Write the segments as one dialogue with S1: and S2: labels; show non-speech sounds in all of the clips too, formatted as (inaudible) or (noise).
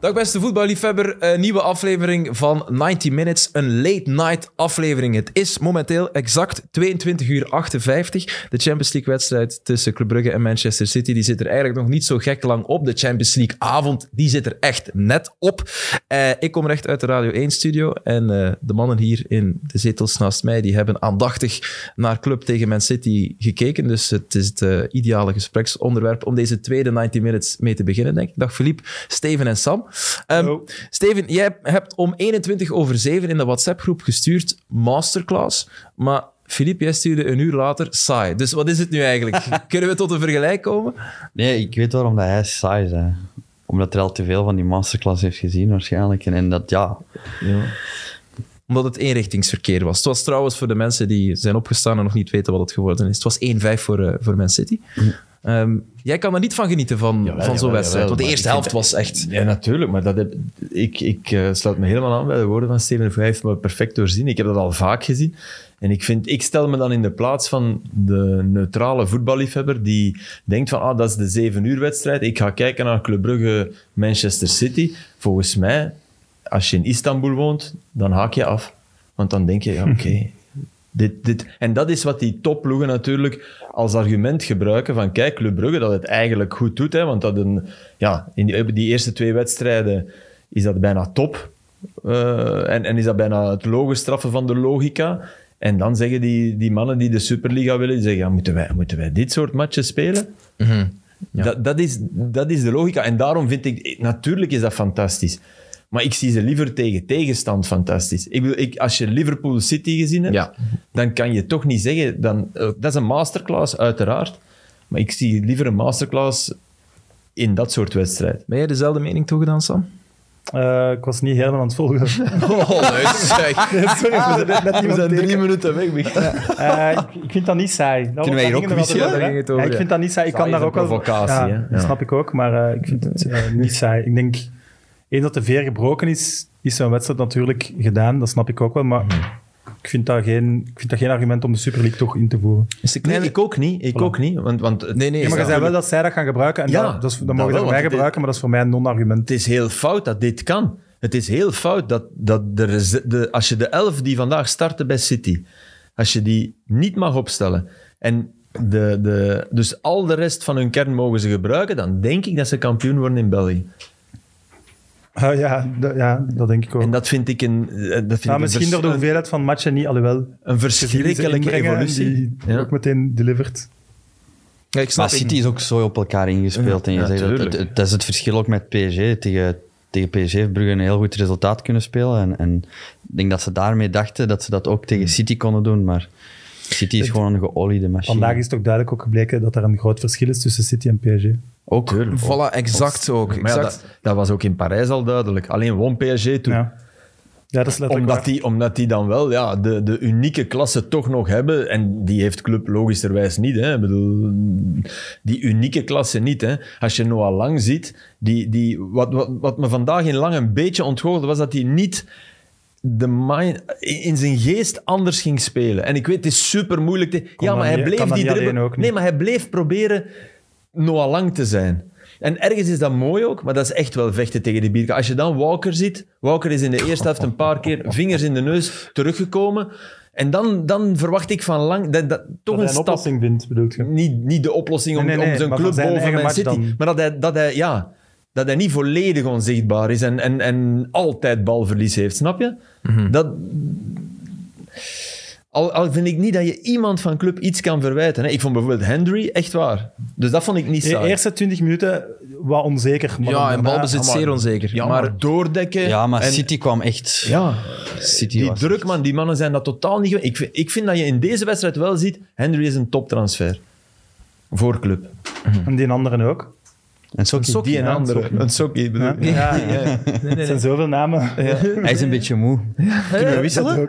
S1: Dag beste voetballiefhebber, een nieuwe aflevering van 90 Minutes, een late night aflevering. Het is momenteel exact 22 uur 58. De Champions League wedstrijd tussen Club Brugge en Manchester City, die zit er eigenlijk nog niet zo gek lang op. De Champions League avond, die zit er echt net op. Eh, ik kom recht uit de Radio 1 studio en eh, de mannen hier in de zetels naast mij, die hebben aandachtig naar Club tegen Man City gekeken. Dus het is het eh, ideale gespreksonderwerp om deze tweede 90 Minutes mee te beginnen, denk ik. Dag Philippe, Steven en Sam. Ehm,
S2: Hallo.
S1: Steven, jij hebt om 21 over 7 in de WhatsApp-groep gestuurd masterclass, maar Philippe, jij stuurde een uur later saai. Dus wat is het nu eigenlijk? Kunnen we tot een vergelijk komen?
S3: Nee, ik weet waarom dat hij saai is. Hè. Omdat hij al te veel van die masterclass heeft gezien waarschijnlijk. En, en dat, ja...
S1: Omdat het eenrichtingsverkeer was. Het was trouwens voor de mensen die zijn opgestaan en nog niet weten wat het geworden is. Het was 1-5 voor, eh, voor Man City. Ehm, jij kan er niet van genieten van,
S2: Hm. Jawel,
S1: van zo'n
S2: jawel,
S1: wedstrijd.
S2: jawel,
S1: Want de
S2: maar
S1: eerste
S2: ik
S1: helft
S2: vind-
S1: was echt...
S2: Ja, natuurlijk. Maar dat heb, ik ik eh, sluit me helemaal aan bij de woorden van Steven. Hij heeft me perfect doorzien. Ik heb dat al vaak gezien. En ik, vind, ik stel me dan in de plaats van de neutrale voetballiefhebber die denkt van ah, dat is de zeven uur wedstrijd. Ik ga kijken naar Club Brugge Manchester City. Volgens mij, als je in Istanbul woont, dan haak je af. Want dan denk je, ja, oké. Dit, dit. En dat is wat die topploegen natuurlijk als argument gebruiken van kijk, Club Brugge dat het eigenlijk goed doet. Hè, want dat een, ja, in die, die eerste twee wedstrijden is dat bijna top. Eh, en, en is dat bijna het logisch straffen van de logica. En dan zeggen die, die mannen die de Superliga willen, die zeggen, ja, moeten, wij, moeten wij dit soort matches spelen? Dat, dat, is, dat is de logica. En daarom vind ik, natuurlijk is dat fantastisch. Maar ik zie ze liever tegen tegenstand fantastisch. Ik bedoel, ik, als je Liverpool City gezien hebt,
S1: Ja.
S2: dan kan je toch niet zeggen. Dan, eh, dat is een masterclass, uiteraard. Maar ik zie liever een masterclass in dat soort wedstrijd.
S1: Ben jij dezelfde mening toegedaan, Sam?
S4: Eh, ik was niet helemaal aan het volgen. (laughs)
S1: Oh, leuk.
S4: Sorry, ik moest er net (laughs) iemand tegen.
S2: minuten weg. Michiel.
S4: Eh, ik, ik vind dat niet saai. Dat
S3: Kunnen wij hier
S4: dat
S3: ook
S4: ging er wel
S3: wisselen?
S4: over,
S1: Daar
S4: hè?
S1: ging het over,
S4: Ja, ik
S1: ja.
S4: vind dat niet saai. Ik
S2: Saai
S4: kan
S2: is
S4: daar ook
S2: een provocatie,
S4: wel...
S2: hè?
S4: Ja,
S2: Ja.
S4: dat snap ik ook, maar eh, ik vind het eh, niet saai. Ik denk, eens dat de veer gebroken is, is zo'n wedstrijd natuurlijk gedaan. Dat snap ik ook wel, maar ik, vind dat geen, ik vind dat geen argument om de Super League toch in te voeren.
S1: (laughs) Is de
S2: Nee,
S1: kleine...
S2: ik ook niet. Ik ook niet. Want, want het-
S1: Nee, nee.
S4: Ja, maar je zei wel dat zij dat gaan gebruiken. En
S2: Ja,
S4: dat, dat, is- dat
S2: dat
S4: mogen
S2: wel,
S4: ze voor mij
S2: want het-
S4: gebruiken, maar dat is voor mij een non-argument.
S2: het is heel fout dat dit kan. Het is heel fout dat, dat de, rese- de, als je de elf die vandaag startte bij City, als je die niet mag opstellen en de, de, dus al de rest van hun kern mogen ze gebruiken, dan denk ik dat ze kampioen worden in België.
S4: Ah, ja, dat- ja, dat denk ik ook.
S2: En dat vind ik een, eh, dat eh, vind
S4: Nou,
S2: ik
S4: misschien
S2: een,
S4: door de
S2: vers-
S4: hoeveelheid van matchen niet, alhoewel...
S2: een
S4: Ze
S2: verschrikkelijke
S4: inbrengen en
S2: evolutie.
S4: Die
S2: Ja.
S4: ook meteen delivered.
S1: Ja, ik snap
S3: Maar
S1: het
S3: City is ook zo op elkaar ingespeeld. En je
S2: Ja,
S3: zegt dat,
S2: tuurlijk.
S3: het- het- dat is het verschil ook met PSG. Tegen, tegen PSG heeft Brugge een heel goed resultaat kunnen spelen. En, en ik denk dat ze daarmee dachten dat ze dat ook tegen
S2: Hmm.
S3: City konden doen. Maar City is gewoon een geoliede machine.
S4: Vandaag is toch duidelijk ook gebleken dat er een groot verschil is tussen City en PSG.
S3: ook.
S2: Tuurlijk.
S1: Voilà, exact ook.
S2: Oh, Maar ja,
S1: Exact.
S2: dat, dat was ook in Parijs al duidelijk. Alleen won PSG toen.
S4: Ja. ja, dat is letterlijk
S2: Omdat
S4: waar.
S2: die, omdat die dan wel ja, de, de unieke klasse toch nog hebben. En die heeft club logischerwijs niet. Hè. Ik bedoel, die unieke klasse niet. Hè. Als je Noah Lang ziet, die, die, wat, wat, wat me vandaag in Lang een beetje ontgoochelde, was dat hij niet de mind, in in zijn geest anders ging spelen. En ik weet, het is super moeilijk. Te, ja,
S4: dat
S2: maar hij
S4: niet- kan
S2: bleef
S4: dat
S2: die
S4: niet alleen
S2: dribbel-
S4: ook niet.
S2: Nee, maar hij bleef proberen Noah Lang te zijn. En ergens is dat mooi ook, maar dat is echt wel vechten tegen die bierka. Als je dan Walker ziet, Walker is in de eerste helft een paar keer vingers in de neus teruggekomen. En dan, dan verwacht ik van Lang dat, dat toch
S4: dat hij
S2: een
S4: een
S2: stap.
S4: oplossing vindt, bedoel je?
S2: Niet, niet de oplossing om,
S4: Nee, nee, nee,
S2: om zijn
S4: maar
S2: club
S4: van zijn
S2: boven
S4: eigen
S2: Man
S4: match
S2: City.
S4: dan.
S2: Maar dat hij, dat, hij, ja, dat hij niet volledig onzichtbaar is en, en, en altijd balverlies heeft, snap je?
S4: Mhm.
S2: Dat, al, al vind ik niet dat je iemand van club iets kan verwijten. Hè. Ik vond bijvoorbeeld Henry echt waar. Dus dat vond ik niet
S4: De
S2: saai.
S4: eerste 20 minuten wat onzeker. Maar dan
S1: Ja, en
S4: daarna-
S1: balbezit
S4: Amai.
S1: zeer onzeker.
S2: ja, maar,
S1: maar
S2: doordekken.
S3: Ja, maar
S2: en-
S3: City kwam echt...
S2: Ja,
S3: City
S2: die
S3: was
S2: druk, man. Die mannen zijn dat totaal niet gewend. Ik, vind- ik vind dat je in deze wedstrijd wel ziet, Henry is een toptransfer. Voor club.
S4: En die anderen ook.
S3: En Sokkie.
S2: die en
S4: ja,
S2: andere.
S4: Sokkie.
S2: Een sokkie, bedoel
S4: Ja.
S2: ik.
S4: Ja, Het zijn zoveel namen. Ja, (laughs)
S3: Hij is een beetje moe.
S2: (laughs)
S3: (laughs)
S4: Eh,
S2: Kunnen we wisselen?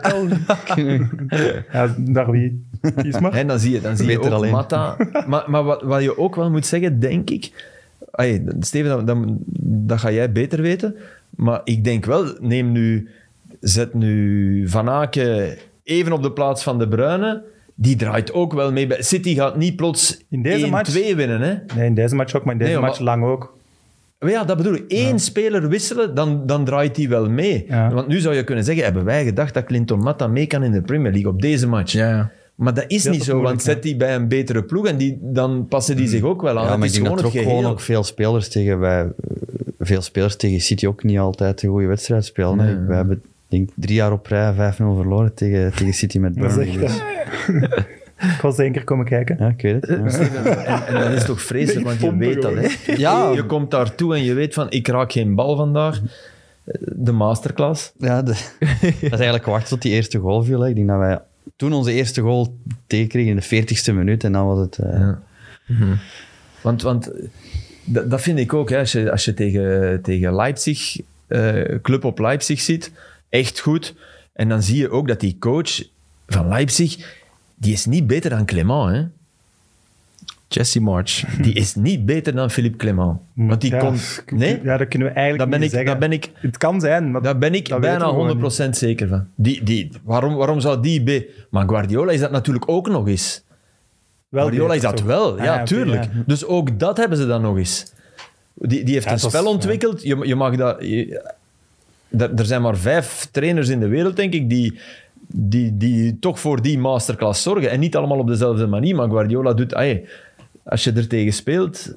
S4: daar wie. Kies maar.
S2: En dan zie je, dan zie je
S3: Beter
S2: ook
S3: alleen.
S2: Mata. (laughs) Maar, maar wat, wat je ook wel moet zeggen, denk ik... Ay, Steven, dat, dat, dat ga jij beter weten. Maar ik denk wel, neem nu... Zet nu Van Aken even op de plaats van De Bruyne. Die draait ook wel mee. bij- City gaat niet plots
S4: In deze match?
S2: 1-2 winnen, hè?
S4: Nee, in deze match ook, maar in deze
S2: Nee,
S4: match
S2: maar-
S4: lang ook.
S2: Maar ja, dat bedoel ik. Eén speler wisselen, dan, dan draait hij wel mee.
S4: Ja.
S2: Want nu zou je kunnen zeggen, hebben wij gedacht dat Clinton Matta mee kan in de Premier League op deze match?
S1: Ja, ja.
S2: Maar dat is
S4: Dat is
S2: niet zo,
S4: moeilijk,
S2: want
S4: ja.
S2: zet die bij een betere ploeg en die, dan passen die zich ook wel aan.
S3: Ja, maar
S2: het
S3: ik
S2: is
S3: denk dat er
S2: gewoon het
S3: ook
S2: geheel.
S3: gewoon ook veel spelers tegen wij, veel spelers tegen City ook niet altijd een goede wedstrijd spelen. hè. We hebben denk ik, drie jaar op rij 5-0 verloren tegen, tegen City met
S4: Dat is
S3: Burnley.
S4: echt,
S3: dus-
S4: Ik was één keer komen kijken.
S3: ja, ik weet het. ja.
S2: En, en dat is toch vreselijk, want je
S4: pompen
S2: weet dat.
S4: gewoon.
S2: Hè?
S3: Ja.
S2: Je komt daartoe en je weet van, ik raak geen bal vandaag. De masterclass.
S3: Ja, de- dat is eigenlijk gewacht tot die eerste goal viel. hè. Ik denk dat wij toen onze eerste goal tegenkregen in de 40ste minuut en dan was het... eh,
S2: Ja. Want, want eh, dat, dat vind ik ook, hè. Als, je, als je tegen, tegen Leipzig, eh, club op Leipzig ziet, echt goed. En dan zie je ook dat die coach van Leipzig, die is niet beter dan Clement. Hè?
S1: Jesse March.
S2: Die is niet beter dan Philippe Clement. Want die
S4: Mm, Ja,
S2: komt...
S4: k-
S2: Nee,
S4: Ja, dat kunnen we eigenlijk
S2: dat ben,
S4: niet
S2: ik,
S4: zeggen.
S2: dat ben ik
S4: Het kan zijn, maar
S2: Daar ben ik
S4: dat weten we gewoon
S2: bijna
S4: niet.
S2: 100% zeker van. Die, die, waarom, waarom zou die B. Maar Guardiola is dat natuurlijk ook nog eens.
S4: Wel
S2: Guardiola is
S4: beter,
S2: dat
S4: toch?
S2: wel,
S4: Ah,
S2: ja,
S4: oké,
S2: tuurlijk.
S4: ja.
S2: Dus ook dat hebben ze dan nog eens. Die, die heeft
S4: Ja,
S2: een
S4: het was-
S2: spel ontwikkeld. Je, je mag dat. je- er, er zijn maar vijf trainers in de wereld, denk ik, die, die, die toch voor die masterclass zorgen. En niet allemaal op dezelfde manier, maar Guardiola doet. ai, als je er tegen speelt.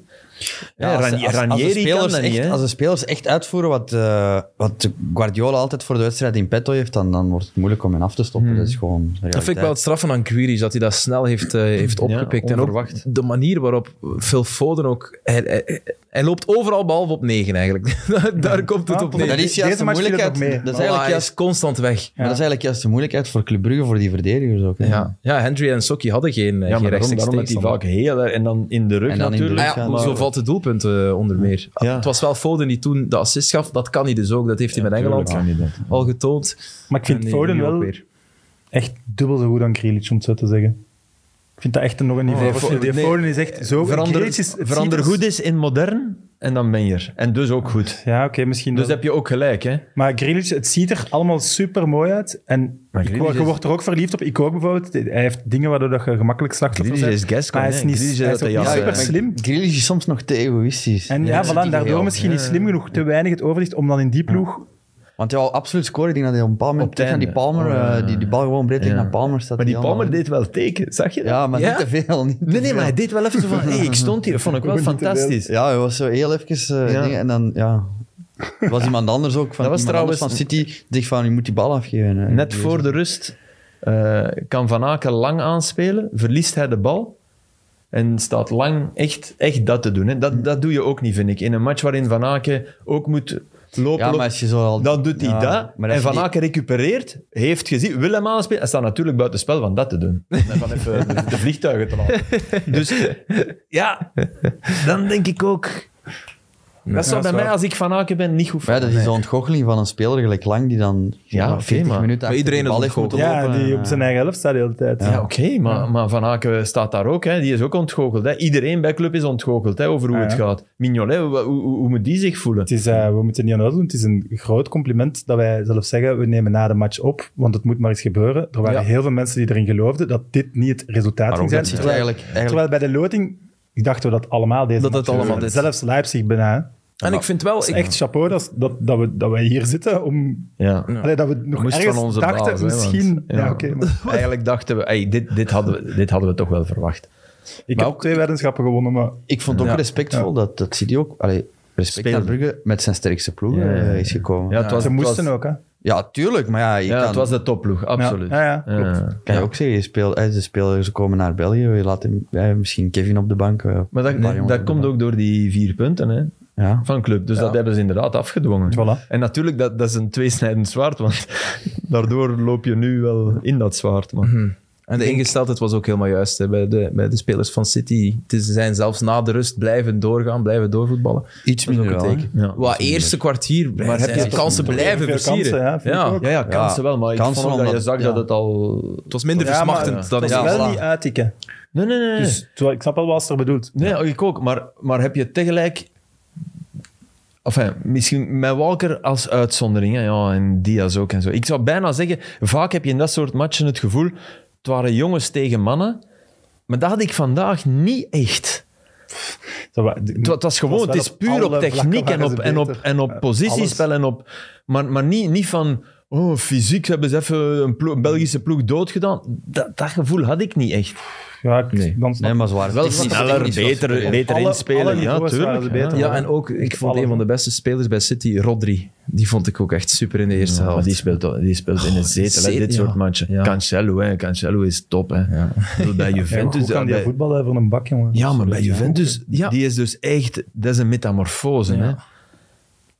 S2: Ja,
S3: als-
S2: Ran-
S3: als- als de
S2: Ranieri kan
S3: spelers
S2: dat
S3: echt,
S2: niet. hè.
S3: Als de spelers echt uitvoeren wat, eh, wat Guardiola altijd voor de wedstrijd in petto heeft, dan, dan wordt het moeilijk om hen af te stoppen. Dat is gewoon
S1: Dat vind ik
S3: realiteit.
S1: wel het straffen aan Quiris, dat hij dat snel heeft, eh, heeft opgepikt. en ook
S2: onverwacht.
S1: de manier waarop Phil Foden ook... Hij, hij, hij loopt overal behalve op negen, eigenlijk. (laughs) Daar komt het
S4: Ah,
S1: op
S4: dat
S1: neer.
S3: Dat is
S4: Deze
S3: juist de
S4: match viel het
S3: moeilijkheid.
S4: nog mee.
S3: Dat is
S1: Voilà,
S3: eigenlijk
S1: hij
S3: juist
S1: Ah, is constant weg.
S3: Maar dat is eigenlijk juist de moeilijkheid voor Club Brugge, voor die verdedigers ook. hè.
S1: Ja, ja Hendry en Sokki hadden geen, eh,
S2: Ja,
S1: geen
S2: maar daarom,
S1: rechtstreeks
S2: daarom dat hij
S1: tegenstander.
S2: vaak heel erg... En dan in de rug
S3: En dan in de
S2: natuurlijk.
S3: rug,
S1: Ah ja,
S3: ja,
S1: maar zo valt het doelpunt eh, onder meer.
S2: Ja.
S1: Het was wel Foden die toen de assist gaf. Dat kan hij dus ook. Dat heeft hij met Engeland al getoond.
S4: Maar ik vind
S1: En die-
S4: Foden
S1: die ook
S4: wel
S1: weer.
S4: echt dubbel zo goed aan Grealish, om het zo te zeggen. Ik vind dat echt nog een niveau.
S2: nee,
S4: hoger.
S2: Fo-
S4: Die
S2: Oh, nee.
S4: Foden is echt zo...
S2: Verander,
S4: Grealish is- het
S2: verander
S4: ziet er-
S2: goed
S3: dus-
S2: is in modern, en dan ben je er. En dus ook goed.
S4: Ja, oké, misschien
S2: Dus
S4: wel.
S2: heb je ook gelijk, hè.
S4: Maar Grealish, het ziet er allemaal super mooi uit. En
S2: Maar
S4: ik,
S2: Grealish
S4: je
S2: is-
S4: wordt er ook verliefd op. Ik ook bijvoorbeeld. Hij heeft dingen waardoor dat je gemakkelijk slachtoffer
S2: Grealish
S4: bent.
S2: is Gascoigne,
S4: Maar hij is
S2: hè.
S4: niet
S2: Grealish is
S4: hij is
S2: dat
S4: ook
S2: hij
S4: niet
S2: als,
S4: super
S2: eh,
S4: slim.
S3: Grealish is soms nog te egoïstisch.
S4: En ja,
S3: Dat is
S4: voilà,
S3: niet
S4: daardoor
S3: geheel.
S4: misschien niet slim genoeg. Te weinig het overzicht om dan in die ploeg...
S3: Want hij wou absoluut scoren. Ik denk dat hij op een bepaald moment
S2: Op
S3: terug
S2: het
S3: naar die
S2: einde.
S3: Palmer,
S2: Oh, ja.
S3: eh, die, die bal gewoon breed tegen
S2: Ja.
S3: naar Palmer staat.
S2: Maar die
S3: allemaal-
S2: Palmer deed wel teken, zag je dat?
S3: Ja, maar
S1: Ja?
S3: niet te veel. Niet te
S2: Nee, nee, maar
S3: veel.
S2: hij deed wel even zo (laughs) van... hey, ik stond hier. Vond ik (laughs) wel fantastisch.
S3: Ja, hij was zo heel even... eh,
S2: Ja.
S3: dingen en dan, ja... Er was iemand anders ook, van,
S2: Dat was
S3: iemand
S2: trouwens-
S3: anders van City, die dacht van, je moet die bal afgeven. hè.
S2: Net voor de rust eh, kan Van Aken lang aanspelen, verliest hij de bal en staat lang echt, echt dat te doen. Hè. Dat, dat doe je ook niet, vind ik. In een match waarin Van Aken ook moet lopen,
S3: Ja, maar
S2: lopen,
S3: als je zo al...
S2: dan doet hij
S3: Ja,
S2: dat.
S3: maar als
S2: En
S3: je
S2: Van
S3: die-
S2: Aken recupereert, heeft gezien, wil hem aanspelen, en staat natuurlijk buiten spel van dat te doen.
S3: (laughs)
S2: En van even de, de vliegtuigen te laten. Dus ja, dan denk ik ook... Dat zou bij
S4: waar.
S2: mij, als ik Van Aken ben, niet goed
S3: Ja, dat is zo'n ontgoocheling van een speler gelijk lang die dan
S2: Ja, oké,
S3: 40
S2: maar-
S3: minuten achter
S1: iedereen
S3: die
S1: is
S3: bal heeft moeten
S1: ontgoocheld.
S4: Ja,
S3: lopen.
S4: die
S3: eh.
S4: op zijn eigen helft staat de hele tijd.
S2: Ja, oké, maar, maar Van Aken staat daar ook. Hè. Die is ook ontgoocheld. Hè. Iedereen bij club is ontgoocheld hè, over hoe
S4: Ah,
S2: het
S4: ja.
S2: gaat. Mignolet, hoe, hoe, hoe- hoe moet die zich voelen?
S4: Het is, eh, we moeten niet aan uitdoen. Het is een groot compliment dat wij zelf zeggen, we nemen na de match op, want het moet maar eens gebeuren. Er waren
S2: Ja.
S4: heel veel mensen die erin geloofden dat dit niet het resultaat
S3: Maar ook
S4: ging
S3: dat
S4: zijn.
S3: ziet er
S4: Terwijl-
S3: eigenlijk... eigenlijk
S4: Terwijl bij de loting dachten we dat allemaal deze
S1: Dat
S4: match
S1: het allemaal
S4: gebeurde.
S1: dit-
S4: Zelfs Leipzig bijna.
S1: En ik vind wel...
S4: Het
S1: Ik,
S4: is echt chapeau dat, dat, dat, we, dat we hier zitten om...
S2: Ja.
S4: Allee, dat we nog
S2: moest
S4: ergens
S2: van onze
S4: dachten,
S2: baas, hè, want-
S4: misschien... ja,
S2: ja.
S4: oké. maar-
S2: Eigenlijk dachten we, hey, dit, dit, hadden we, dit hadden we toch wel verwacht.
S4: ik
S3: Maar
S4: heb
S3: ook-
S4: twee weddenschappen gewonnen, maar...
S3: ik vond het ook respectvol dat, dat City ook... Allee, respect
S2: Spelen.
S3: naar Brugge met zijn sterkste ploeg
S2: Ja, ja, ja.
S3: eh, is gekomen. Ja.
S2: het was,
S4: ze
S2: het was-
S4: moesten ook, hè.
S3: tuurlijk, maar ja, je
S2: Ja,
S3: kan,
S2: het was de topploeg, absoluut.
S4: Ja, ja,
S2: Ja.
S3: kan je ook zeggen, je speelt, eh, de spelers komen naar België, je laat hem, eh, misschien Kevin op de bank. eh,
S2: Maar
S3: een paar
S2: dat,
S3: jongens
S2: dat
S3: op de
S2: komt
S3: bank.
S2: ook door die vier punten hè,
S3: Ja.
S2: van club. Dus dat hebben ze inderdaad afgedwongen.
S4: Voilà.
S2: En natuurlijk, dat, dat is een tweesnijdend zwaard, want (laughs) daardoor loop je nu wel in dat zwaard. Maar.
S1: En de ingesteldheid was ook helemaal juist hè, bij, de, bij de spelers van City. Het is- Ze zijn zelfs na de rust blijven doorgaan, blijven doorvoetballen.
S3: Iets
S1: Dat is ook
S3: minder
S1: een
S3: wel, hè.
S1: teken.
S2: Ja,
S1: Wat eerste kwartier, maar
S2: heb
S1: heb
S2: je
S1: je
S2: toch
S1: kansen
S4: toch
S1: blijven
S4: veel kansen,
S1: versieren.
S4: ja, vind ik ook.
S2: Ja, ja, kansen wel, maar ik
S3: kansen
S2: vond ook dat je
S3: omdat-
S2: zag
S3: ja.
S2: dat het al...
S1: Het was minder
S4: Ja, maar
S1: versmachtend dan
S4: het
S1: in
S4: was
S1: de
S4: wel
S1: eerste.
S4: niet uittikken.
S2: Nee, nee, nee. nee.
S4: Dus terwijl- ik snap wel wat ze er bedoelt.
S2: nee, ik ook. Maar, maar heb je tegelijk... Enfin, misschien met Walker als uitzondering. Hè? Ja, en Diaz ook en zo. Ik zou bijna zeggen, vaak heb je in dat soort matchen het gevoel... Het waren jongens tegen mannen. Maar dat had ik vandaag niet echt.
S4: Dat wa- de-
S2: Het, wa- het was gewoon, het
S4: was wel
S2: is
S4: op
S2: puur op
S4: alle vlakken
S2: techniek en
S4: waren
S2: op,
S4: ze
S2: en op,
S4: beter.
S2: en op positiespel. En op, maar maar niet, niet van, oh, fysiek hebben ze even een, plo- een Belgische ploeg doodgedaan. Dat, dat gevoel had ik niet echt.
S4: ja, ik-
S1: Nee.
S4: dan snap
S3: Nee,
S4: ik-
S3: maar ze waren
S2: Wel
S3: technisch-
S2: sneller,
S3: technisch wel
S2: beter,
S3: superieur.
S2: beter
S4: Alle-
S2: inspelen.
S4: alle
S2: ja,
S4: niveaus waren
S2: tuurlijk.
S4: ze beter.
S2: Ja.
S1: Ja, en ook, ik vond een
S4: Vallen.
S1: van de beste spelers bij City, Rodri. Die vond ik ook echt super in de eerste
S2: Ja, maar
S1: helft.
S2: die speelt, al- die speelt
S4: Ah,
S2: in een zetel, hè,
S1: zetel,
S2: dit
S1: ja.
S2: soort matchen.
S1: Ja.
S2: Cancelo, hè. Cancelo is top. Hè.
S1: Ja.
S2: Ik bedoel, Bij
S4: Ja, hoe
S2: Juventus...
S4: kan die
S2: bij-
S4: voetballen voor een bak, jongen?
S2: ja, maar bij
S4: Absoluut, ja.
S2: Juventus,
S1: Ja.
S2: die is dus echt... Dat is een metamorfose, hè.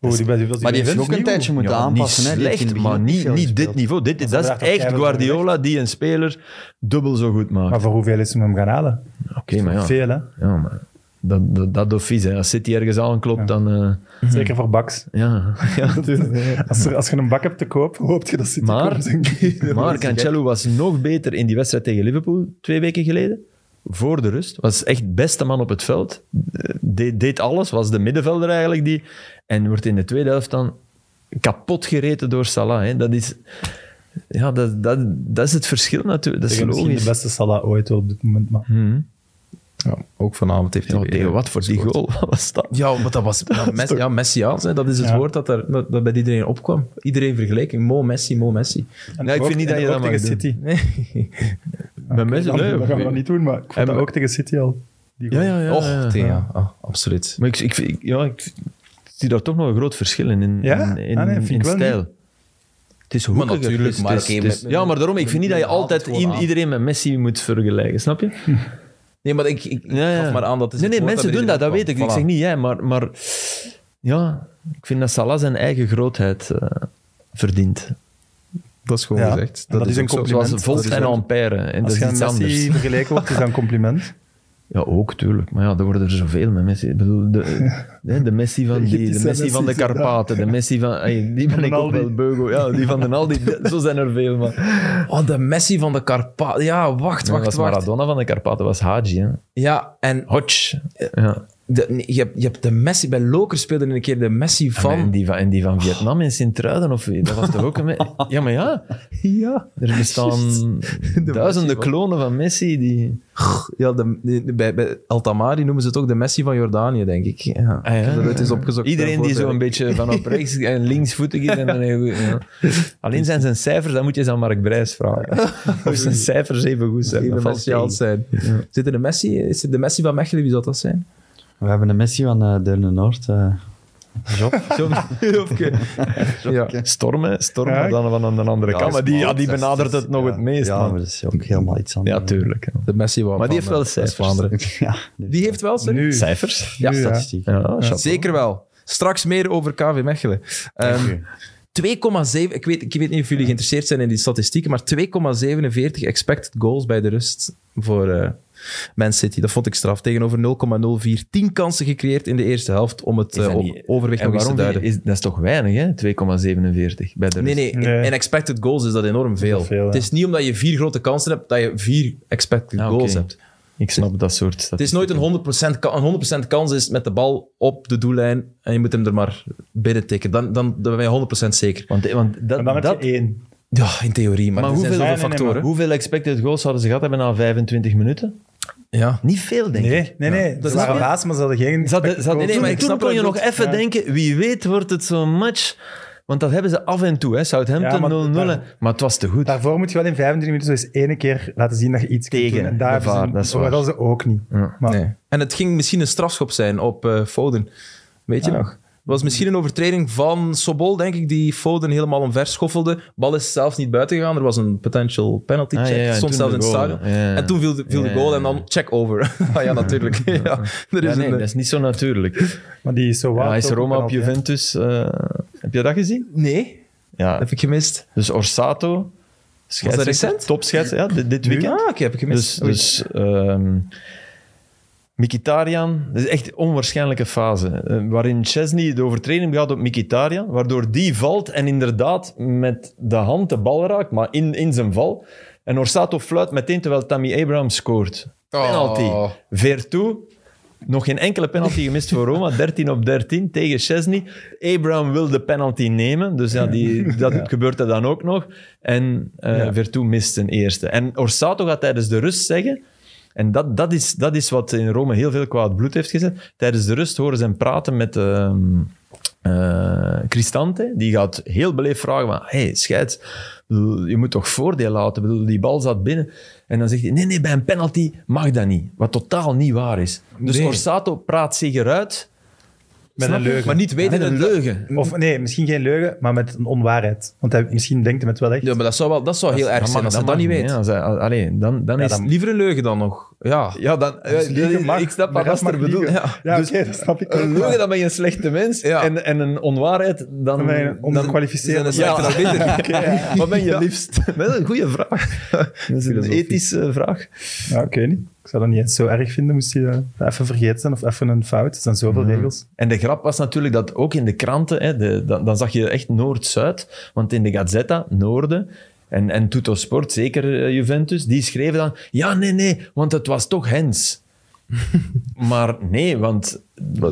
S4: Oh, die bij Juventus-
S3: Maar die heeft ook een
S4: nieuw.
S3: tijdje moeten
S2: Ja,
S3: aanpassen. hè.
S2: Niet
S3: Die heeft in
S2: slecht,
S3: het
S2: maar
S3: begin
S2: niet,
S3: veel
S2: niet
S3: gespeeld.
S2: dit niveau. Dit,
S4: ze
S2: dat is
S4: hebben daar toch
S2: echt
S4: keihard voor
S2: Guardiola die een speler dubbel zo goed maakt.
S4: Maar voor hoeveel is hem hem gaan halen?
S2: Oké, maar ja.
S4: Veel, hè?
S2: ja maar dat, dat, dat doet vies, hè. Als City ergens aanklopt,
S4: Ja.
S2: dan... eh,
S4: Zeker voor baks.
S2: ja. ja, (laughs) natuurlijk.
S4: Als, er, als je een bak hebt te koop, hoop je dat City
S2: Maar-
S4: komt, denk ik. Dat
S2: (laughs) Maar
S4: is gek.
S2: Cancelo was nog beter in die wedstrijd tegen Liverpool twee weken geleden. Voor de rust. Was echt beste man op het veld. Eh, Deed, deed alles. Was de middenvelder eigenlijk die. En wordt in de tweede helft dan kapot gereten door Salah. Hè. Dat is... Ja, dat, dat, dat is het verschil natuurlijk. Dat is
S4: Tegen misschien
S2: logisch.
S4: de beste Salah ooit wel op dit moment. Maar
S2: Mhm.
S1: Ja, ook vanavond heeft hij
S2: Ja,
S1: weer,
S2: tegen
S1: eh,
S2: wat voor die
S1: gescoord.
S2: goal? (laughs) Wat was dat?
S1: Ja, maar dat was ja, Messi, ja, Messiaans, hè. dat is het
S4: Ja.
S1: woord dat, daar, dat, dat bij iedereen opkwam. Iedereen vergelijking, Mo Messi, Mo Messi.
S4: En
S2: Nee, ik
S4: ook-
S2: vind niet
S4: en
S2: dat je
S4: ook
S2: dat mag
S4: tegen
S2: doen.
S4: City.
S1: Nee.
S2: Bij mensen,
S4: dat,
S2: nee,
S4: dat gaan we
S2: oké.
S4: dat niet doen, maar ik vond
S2: En-
S4: dat ook tegen City al. Die
S2: Ja, ja, ja.
S1: Och,
S2: ja, ja.
S1: tegen- ja, ah, absoluut.
S2: Maar ik, ik, ik- ja, ik zie daar toch nog een groot verschil in, in,
S4: Ja?
S2: in, in,
S4: Ah, nee, vind ik
S2: in
S4: wel
S2: stijl. Het is hoekiger.
S1: natuurlijk,
S2: het is-
S1: maar
S2: het is-
S1: oké,
S2: het is-
S1: met- met-
S2: Ja, maar daarom, ik vind niet dat je
S1: met- met-
S2: altijd
S1: haalt het
S2: in-
S1: gewoon
S2: iedereen met Messi moet vergelijken, snap je?
S1: Nee, maar ik, ik, ik
S2: Ja, ja.
S1: gaf maar aan dat is
S2: Nee,
S1: het
S2: nee,
S1: woord
S2: mensen
S1: bij
S2: doen dat, dat weet
S1: iedereen
S2: ik. Ik
S1: opkwam.
S2: zeg
S1: Voilà.
S2: niet jij, maar, maar ja, ik vind dat Salah zijn eigen grootheid eh, verdient.
S1: Dat is gewoon
S4: Ja.
S1: gezegd.
S4: En dat is een
S1: ook zo.
S4: compliment.
S2: Zoals
S4: dat
S2: volt
S4: is
S2: en
S4: ook-
S2: ampère. En dat
S4: Als
S2: is
S4: je aan
S2: iets anders.
S4: Messi vergeleken wordt, is dat een
S2: (laughs)
S4: compliment.
S2: Ja, ook, tuurlijk. Maar ja, er worden er zoveel met Messi. Ik bedoel, de, hè, de Messi van die, de
S4: Egyptische
S2: Messi van de
S4: Messi's,
S2: Karpaten, de Messi van... ey, die ben
S4: Van
S2: ik ook
S4: Aldi.
S2: wel beugel. Ja, die van de Aldi, de- zo zijn er veel, maar...
S1: Oh, de Messi van de Karpaat. Ja, wacht,
S2: Dat
S1: wacht,
S2: was
S1: wacht.
S2: Maradona van de Karpaten, was Haji, hè.
S1: Ja, en
S2: Hodge. Ja.
S1: de- nee, je, hebt, je hebt de Messi... Bij Lokers speelde een keer de Messi van...
S2: En, die van en die van Vietnam in Sint-Truiden, of... Dat was toch ook een... me- Ja, maar ja.
S1: Ja.
S2: Er bestaan
S1: Messi
S2: duizenden
S1: van-
S2: klonen van Messi die...
S1: Ja, de, de- bij, bij Altamari noemen ze het ook de Messi van Jordanië, denk ik. Ja.
S2: Ah, ja.
S1: Ik heb dat ooit eens opgezocht.
S2: Iedereen die zo'n beetje vanaf (laughs) rechts en linksvoetig is. En dan heel goed, ja. Alleen zijn zijn cijfers, dan moet je eens aan Mark Brijs vragen. Of zijn cijfers even goed zijn.
S1: Even
S2: Dat valt tegen.
S1: Messiaans zijn. Zit er de Messi? Is het de Messi van Mechelen? Wie zou dat zijn?
S3: We hebben een missie van eh Deurne Noord. eh.
S2: (laughs) Zo- Jopke.
S1: Ja.
S2: Stormen, stormen
S4: Ja.
S2: dan van aan de andere
S3: Ja,
S2: kant. Maar die, ja, die
S3: dat is-
S2: benadert
S3: dat
S2: het
S3: is-
S2: nog
S3: ja.
S2: het meest.
S3: Ja,
S2: man.
S3: maar dat is ook helemaal iets anders.
S2: Ja, tuurlijk. ja.
S1: De Messi van
S2: Maar die heeft wel
S1: van, eh,
S2: cijfers.
S1: Vlaanderen.
S3: (laughs) Ja,
S1: Die heeft wel cijfers?
S4: Nu.
S2: Cijfers?
S1: Ja,
S4: Nu,
S3: statistiek.
S2: Ja, chapeau.
S1: Zeker wel. Straks meer over KV Mechelen. Ehm, 2,7... Ik weet, ik weet niet of jullie geïnteresseerd zijn in die statistieken, maar 2,47 expected goals bij de rust voor eh, Man City. Dat vond ik straf. Tegenover 0,04. 10 kansen gecreëerd in de eerste helft om het
S2: Is dat
S1: eh, op-
S2: niet-
S1: overwicht
S2: En
S1: nog eens te
S2: waarom
S1: duiden.
S2: is, dat is toch weinig, hè? 2,47 bij de
S1: Nee,
S2: rust.
S1: nee, in-
S4: Nee.
S1: In expected goals is dat enorm veel.
S4: veel, ja.
S1: Het is niet omdat je vier grote kansen hebt dat je vier expected
S2: Ah, oké.
S1: goals hebt.
S2: Ik snap dat soort
S1: Het is nooit een 100%, ka- een 100 kans is met de bal op de doellijn en je moet hem er maar binnen tikken. Dan, dan, dan ben je 100% zeker.
S2: Want, want dat,
S4: En dan heb
S2: dat
S4: je één.
S1: Ja, in theorie, maar,
S2: Maar
S1: er zijn
S2: hoeveel-
S1: zoveel
S4: Nee, nee, nee,
S1: factoren.
S2: Hoeveel expected goals hadden ze gehad hebben na 25 minuten?
S1: ja.
S2: Niet veel, denk ik.
S4: Nee, nee, nee.
S1: Dat
S4: Ze
S1: is
S4: waren
S1: ook-
S4: laatst, maar ze hadden geen...
S2: Ze hadden- ze hadden-
S1: nee, maar ik
S2: toen
S1: snap
S2: kon
S1: wat
S2: je
S1: je
S2: nog
S1: bedoelt.
S2: even
S4: Ja.
S2: denken, wie weet wordt het zo'n match... Want dat hebben ze af en toe, hè.
S4: Ja, maar
S2: Southampton 0-0.
S4: daar-
S2: en- maar het was te goed.
S4: Daarvoor moet je wel in 25 minuten zo eens één keer laten zien dat je iets
S2: Tegen,
S4: kunt doen. En daar
S2: dat
S4: hebben
S2: waar,
S4: ze,
S2: dat is
S4: maar
S2: waar.
S4: hadden ze ook niet.
S2: Ja.
S4: Maar
S1: Nee. En het ging misschien een strafschop zijn op eh, Foden. Weet je
S4: Ah.
S1: nog? Het was misschien een overtreding van Sobol, denk ik, die Foden helemaal omver schoffelde. Bal is zelf niet buiten gegaan. Er was een potential penalty
S2: Ah,
S1: check.
S2: ja, ja, en
S1: stond
S2: toen
S1: zelfs in
S2: de
S1: het
S2: goal.
S1: stadion.
S2: Ja, ja, ja.
S1: En toen viel de, viel de
S2: Ja,
S1: goal
S2: ja,
S1: en
S2: ja.
S1: dan check over. (laughs) ah ja, natuurlijk. ja, er is
S2: Ja, nee,
S1: een,
S2: dat is niet zo natuurlijk.
S4: Maar die is zo
S2: Ja,
S4: waar.
S2: hij is Roma op Juventus. eh, heb je dat gezien?
S1: nee,
S2: Ja.
S1: heb ik gemist.
S2: Dus Orsato,
S1: recent?
S2: topscheids, ja, dit, dit
S1: Ah,
S2: weekend.
S1: oké, heb ik gemist.
S2: Dus, dus ehm, Mikitarian, dat is echt een onwaarschijnlijke fase. eh, waarin Chesney de overtreding gaat op Mikitarian, waardoor die valt en inderdaad met de hand de bal raakt, maar in, in zijn val. En Orsato fluit meteen terwijl Tammy Abraham scoort. Penalty.
S1: Oh.
S2: Veertoe, nog geen enkele penalty gemist voor Roma. 13 op 13 tegen Chesney. Abraham wil de penalty nemen, dus ja, die, dat gebeurde dan ook nog. En eh Vertu mist een eerste. En Orsato gaat tijdens de rust zeggen En dat, dat, is, dat is wat in Rome heel veel kwaad bloed heeft gezet. Tijdens de rust horen ze hem praten met ehm eh, Cristante. Die gaat heel beleefd vragen van, hey, scheids, ik bedoel, je moet toch voordeel laten? Ik bedoel, die bal zat binnen. En dan zegt hij, nee, nee, bij een penalty mag dat niet. Wat totaal niet waar is. Dus
S1: Nee.
S2: Orsato praat zich eruit.
S4: Met
S2: snap
S4: een
S2: je?
S4: leugen.
S1: Maar niet weten
S2: Met een
S1: dat...
S2: leugen.
S4: Of nee, misschien geen leugen, maar met een onwaarheid. Want hij misschien denkt hij met wel echt.
S1: Ja, maar dat zou, wel, dat zou heel erg
S2: mag-
S1: zijn als je dat
S2: mag
S1: niet weet.
S2: hè. Als hij- allee, dan, dan is
S4: dan-
S1: Liever een leugen dan nog. Ja.
S2: Ja, dan, eh,
S4: Dus liegen mag,
S2: ik snap
S4: de
S2: wat
S4: rest
S2: Aster
S4: mag
S2: bedoelt.
S4: liegen.
S2: Ja.
S4: Ja,
S2: dus
S4: oké, (laughs) dat snap ik
S2: (laughs)
S4: ook,
S2: Een
S4: maar-
S2: leugen, dan ben je een slechte mens.
S1: Ja.
S2: En, en een onwaarheid, dan...
S4: Dan ben je een ongekwalificeerde
S2: dan-
S1: mens. Dan is het
S2: Ja. Wat ben je
S1: Ja.
S2: liefst? Dat is een goede vraag. Dat is een
S1: Filosofisch.
S2: ethische vraag.
S4: (laughs) Ja, ik weet niet. Ik zou dat niet eens zo erg vinden, moest hij dat even vergeten zijn of even een fout. Er zijn
S2: Mm.
S4: zoveel regels.
S2: En de grap was natuurlijk dat ook in de kranten, hè, de, dan, dan zag je echt Noord-Zuid, want in de Gazzetta, Noorden, en, en Tutto Sport, zeker eh, Juventus, die schreven dan, ja, nee, nee, want het was toch
S1: (laughs)
S2: Hens. maar nee, want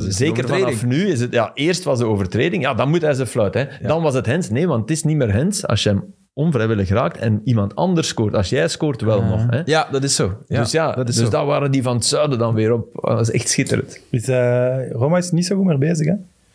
S2: zeker
S1: overtreding.
S2: vanaf nu is het, ja, eerst was de overtreding, ja, dan moet hij zijn fluit, hè. Dan was het Hens, nee, want het is niet meer Hens als je hem onvrijwillig raakt en iemand anders scoort. Als jij scoort, wel nog, hè.
S1: (laughs) Ja, dat is zo. Ja,
S2: dus ja,
S1: dat is
S2: dus
S1: zo.
S2: dat waren die van het zuiden dan weer op. eh, Dat is echt schitterend.
S4: Dus eh, Roma is niet zo goed meer bezig, hè?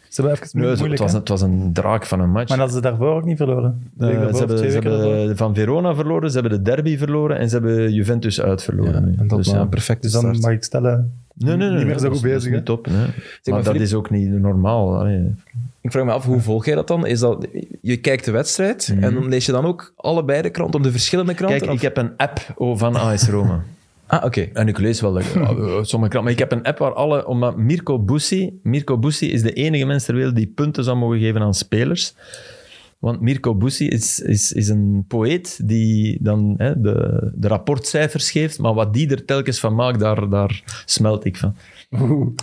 S4: Ze hebben even
S2: Nee, het,
S4: moeilijk,
S2: was,
S4: hè?
S2: het was een draak van een match.
S4: Maar hadden ze daarvoor ook niet verloren? De
S2: Eh,
S4: week daarvoor
S2: ze
S4: of
S2: hebben,
S4: twee
S2: ze
S4: weken
S2: hebben
S4: daarvoor?
S2: van Verona verloren, ze hebben de derby verloren en ze hebben Juventus uitverloren.
S1: En dat
S2: Dus
S1: was
S2: ja.
S1: een perfecte
S4: Dus dan
S1: start.
S4: mag ik stellen...
S2: Nee, nee, nee,
S4: niet meer
S2: nee,
S4: zo
S2: dat
S4: goed
S2: is-
S4: bezig, hè?
S2: Dat is niet top. nee. maar dat
S1: Filip-
S2: is ook niet normaal. allee.
S1: Ik vraag me af, hoe volg jij dat dan? Is dat, je kijkt de wedstrijd en dan lees je dan ook allebei de kranten, op de verschillende kranten?
S2: Mhm.
S1: of-
S2: Kijk, ik heb een app van AS Roma.
S1: Ah, oké.
S2: En ik lees wel eh, sommige kranten. Maar ik heb een app waar alle... Omdat Mirko Bussi... Mirko Bussi is de enige mens ter wereld die punten zou mogen geven aan spelers. Want Mirko Bussi is, is, is een poëet die dan hè, de, de rapportcijfers geeft. Maar wat die er telkens van maakt, daar, daar smelt ik van.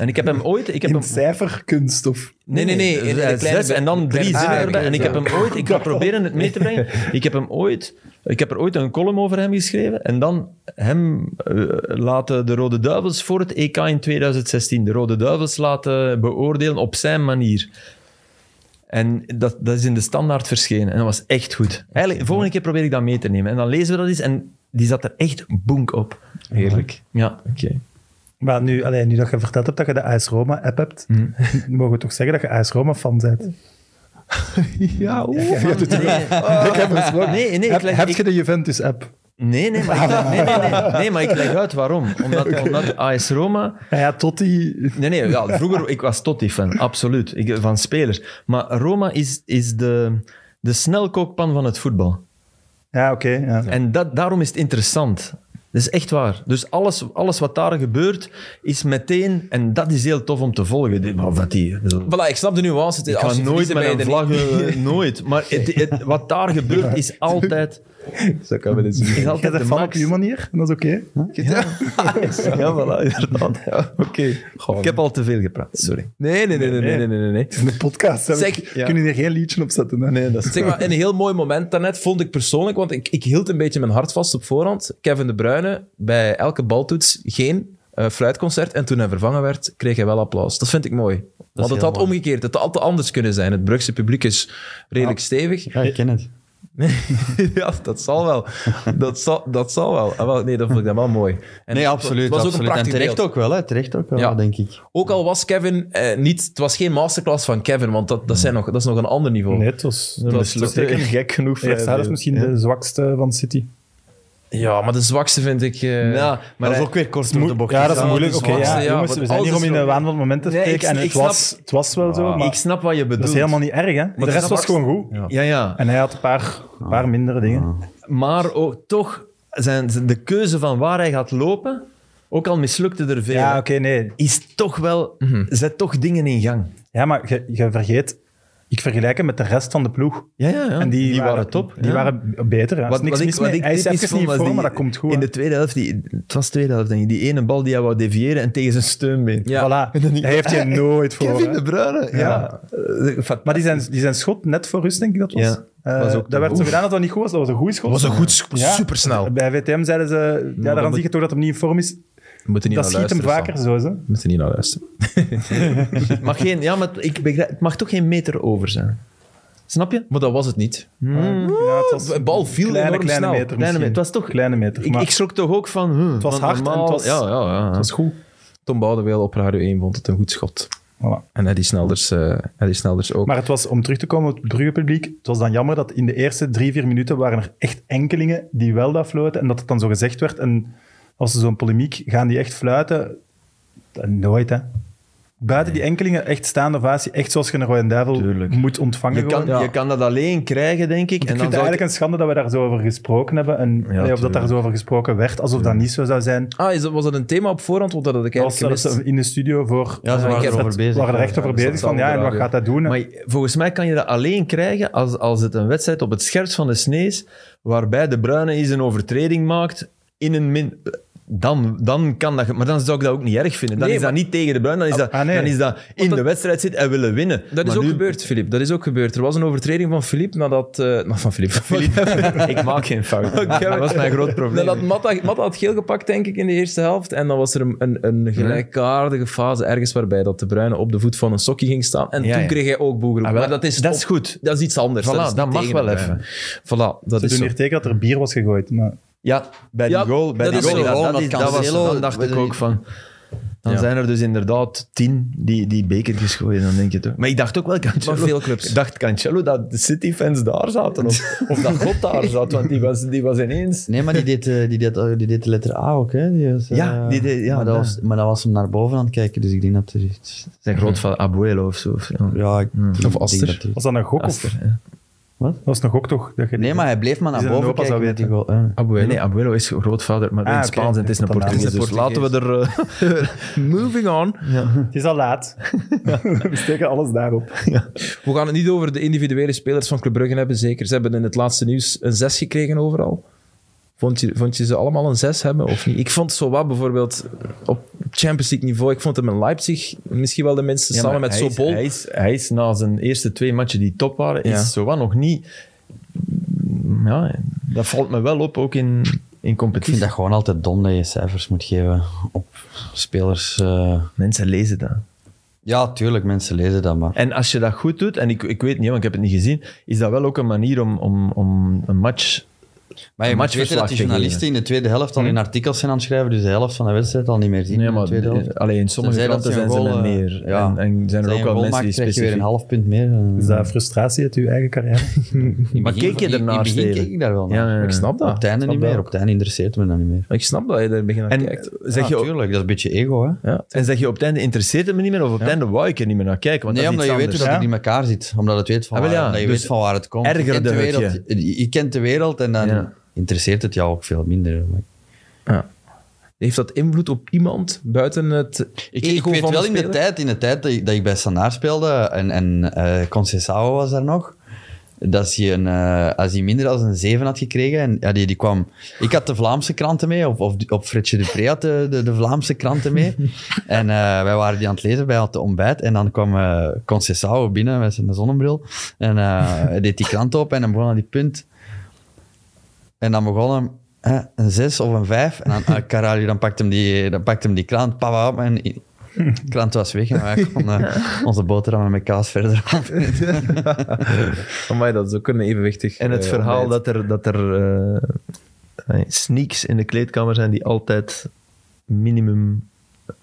S2: En ik heb hem ooit... Ik heb
S4: in
S2: hem,
S4: cijferkunst of...
S1: Nee, nee, nee. in- Ah, in
S2: eh,
S1: een kleine
S2: zes
S1: be-
S2: en dan
S1: een kleine
S2: drie zinnen
S1: beschrijving.
S2: erbij. En ik heb
S1: Ja.
S2: hem ooit,
S1: (laughs)
S2: ik ga proberen het mee te brengen. Ik heb hem ooit, ik heb er ooit een column over hem geschreven. En dan hem eh, laten de Rode Duivels voor het EK in 2016, de Rode Duivels laten beoordelen op zijn manier. En dat, dat is in de standaard verschenen. En dat was echt goed. Eigenlijk, de volgende keer probeer ik dat mee te nemen. En dan lezen we dat eens. En die zat er echt boenk op.
S1: Heerlijk.
S2: Ja.
S4: Maar nu, alleen, nu dat je verteld hebt dat je de AS Roma-app hebt,
S2: Hm.
S4: (laughs) mogen we toch zeggen dat je AS Roma-fan bent?
S1: Ja, oeh.
S2: Oh. Nee, nee, ik
S4: heb,
S2: leg-
S4: heb
S2: ik-
S4: je de Juventus-app?
S2: Nee, nee, maar ik, nee, nee, nee, nee, maar ik leg uit waarom. Omdat, omdat AS Roma...
S4: Ja, ja, tot die...
S2: Nee, nee, ja, vroeger ik was Totti-fan, absoluut. Ik, van spelers. Maar Roma is, is de, de snelkookpan van het voetbal.
S4: Ja, oké. ja.
S2: En dat, daarom is het interessant. Dat is echt waar. Dus alles, alles wat daar gebeurt, is meteen... En dat is heel tof om te volgen. Dit- Maar wat die... ik bedoel,
S1: Voilà, ik snap de nuance. Het is-
S2: Ik
S1: als
S2: ga
S1: je
S2: nooit
S1: verliezen
S2: met
S1: bij
S2: een
S1: de-
S2: vlag...
S1: (laughs)
S2: eh, Nooit. Maar het, het- wat daar gebeurt, is altijd...
S1: Zo kan we dit
S4: (laughs)
S1: zien.
S2: Is
S4: Jij bent
S2: altijd de
S4: fan op
S2: max. Hm?
S4: je manier, en dat is oké.
S2: Ja, voilà, inderdaad. Ja, Oké. Ik heb al te veel gepraat, sorry.
S1: Nee, nee, nee, nee, nee, nee, nee. nee.
S4: Het is een podcast. hè. We
S1: Zeg-
S4: k- kunnen hier geen liedje op zetten. hè.
S2: Nee, dat is
S1: Zeg maar, een heel mooi moment daarnet vond ik persoonlijk, want ik, ik hield een beetje mijn hart vast op voorhand. Kevin De Bruyne, bij elke baltoets geen eh, fluitconcert. En toen hij vervangen werd, kreeg hij wel applaus. Dat vind ik mooi. Want het
S3: heel
S1: had
S3: mooi.
S1: omgekeerd, het had anders kunnen zijn. Het Brugse publiek is redelijk stevig. (laughs)
S3: Ja, ik ken het.
S1: ja, dat zal wel. Dat zal, dat zal wel. Ah, wel. Nee, dat vond ik dan wel mooi. En
S3: nee,
S1: het
S3: absoluut.
S1: was ook
S3: absoluut.
S1: een
S3: en
S1: prachtig
S3: terecht
S1: beeld.
S3: ook wel, hè. Terecht ook wel,
S1: Ja.
S3: denk ik.
S1: Ook al was Kevin eh, niet... Het was geen masterclass van Kevin, want dat, dat, zijn nog, dat is nog een ander niveau.
S4: Nee, het was...
S1: Dat was-
S2: zeker (laughs) gek genoeg.
S4: De eerste helft is misschien de zwakste van City.
S1: Ja, maar de zwakste vind ik... eh,
S2: Ja, maar hij-
S3: ook weer kort
S4: Moe- Ja, dat is moeilijk.
S1: het
S4: Oké,
S1: is zwakste,
S4: ja,
S1: ja,
S4: jongens,
S1: want
S4: we zijn
S1: alles
S4: hier om
S1: is
S4: in een
S1: wel-
S4: waan van het moment te
S2: Nee, ik-
S4: steken. en
S2: ik
S4: het
S2: snap-
S4: was, het was wel zo, maar
S2: ik snap wat je bedoelt.
S4: dat is helemaal niet erg. Hè? de rest
S2: snap-
S4: was gewoon goed.
S2: Ja, ja.
S4: En hij had een paar, een paar mindere dingen.
S2: Maar ook, toch zijn zijn de keuze van waar hij gaat lopen, ook al mislukte er veel,
S4: Ja, oké, nee.
S2: is toch wel... Zet toch dingen in gang.
S4: Ja, maar je, je vergeet... Ik vergelijk hem met de rest van de ploeg.
S2: Ja, ja, ja.
S4: En die, waren,
S2: top.
S4: Die
S2: ja.
S4: waren beter. Hè. Wat, niks mis mee. Hij is
S2: typisch
S4: even
S2: vond,
S4: niet
S2: was
S4: voor,
S2: die-
S4: maar dat komt goed.
S2: In
S4: hè.
S2: de tweede helft, die, het was de tweede helft, denk ik, die ene bal die hij wou deviëren en tegen zijn steunbeen.
S1: Ja.
S2: (laughs)
S4: Voilà.
S2: En dan denk ik,
S4: Hij heeft je nooit voor.
S2: Kevin
S4: hè.
S2: De Bruyne, ja. Eh, fat-
S4: Maar die zijn, die zijn schot net voor rust, denk ik dat was.
S2: Ja,
S4: Eh,
S2: was ook te
S4: dat werd zo
S2: goed.
S4: gedaan dat dat niet goed was. Dat was een goede schot.
S1: was een goed, sc-
S4: Ja.
S1: supersnel.
S4: Bij VTM zeiden ze... Ja, daaraan
S1: moet-
S4: zie je toch dat hem niet in vorm is.
S1: We moeten niet
S4: Dat
S1: naar
S4: schiet hem
S1: luisteren,
S4: vaker
S1: Sam.
S4: zo. Hè.
S1: We moeten niet naar luisteren.
S2: Het mag, geen, ja, maar ik begrijp, het mag toch geen meter over zijn. Snap je?
S1: Maar dat was het niet.
S4: Ja, het was
S1: De bal viel
S4: kleine,
S1: enorm
S4: kleine
S1: snel.
S4: meter
S2: Hmm. Kleine meter.
S4: misschien.
S2: Het was toch...
S4: Kleine meter,
S2: ik,
S4: maar
S2: ik schrok toch ook van... huh,
S4: was
S2: van
S4: hard en
S2: normaal-
S4: het was-
S2: Ja, ja, ja.
S4: dat is goed.
S1: Tom Boudeweel op Radio 1 vond het een goed schot.
S4: Voilà.
S1: En Eddie Snelders, eh Eddie Snelders ook.
S4: Maar het was, om terug te komen op het Brugge-publiek, het was dan jammer dat in de eerste drie, vier minuten waren er echt enkelingen die wel dat floten en dat het dan zo gezegd werd. En als er zo'n polemiek, gaan die echt fluiten? Dat nooit, hè. Buiten die enkelingen, echt staande ovatie, echt zoals je een Royal Duivel
S2: Tuurlijk.
S4: moet ontvangen.
S2: Je kan,
S4: gewoon.
S2: je kan dat alleen krijgen, denk ik.
S4: Ik vind het
S2: zou
S4: eigenlijk een schande dat we daar zo over gesproken hebben. En, nee, of dat
S2: tuurlijk.
S4: daar zo over gesproken werd, alsof dat niet zo zou zijn.
S1: Ah, is dat, was dat een thema op voorhand? Want dat had ik
S4: Als
S1: eigenlijk
S4: ze
S1: gemist.
S4: in de studio voor...
S3: Ja, ze waren
S4: Fred-
S3: erover bezig. dus
S4: waren er echt
S1: Ja,
S4: over
S1: dat
S4: bezig
S1: staat
S4: van, ja, en
S1: allemaal
S4: wat
S1: op de
S4: gaat dat doen?
S2: Maar volgens mij kan je dat alleen krijgen als, als het een wedstrijd op het scherpst van de snee is, waarbij de Bruine eens een overtreding maakt in een min... Dan, dan kan dat... Maar dan zou ik dat ook niet erg vinden. Dan
S1: Nee,
S2: is dat
S1: maar-
S2: niet tegen de Bruine, dan is dat,
S4: Ah, nee.
S2: dan is dat in
S1: dat-
S2: de wedstrijd zit en willen winnen.
S1: Dat is
S2: Maar
S1: ook
S2: nu-
S1: gebeurd, Filip. Dat is ook gebeurd. Er was een overtreding van Filip nadat... eh, (laughs) nou, van Filip.
S2: (laughs) ik maak geen
S4: (laughs)
S2: fout. Dat was mijn groot probleem.
S1: Nadat Matta, Matta had geel gepakt, denk ik, in de eerste helft. En dan was er een, een,
S2: Hm?
S1: een gelijkaardige fase ergens waarbij dat de Bruyne op de voet van een sokkie ging staan. En
S2: Ja,
S1: toen
S2: ja.
S1: kreeg hij ook boegeroep.
S2: Ah, wel,
S1: maar dat is,
S2: dat is
S1: op-
S2: goed.
S1: Dat is iets anders.
S2: Voilà,
S1: dat is niet
S2: dat mag
S1: tegen
S2: wel
S1: de Bruyne. Voilà, dat
S4: Ze
S1: is
S4: doen
S1: zo.
S4: hier tegen dat er bier was gegooid. Maar
S2: Ja, bij
S1: Ja,
S2: die goal. Bij
S1: dat
S2: die
S1: is
S2: goal,
S1: zo.
S2: dat,
S3: Omdat
S2: is- dat was,
S3: Cancelo-
S2: dan dacht ik ook van... Dan
S1: Ja.
S2: zijn er dus inderdaad tien die, die bekertjes gooien, dan denk je toch. Maar ik dacht ook wel Cancelo.
S1: Maar veel clubs.
S2: Ik dacht Cancelo dat de City-fans daar zaten. (laughs) Of, of dat God daar zat, want die was, die was ineens...
S3: Nee, maar die deed, eh, die, deed, eh, die deed de letter A ook, hè? Die was, eh,
S2: Ja, die deed- ja,
S3: maar, dat
S2: ja.
S3: was, maar dat was hem naar boven aan het kijken, dus ik denk dat er iets...
S2: Zijn grootvader, Abuelo of zo. of- ja.
S3: Ja, ik ik denk
S1: Aster.
S3: dat er-
S4: was dat een gok? Of,
S2: Aster, ja.
S4: dat was een gok toch? Dat je-
S3: Nee, maar hij bleef maar naar
S4: Die zijn
S3: boven
S4: opa
S3: kijken
S4: zou
S3: met die goal. Ja.
S2: Nee,
S1: Abuelo.
S2: nee, Abuelo is grootvader, maar
S4: Ah,
S2: in
S4: oké.
S2: het Spaans en het is een
S4: Dat is een
S2: Portugees. Dus
S1: Portugees.
S2: laten we er... eh,
S1: Moving on.
S4: Het is al laat.
S3: (laughs)
S4: (laughs) We steken alles daarop.
S1: We gaan het niet over de individuele spelers van Club Brugge hebben, zeker. Ze hebben in het laatste nieuws een 6 gekregen overal. Vond je, vond je ze allemaal een 6 hebben of niet? Ik vond Sowa bijvoorbeeld op Champions League niveau, ik vond hem in Leipzig misschien wel de minste,
S2: Ja,
S1: samen
S2: maar
S1: met
S2: hij is-
S1: Sobol.
S2: Hij is, hij is na zijn eerste twee matchen die top waren,
S1: Ja.
S2: is Sowa nog niet... Ja, dat valt me wel op, ook in, in
S3: Ik vind
S2: competitie.
S3: dat gewoon altijd dom dat je cijfers moet geven op spelers. eh.
S2: Mensen lezen dat.
S3: Ja, tuurlijk, mensen lezen dat, maar...
S2: En als je dat goed doet, en ik, ik weet niet, want ik heb het niet gezien, is dat wel ook een manier om, om, om een match...
S3: Maar je moet weten
S2: matchverslag
S3: dat die journalisten in de tweede helft al in artikels zijn aan het schrijven, dus de helft van de wedstrijd al niet meer zien
S2: Nee,
S3: in de
S2: maar
S3: tweede helft.
S2: alleen in sommige
S3: Tenzij dat
S2: kranten zijn
S3: ze
S2: ze
S3: een
S2: er
S3: goal, eh,
S2: meer.
S3: ja.
S2: En, en zijn er
S3: Als
S2: ook
S3: je een
S2: wel
S3: goal
S2: mensen
S3: maakt,
S2: die
S3: krijg je weer een
S2: specifiek...
S3: half punt meer. eh.
S4: Is dat frustratie uit uw eigen
S2: (laughs)
S4: carrière?
S3: In
S2: Maar
S3: begin-
S2: keek je
S3: in- In
S2: ernaar,
S3: het begin
S2: Steven?
S3: keek ik daar wel naar.
S2: Ja, ja, ja.
S1: Ik snap
S3: Op
S1: dat.
S3: het einde
S1: Ik snap
S3: niet
S1: dat.
S3: meer, op het einde interesseert me dat niet meer.
S1: Ik snap dat je daar begin aan kijkt.
S2: En zeg,
S3: Ja,
S2: je,
S3: tuurlijk, dat is een beetje ego, hè.
S1: Ja.
S2: en zeg je op het einde interesseert het me niet meer, of op het einde wou ik er niet meer naar kijken, want
S3: nee,
S2: dat is
S3: omdat
S2: iets
S3: je weet
S2: anders.
S3: hoe dat
S4: Ja.
S3: het in elkaar zit. Omdat, het weet van
S2: Ah, wel
S3: waar,
S2: ja,
S3: dat je
S2: dus
S3: weet van waar het komt. Je
S2: ergerde
S3: kent, de
S2: het
S3: wereld, je. je kent de wereld en dan
S2: Ja.
S3: interesseert het jou ook veel minder. Maar
S1: Ja. Heeft dat invloed op iemand buiten het
S3: Ik,
S1: ego
S3: ik weet
S1: van
S3: wel
S1: de
S3: in de
S1: speler?
S3: tijd, in de tijd dat, ik, dat ik bij Sanaar speelde en, en eh Conceição was daar nog, dat als hij, een, eh, als hij minder dan een 7 had gekregen, en ja, die, die kwam... Ik had de Vlaamse kranten mee, of, of, of Fritje de Pre had de, de, de Vlaamse kranten mee. en eh, wij waren die aan het lezen bij het ontbijt. En dan kwam eh Conceição binnen met zijn zonnebril. En eh, hij deed die krant op en dan begon aan die punt. En dan begon hem hè, een 6 of een 5. En dan, ah, Karali, dan pakt hem die, dan pakt hem die krant, papa op. En i- de krant was weg en wij konden eh, onze boterhammen met kaas verder aan.
S1: Amai, dat is ook een evenwichtig
S2: En het
S1: eh,
S2: verhaal
S1: ontbijt.
S2: dat er, dat er eh, sneaks in de kleedkamer zijn die altijd minimum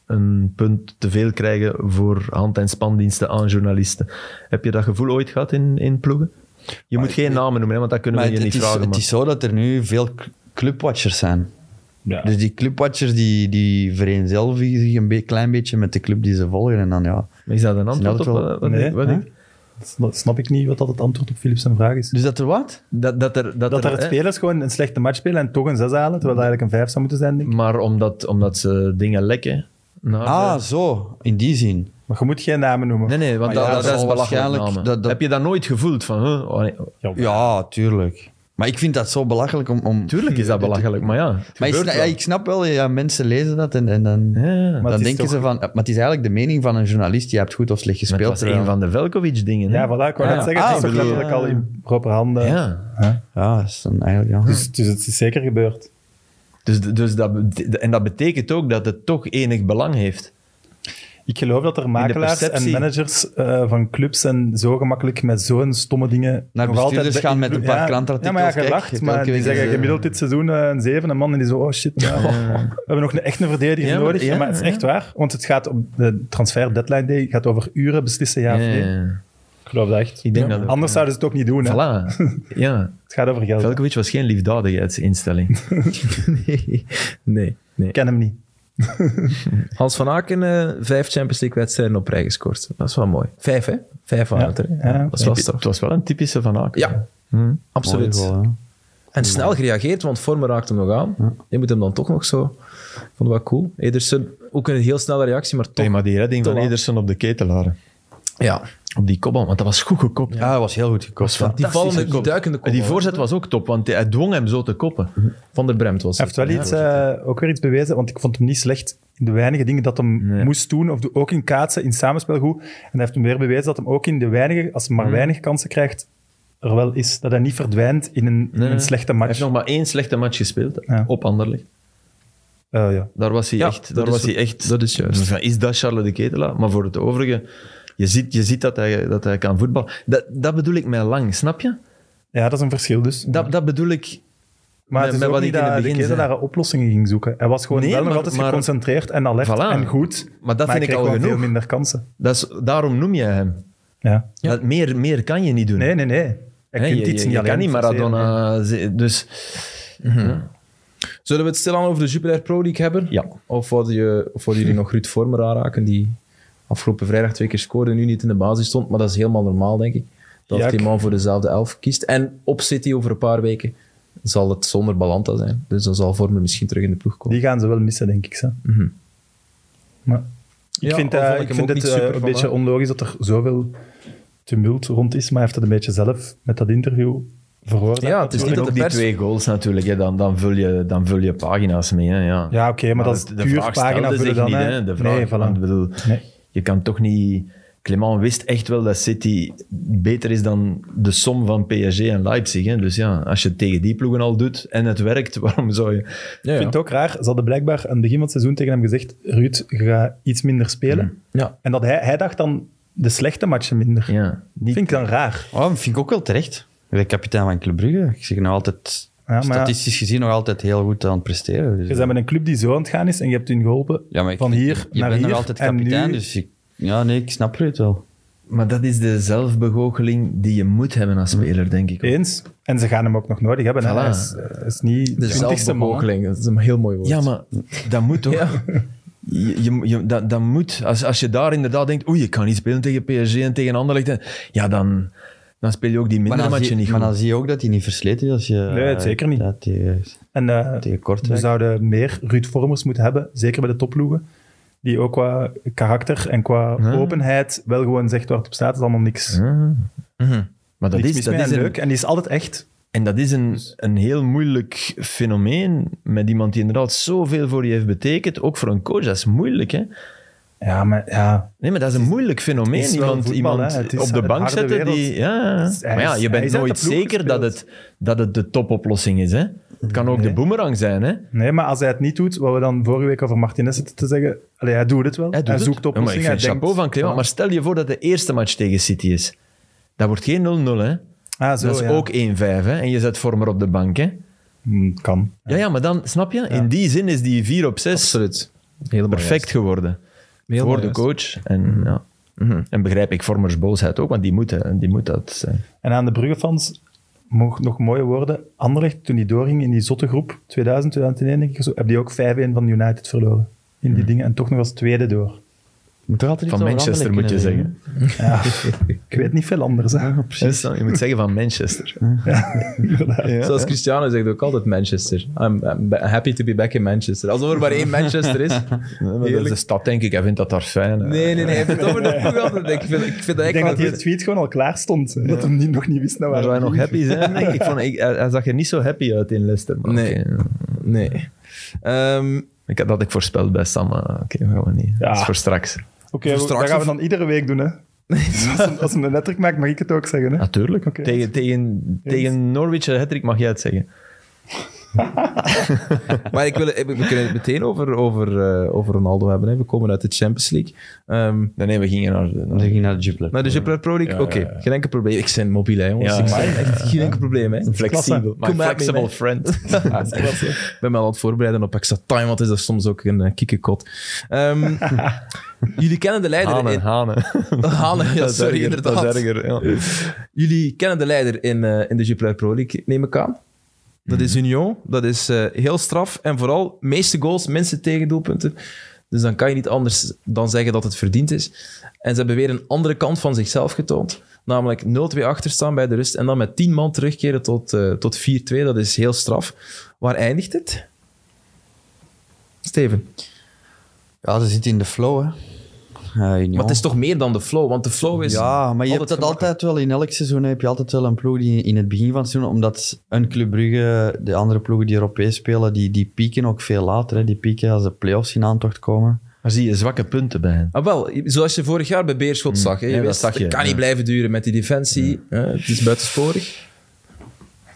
S2: een punt te veel krijgen voor hand- en spandiensten aan journalisten. Heb je dat gevoel ooit gehad in, in ploegen? Je moet geen namen noemen, hè, want dat kunnen
S3: Maar
S2: we
S3: het,
S2: je
S3: het
S2: niet
S3: is,
S2: vragen.
S3: het
S2: maar-
S3: is zo dat er nu veel cl- clubwatchers zijn.
S4: Ja.
S3: Dus die clubwatchers die, die vereenzelvigen zich een be- klein beetje met de club die ze volgen. En dan ja...
S2: maar is dat een antwoord op eh,
S3: altijd wel-
S2: wat, wat-
S4: Nee,
S2: wat
S4: hè?
S2: ik-
S4: Dat snap ik niet wat dat het antwoord op Philips zijn vraag is.
S3: Dus dat er wat?
S2: Dat, dat er, dat
S4: dat
S2: er,
S4: er
S2: hè,
S4: spelers gewoon een slechte match spelen en toch een 6 halen, terwijl dat eigenlijk een 5 zou moeten zijn, denk ik.
S2: Maar omdat, omdat ze dingen lekken. naar
S3: Ah,
S2: de-
S3: zo. In die zin.
S4: Maar je moet geen namen noemen.
S2: nee, nee, want
S3: Maar
S2: dat,
S3: Ah, ja,
S2: dat
S3: dat
S2: is
S3: zal
S2: belachelijk
S3: waarschijnlijk-
S2: namen.
S3: dat- dat-
S2: Heb je dat nooit gevoeld? Van, huh, oh, nee,
S3: Ja, tuurlijk. Maar ik vind dat zo belachelijk om... om...
S2: Tuurlijk
S3: (laughs)
S2: is dat belachelijk, maar ja. het
S3: Maar ik
S2: gebeurt
S3: snap, ja,
S2: wel.
S3: ik snap wel, ja, mensen lezen dat en, en dan...
S2: Ja, ja.
S4: Maar
S3: dan
S4: het is
S3: denken ze van, eh, maar het is eigenlijk de mening van een journalist, je hebt goed of slecht
S2: Maar
S3: gespeeld.
S2: het was
S3: terwijl-
S2: een van de Velkovic-dingen. hè?
S4: Ja, voilà, ik wou
S2: Ja.
S4: net zeggen, het
S3: Ah,
S4: is toch
S3: bedoel-
S4: letterlijk al in proper handen.
S2: Ja.
S4: Hè?
S3: Ja, dat is dan eigenlijk, ja.
S4: Dus, dus het is zeker gebeurd.
S2: Dus, dus dat, bete- en dat betekent ook dat het toch enig belang heeft.
S4: Ik geloof dat er makelaars en
S2: perceptie.
S4: managers eh, van clubs en zo gemakkelijk met zo'n stomme dingen...
S3: Naar
S4: nog
S3: bestuurders
S4: altijd-
S3: gaan met een paar
S4: Ja,
S3: krantartikels,
S4: Ja, maar ja,
S3: kijk,
S4: gelacht.
S3: elke
S4: Maar die
S3: week is,
S4: zeggen
S3: eh,
S4: gemiddeld dit seizoen eh, een zeven, een man en die zo, oh shit, ja, (laughs) we hebben nog een, echt een verdediger
S2: Ja, maar-
S4: nodig. Ja,
S2: ja,
S4: maar het is
S2: ja.
S4: echt waar, want het gaat om de transfer deadline day, gaat over uren beslissen, ja, of nee. Ik geloof dat echt.
S2: Ik denk dat ook, ja.
S4: Anders zouden ze het ook niet doen. hè.
S2: Voilà. (laughs) Ja.
S4: Het gaat over geld.
S2: Velkovic was geen liefdadigheidsinstelling.
S1: (laughs) nee, nee, nee.
S4: Ik ken hem niet.
S1: Hans van Aken, eh, vijf Champions League wedstrijden op rij gescoord. Dat is wel mooi. Vijf, hè? Vijf waren het er, hè?
S4: ja.
S1: Dat is wel straf.
S2: Het was wel een typische Van Aken.
S1: Ja,
S2: Hm.
S1: absoluut.
S3: Mooi goal, hè.
S1: En snel gereageerd, want Vormer raakt hem nog aan. Je moet hem dan toch nog zo... Ik vond het wel cool. Ederson, ook een heel snelle reactie, maar toch...
S2: Hey, maar die redding van
S1: laat.
S2: Ederson op de ketelaren.
S1: Ja.
S2: Op die kopbal, want dat was goed gekopt.
S3: Ja, dat was heel goed gekocht. ja.
S1: Die vallende, die duikende
S2: En
S1: kopbal.
S2: die voorzet was ook top, want hij dwong hem zo te koppen.
S1: Van der Bremt was
S4: Hij
S1: het.
S4: heeft wel iets, eh, ook weer iets bewezen, want ik vond hem niet slecht in de weinige dingen dat hij moest doen, of ook in kaatsen, in samenspel goed. En hij heeft hem weer bewezen dat hij ook in de weinige, als hij maar
S2: Mhm.
S4: weinig kansen krijgt, er wel is. Dat hij niet verdwijnt in een, in een slechte
S2: Hij
S4: match.
S2: heeft nog maar één slechte match gespeeld, hè,
S4: Ja.
S2: op Anderlecht.
S4: Eh, ja.
S2: Daar was hij
S1: Ja,
S2: echt...
S1: dat
S2: Daar
S1: is-
S2: was hij echt
S1: dat is juist.
S2: Enfin, is dat Charles de Ketelaar? Maar voor het overige, je ziet, je ziet dat, hij, dat hij kan voetballen. Dat, dat bedoel ik met lang, snap je?
S4: ja, dat is een verschil dus.
S2: Dat, dat bedoel ik...
S4: maar
S2: met-
S4: het is
S2: met
S4: ook
S2: wat
S4: niet
S2: ik in het
S4: dat de
S2: begin
S4: Kezel
S2: zei.
S4: daar oplossingen ging zoeken. Hij was gewoon
S2: Nee,
S4: wel nog
S2: maar-
S4: altijd
S2: maar-
S4: geconcentreerd en alert
S2: Voilà.
S4: en goed.
S2: Maar dat
S4: hij
S2: vind ik
S4: kreeg
S2: al
S4: wel
S2: genoeg.
S4: veel minder kansen.
S2: Dat is, daarom noem jij hem.
S4: Ja.
S2: Dat, meer, meer kan je niet doen.
S4: Nee, nee, nee. Hij
S2: Hè,
S4: kunt
S2: je,
S4: iets
S2: je-
S4: niet
S2: je
S4: alleen
S2: kan niet
S4: forceren.
S2: Maradona... ze- Dus
S1: Zullen we het stilaan over de Jupiler Pro League hebben?
S2: Ja.
S1: Of wilden je, of wilden jullie nog Ruud Vormer aanraken, die afgelopen vrijdag twee keer scoorde en nu niet in de basis stond? Maar dat is helemaal normaal, denk ik. Dat
S4: Ja,
S1: die
S4: ik-
S1: man voor dezelfde elf kiest. En op City over een paar weken zal het zonder Balanta zijn. Dus dan zal Vormer misschien terug in de ploeg komen.
S4: Die gaan ze wel missen, denk ik. Zo.
S2: Mhm.
S4: Maar ik
S1: Ja,
S4: vind,
S1: al
S4: eh,
S1: vond ik
S4: ik
S1: hem
S4: vind
S1: ook
S4: het
S1: niet
S4: eh,
S1: super
S4: een
S1: van,
S4: beetje
S1: hè.
S4: onlogisch dat er zoveel tumult rond is, maar hij heeft dat een beetje zelf met dat interview veroorzaakt.
S1: Ja, het is niet
S4: natuurlijk.
S1: dat
S2: ook
S1: de
S2: die
S1: pers-
S2: twee goals natuurlijk, hè, dan, dan, vul je, dan vul je pagina's mee. Hè, ja.
S4: Ja, oké, maar dat is
S2: de
S4: puur
S2: vraag stelde
S4: pagina
S2: zich
S4: vullen dan,
S2: niet,
S4: hè.
S2: hè. De vraag,
S4: Nee,
S2: want,
S4: voilà.
S2: ik bedoel,
S4: Nee.
S2: Je kan toch niet... Clement wist echt wel dat City beter is dan de som van PSG en Leipzig. Hè. Dus ja, als je het tegen die ploegen al doet en het werkt, (laughs) waarom zou je...
S1: Ja,
S4: Ik
S1: ja.
S4: vind het ook raar. Ze hadden blijkbaar aan het begin van het seizoen tegen hem gezegd Ruud, je gaat iets minder spelen.
S1: Ja.
S4: En dat hij, hij dacht dan de slechte matchen minder.
S2: Mhm. Ja, niet,
S4: Vind ik dan raar.
S3: Oh, dat vind ik ook wel terecht. Ik ben kapitein van Club Brugge. Ik zeg nou altijd,
S4: Ja, maar ja.
S3: statistisch gezien, nog altijd heel goed aan het presteren. Dus,
S4: Je bent met een club die zo aan het gaan is en je hebt hun geholpen
S3: ja, maar ik
S4: van
S3: vind-
S4: hier
S3: je
S4: naar
S3: bent
S4: hier.
S3: nog altijd
S4: en nu-
S3: kapitein, dus ik, ja, nee, ik snap het wel.
S2: Maar dat is de zelfbegoocheling die je moet hebben als speler, denk ik. ook.
S4: Eens. En ze gaan hem ook nog nodig hebben. hè.
S2: Voilà.
S4: Hij is, eh, hij is niet
S1: De
S4: twintigste man, hè.
S1: zelfbegoocheling, dat is een heel mooi woord.
S2: Ja, maar dat moet toch?
S1: Ja.
S2: Je, je, je- dat, dat moet. Als, als je daar inderdaad denkt, oei, ik kan niet spelen tegen PSG en tegen Anderlecht, en- ja, dan, dan speel je ook die
S3: Maar
S2: minder
S3: dan,
S2: matchen
S3: zie,
S2: niet
S3: maar
S2: goed.
S3: dan zie je ook dat hij niet versleten is. Als je,
S4: Nee, het zeker niet.
S3: Ja, tegen,
S4: En eh,
S3: tegen
S4: we
S3: Kortrijk.
S4: zouden meer Ruud Vormers moeten hebben, zeker bij de topploegen. Die ook qua karakter en qua openheid wel gewoon zegt waar het op staat. Het is allemaal niks,
S2: Maar dat
S4: niks
S2: is,
S4: mis
S2: dat
S4: mee
S2: is
S4: en
S2: een,
S4: leuk. En die is altijd echt.
S2: en dat is een,
S4: Dus-
S2: een heel moeilijk fenomeen met iemand die inderdaad zoveel voor je heeft betekend. Ook voor een coach, dat is moeilijk. Hè?
S4: Ja, maar ja,
S2: Nee, maar dat is een moeilijk fenomeen.
S4: is wel
S2: iemand
S4: voetbal,
S2: iemand
S4: hè. Het is
S2: op de
S4: een
S2: bank
S4: harde
S2: zetten die...
S4: wereld.
S2: Ja, ja.
S4: Het is- hij
S2: maar ja,
S4: is-
S2: je
S4: hij
S2: bent
S4: is uit
S2: nooit
S4: de ploeg
S2: zeker dat het,
S4: gespeeld.
S2: dat het de topoplossing is. Hè? Het kan ook de boemerang zijn. Hè?
S4: Nee, maar als hij het niet doet, wat we dan vorige week over Martinez zitten te zeggen. Allee, hij doet het wel. Hij,
S2: doet het.
S4: zoekt
S2: Ja, maar ik
S4: oplossingen.
S2: vind
S4: hij
S2: chapeau
S4: denkt-
S2: van Clement. Maar stel je voor dat de eerste match tegen City is. Dat wordt geen 0-0, hè.
S4: Ah, zo,
S2: dat is
S4: ja.
S2: ook 1-5, hè. En je zet Vormer op de bank, hè.
S4: Hm, kan.
S2: Ja, ja, maar dan, snap je? In die zin is die 4 op 6
S1: Absoluut. Helemaal
S2: perfect
S1: juist.
S2: geworden.
S1: Helemaal
S2: voor de
S1: juist.
S2: coach. En, ja. Mhm. en begrijp ik Vormers boosheid ook, want die moet, hè, die moet dat... eh.
S4: En aan de Bruggefans mocht nog mooie woorden. Anderlecht, toen die doorging in die zotte groep, 2000, 2001 denk ik, zo, heb die ook 5-1 van United verloren. In die dingen. En toch nog als tweede door.
S3: Moet toch altijd
S2: Van
S3: iets over
S2: Manchester
S3: Anderlecht kunnen
S2: moet je zeggen.
S4: Ja, ik weet niet veel anders. Hè.
S2: Hè, Stan? Je moet zeggen van (laughs) Manchester.
S4: Inderdaad.
S1: Zoals Cristiano zegt ook altijd Manchester. I'm, I'm ba- happy to be back in Manchester. Alsof er maar één Manchester
S4: (laughs)
S1: is.
S2: dat is de
S1: Heerlijk.
S2: stad, denk ik. Hij vindt dat daar fijn. eh, hè.
S1: Nee, nee, nee. Ik vind het over de ploeg altijd. Ik vind, ik vind dat
S4: Ik denk dat
S1: echt
S4: die
S1: wel...
S4: tweet gewoon al klaar stond. hè, Dat hem niet, nog niet wist naar
S2: Maar
S4: waar
S2: wij nog
S4: ging.
S2: happy (laughs) zijn. Ik vond, ik, hij, hij zag er niet zo happy uit in Leicester. maar
S1: Nee.
S2: oké.
S1: Nee. Ehm, (laughs)
S2: Ik had dat ik voorspeld bij Sam, maar oké, we gaan we niet.
S4: Ja.
S2: Dat is voor straks.
S4: Oké,
S1: Voor
S4: we- dat
S1: straks
S4: gaan we
S1: of-
S4: dan iedere week doen. Hè. Dus als hem- als hem een netwerk maakt, mag ik het ook zeggen. Hè.
S2: Natuurlijk.
S4: Oké.
S2: eh, Tegen, tegen, tegen Norwich en Hattrick mag jij het zeggen.
S1: maar ik wil, ik- we kunnen het meteen over, over, eh, over Ronaldo hebben. Hè. We komen uit de Champions League. Ehm, nou,
S2: Nee, nee, we gingen naar... de-
S3: Dan
S2: naar-
S3: ging ik naar de Jupiler.
S1: naar de Jupiler Pro League?
S2: Ja,
S1: Oké,
S2: ja, ja.
S1: geen enkel probleem. Ik ben mobiel, hè, jongens.
S2: Ja,
S1: ik
S2: ja,
S1: ben echt geen enkel probleem. Hè.
S2: Flexibel. My
S1: Kom maar,
S2: flexible
S1: (laughs) mee,
S2: friend.
S1: Ik ben me al aan het voorbereiden op extra time, want is dat soms ook een eh, kikkekot.
S2: (laughs)
S1: Ehm, jullie kennen de leider
S2: Hanen,
S1: in...
S2: hanen.
S1: Hanen, ja,
S2: (laughs) Dat is
S1: sorry,
S2: erger,
S1: inderdaad.
S2: Dat is erger, ja.
S1: Jullie kennen de leider in, eh, in de Jupiler Pro League, neem ik aan. Dat is Union. Dat is eh, heel straf. En vooral meeste goals, minste tegendoelpunten. Dus dan kan je niet anders dan zeggen dat het verdiend is. En ze hebben weer een andere kant van zichzelf getoond. Namelijk 0-2 achterstaan bij de rust. En dan met 10 man terugkeren tot, eh, tot 4-2. Dat is heel straf. Waar eindigt het? Steven.
S3: Ja, ze zitten in de flow, hè. Eh, Union.
S1: Maar het is toch meer dan de flow? Want de flow is.
S3: Ja, maar je hebt dat
S1: gemakkelijk.
S3: Dus altijd wel in elk seizoen. Heb je altijd wel een ploeg die in het begin van het seizoen, omdat een Club Brugge, de andere ploegen die Europees spelen, die, die pieken ook veel later. Hè. Die pieken als de play-offs in aantocht komen.
S2: Maar zie je zwakke punten bij hen.
S1: Ah, wel, zoals je vorig jaar bij Beerschot zag. Hè. Je
S2: Hmm. Ja,
S1: wist,
S2: dat zag je,
S1: het kan
S2: ja.
S1: niet blijven duren met die defensie. hè. Het is buitensporig.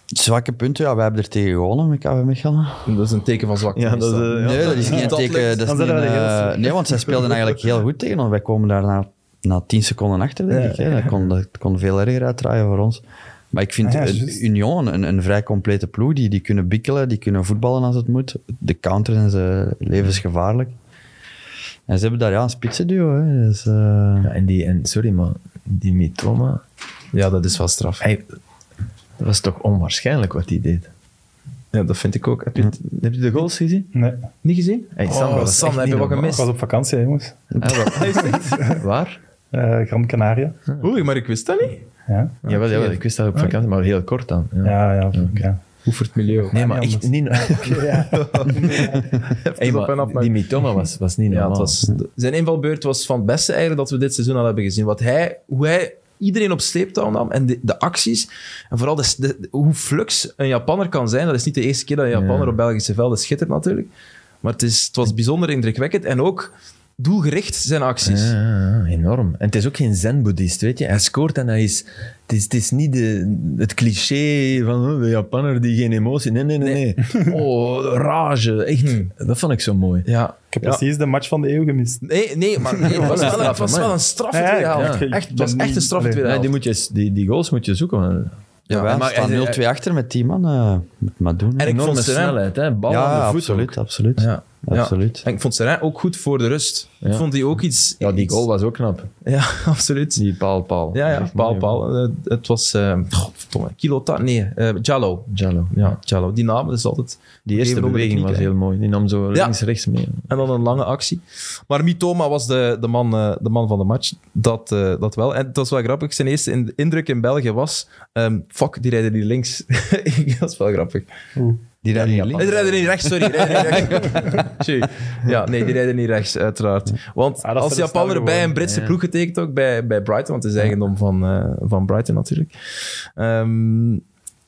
S3: Zwakke punten, ja, wij hebben er tegen gewonnen met KV Mechelen.
S1: Dat is een teken van zwakte.
S2: Ja, dat is,
S1: meestal.
S2: eh, ja.
S3: Nee, dat is niet een
S1: Dat
S3: teken.
S1: ligt-
S3: Dat is
S4: dan
S3: niet
S4: zijn
S3: een,
S4: we er heel
S3: eh, nee, want zij
S4: (laughs)
S3: speelden eigenlijk heel goed tegen ons. Wij komen daar na, na tien seconden achter, denk
S1: Ja.
S3: ik. Hè. Dat, kon, dat kon veel erger uitdraaien voor ons. Maar ik vind
S4: Ah, ja,
S3: eh,
S4: juist.
S3: Union een, een vrij complete ploeg. Die, die kunnen bikkelen, die kunnen voetballen als het moet. De counter zijn ze levensgevaarlijk. En ze hebben daar ja, een spitsenduo. Hè. Dus, eh,
S2: Ja, en die, en sorry, maar die Mitoma,
S1: ja, dat is wel straf.
S2: hij, dat was toch onwaarschijnlijk wat hij deed.
S1: Ja, dat vind ik ook. Heb je het
S2: Heb je de goals gezien?
S4: Nee.
S1: niet gezien?
S2: Hey, Sam, dat is
S1: Sam,
S2: echt
S1: Oh, heb je wat
S2: niet normaal.
S4: Ik
S1: gemist?
S4: was op vakantie, hè, jongens.
S2: Ah, (laughs) Waar?
S4: Eh, Gran Canaria.
S1: Oei, maar ik wist dat niet.
S4: Ja,
S2: Jawel, jawel, ik wist dat op vakantie, maar heel kort dan. Ja.
S4: ja, ja. ja.
S1: Hoe voor het milieu.
S2: Nee, Ah, maar
S4: niet
S1: (laughs)
S2: echt niet... Hey,
S1: op en
S2: maar
S1: af, maar-
S2: die Mitoma was, was niet
S1: Ja, het
S2: normaal.
S1: was, zijn invalbeurt was van het beste eigenlijk dat we dit seizoen al hebben gezien. Wat hij, hoe hij iedereen op sleeptouw nam en de, de acties. En vooral de, de- hoe flux een Japanner kan zijn. Dat is niet de eerste keer dat een Japanner
S2: Ja.
S1: op Belgische velden schittert natuurlijk. Maar het, is, het was bijzonder indrukwekkend. En ook doelgericht zijn acties.
S2: Ja, ja, ja, enorm. En het is ook geen zen-boeddhist, weet je. Hij scoort en hij is... Het is, het is niet de, het cliché van oh, de Japanner die geen emotie... Nee, nee,
S1: (laughs)
S2: nee. nee. Oh, rage. Echt. Dat vond ik zo mooi.
S1: Hmm. Ja.
S4: Ik heb
S1: Ja.
S4: precies de match van de eeuw gemist.
S1: Nee, nee, maar nee, het was wel, het was wel een straf in de
S4: Ja,
S1: tweede
S4: ja, ik-
S1: helft.
S4: ik- ik
S1: Echt, het
S4: ben
S1: was echt een
S4: niet-
S1: straf in de
S4: nee.
S1: tweede
S2: Nee,
S1: helft.
S2: die, moet je, die, die goals moet je zoeken. man.
S3: ja,
S1: maar
S3: wij
S1: hij-
S3: staan 0-2 achter met 10 man. eh moet maar doen. hè.
S1: En ik
S2: Enorme
S1: vond ze-
S2: snelheid, hè. Bal
S3: ja,
S2: aan de voet
S3: absoluut,
S2: ook.
S3: absoluut.
S1: Ja. Ja.
S3: absoluut.
S1: En ik vond Serrain ook goed voor de rust. Ik
S2: Ja.
S1: vond die ook iets...
S2: Ja, die
S1: iets-
S2: goal was ook knap.
S1: Ja, (laughs) absoluut.
S2: Die paal, paal.
S1: Ja,
S2: Dat
S1: ja,
S2: is
S1: paal,
S2: mooi, man.
S1: paal. Eh, het was, eh godverdomme, Kilota, nee, eh Jallo.
S2: Jallo.
S1: Ja, Jallo. Die naam is altijd...
S2: Die eerste
S1: Even onder de
S2: beweging
S1: knie
S2: was heel
S1: krijgen.
S2: mooi. Die nam zo
S1: Ja.
S2: links, rechts mee.
S1: En dan een lange actie. Maar Mitoma was de, de, man, eh, de man van de match. Dat, eh, dat wel. En het was wel grappig. Zijn eerste in- indruk in België was... ehm, fuck, die rijden hier links. (laughs) dat is wel grappig.
S3: Die rijden hier
S1: Nee,
S3: links.
S1: die rijden niet rechts, sorry. Die rijden niet rechts. Sorry. ja, nee, die rijden niet rechts, uiteraard. Want
S4: Ah, dat
S1: als
S4: is wel
S1: Japaner
S4: snel
S1: bij een
S4: geworden.
S1: Britse ploeg getekend ook, bij, bij Brighton, want het is eigendom van, eh, van Brighton natuurlijk. Ehm,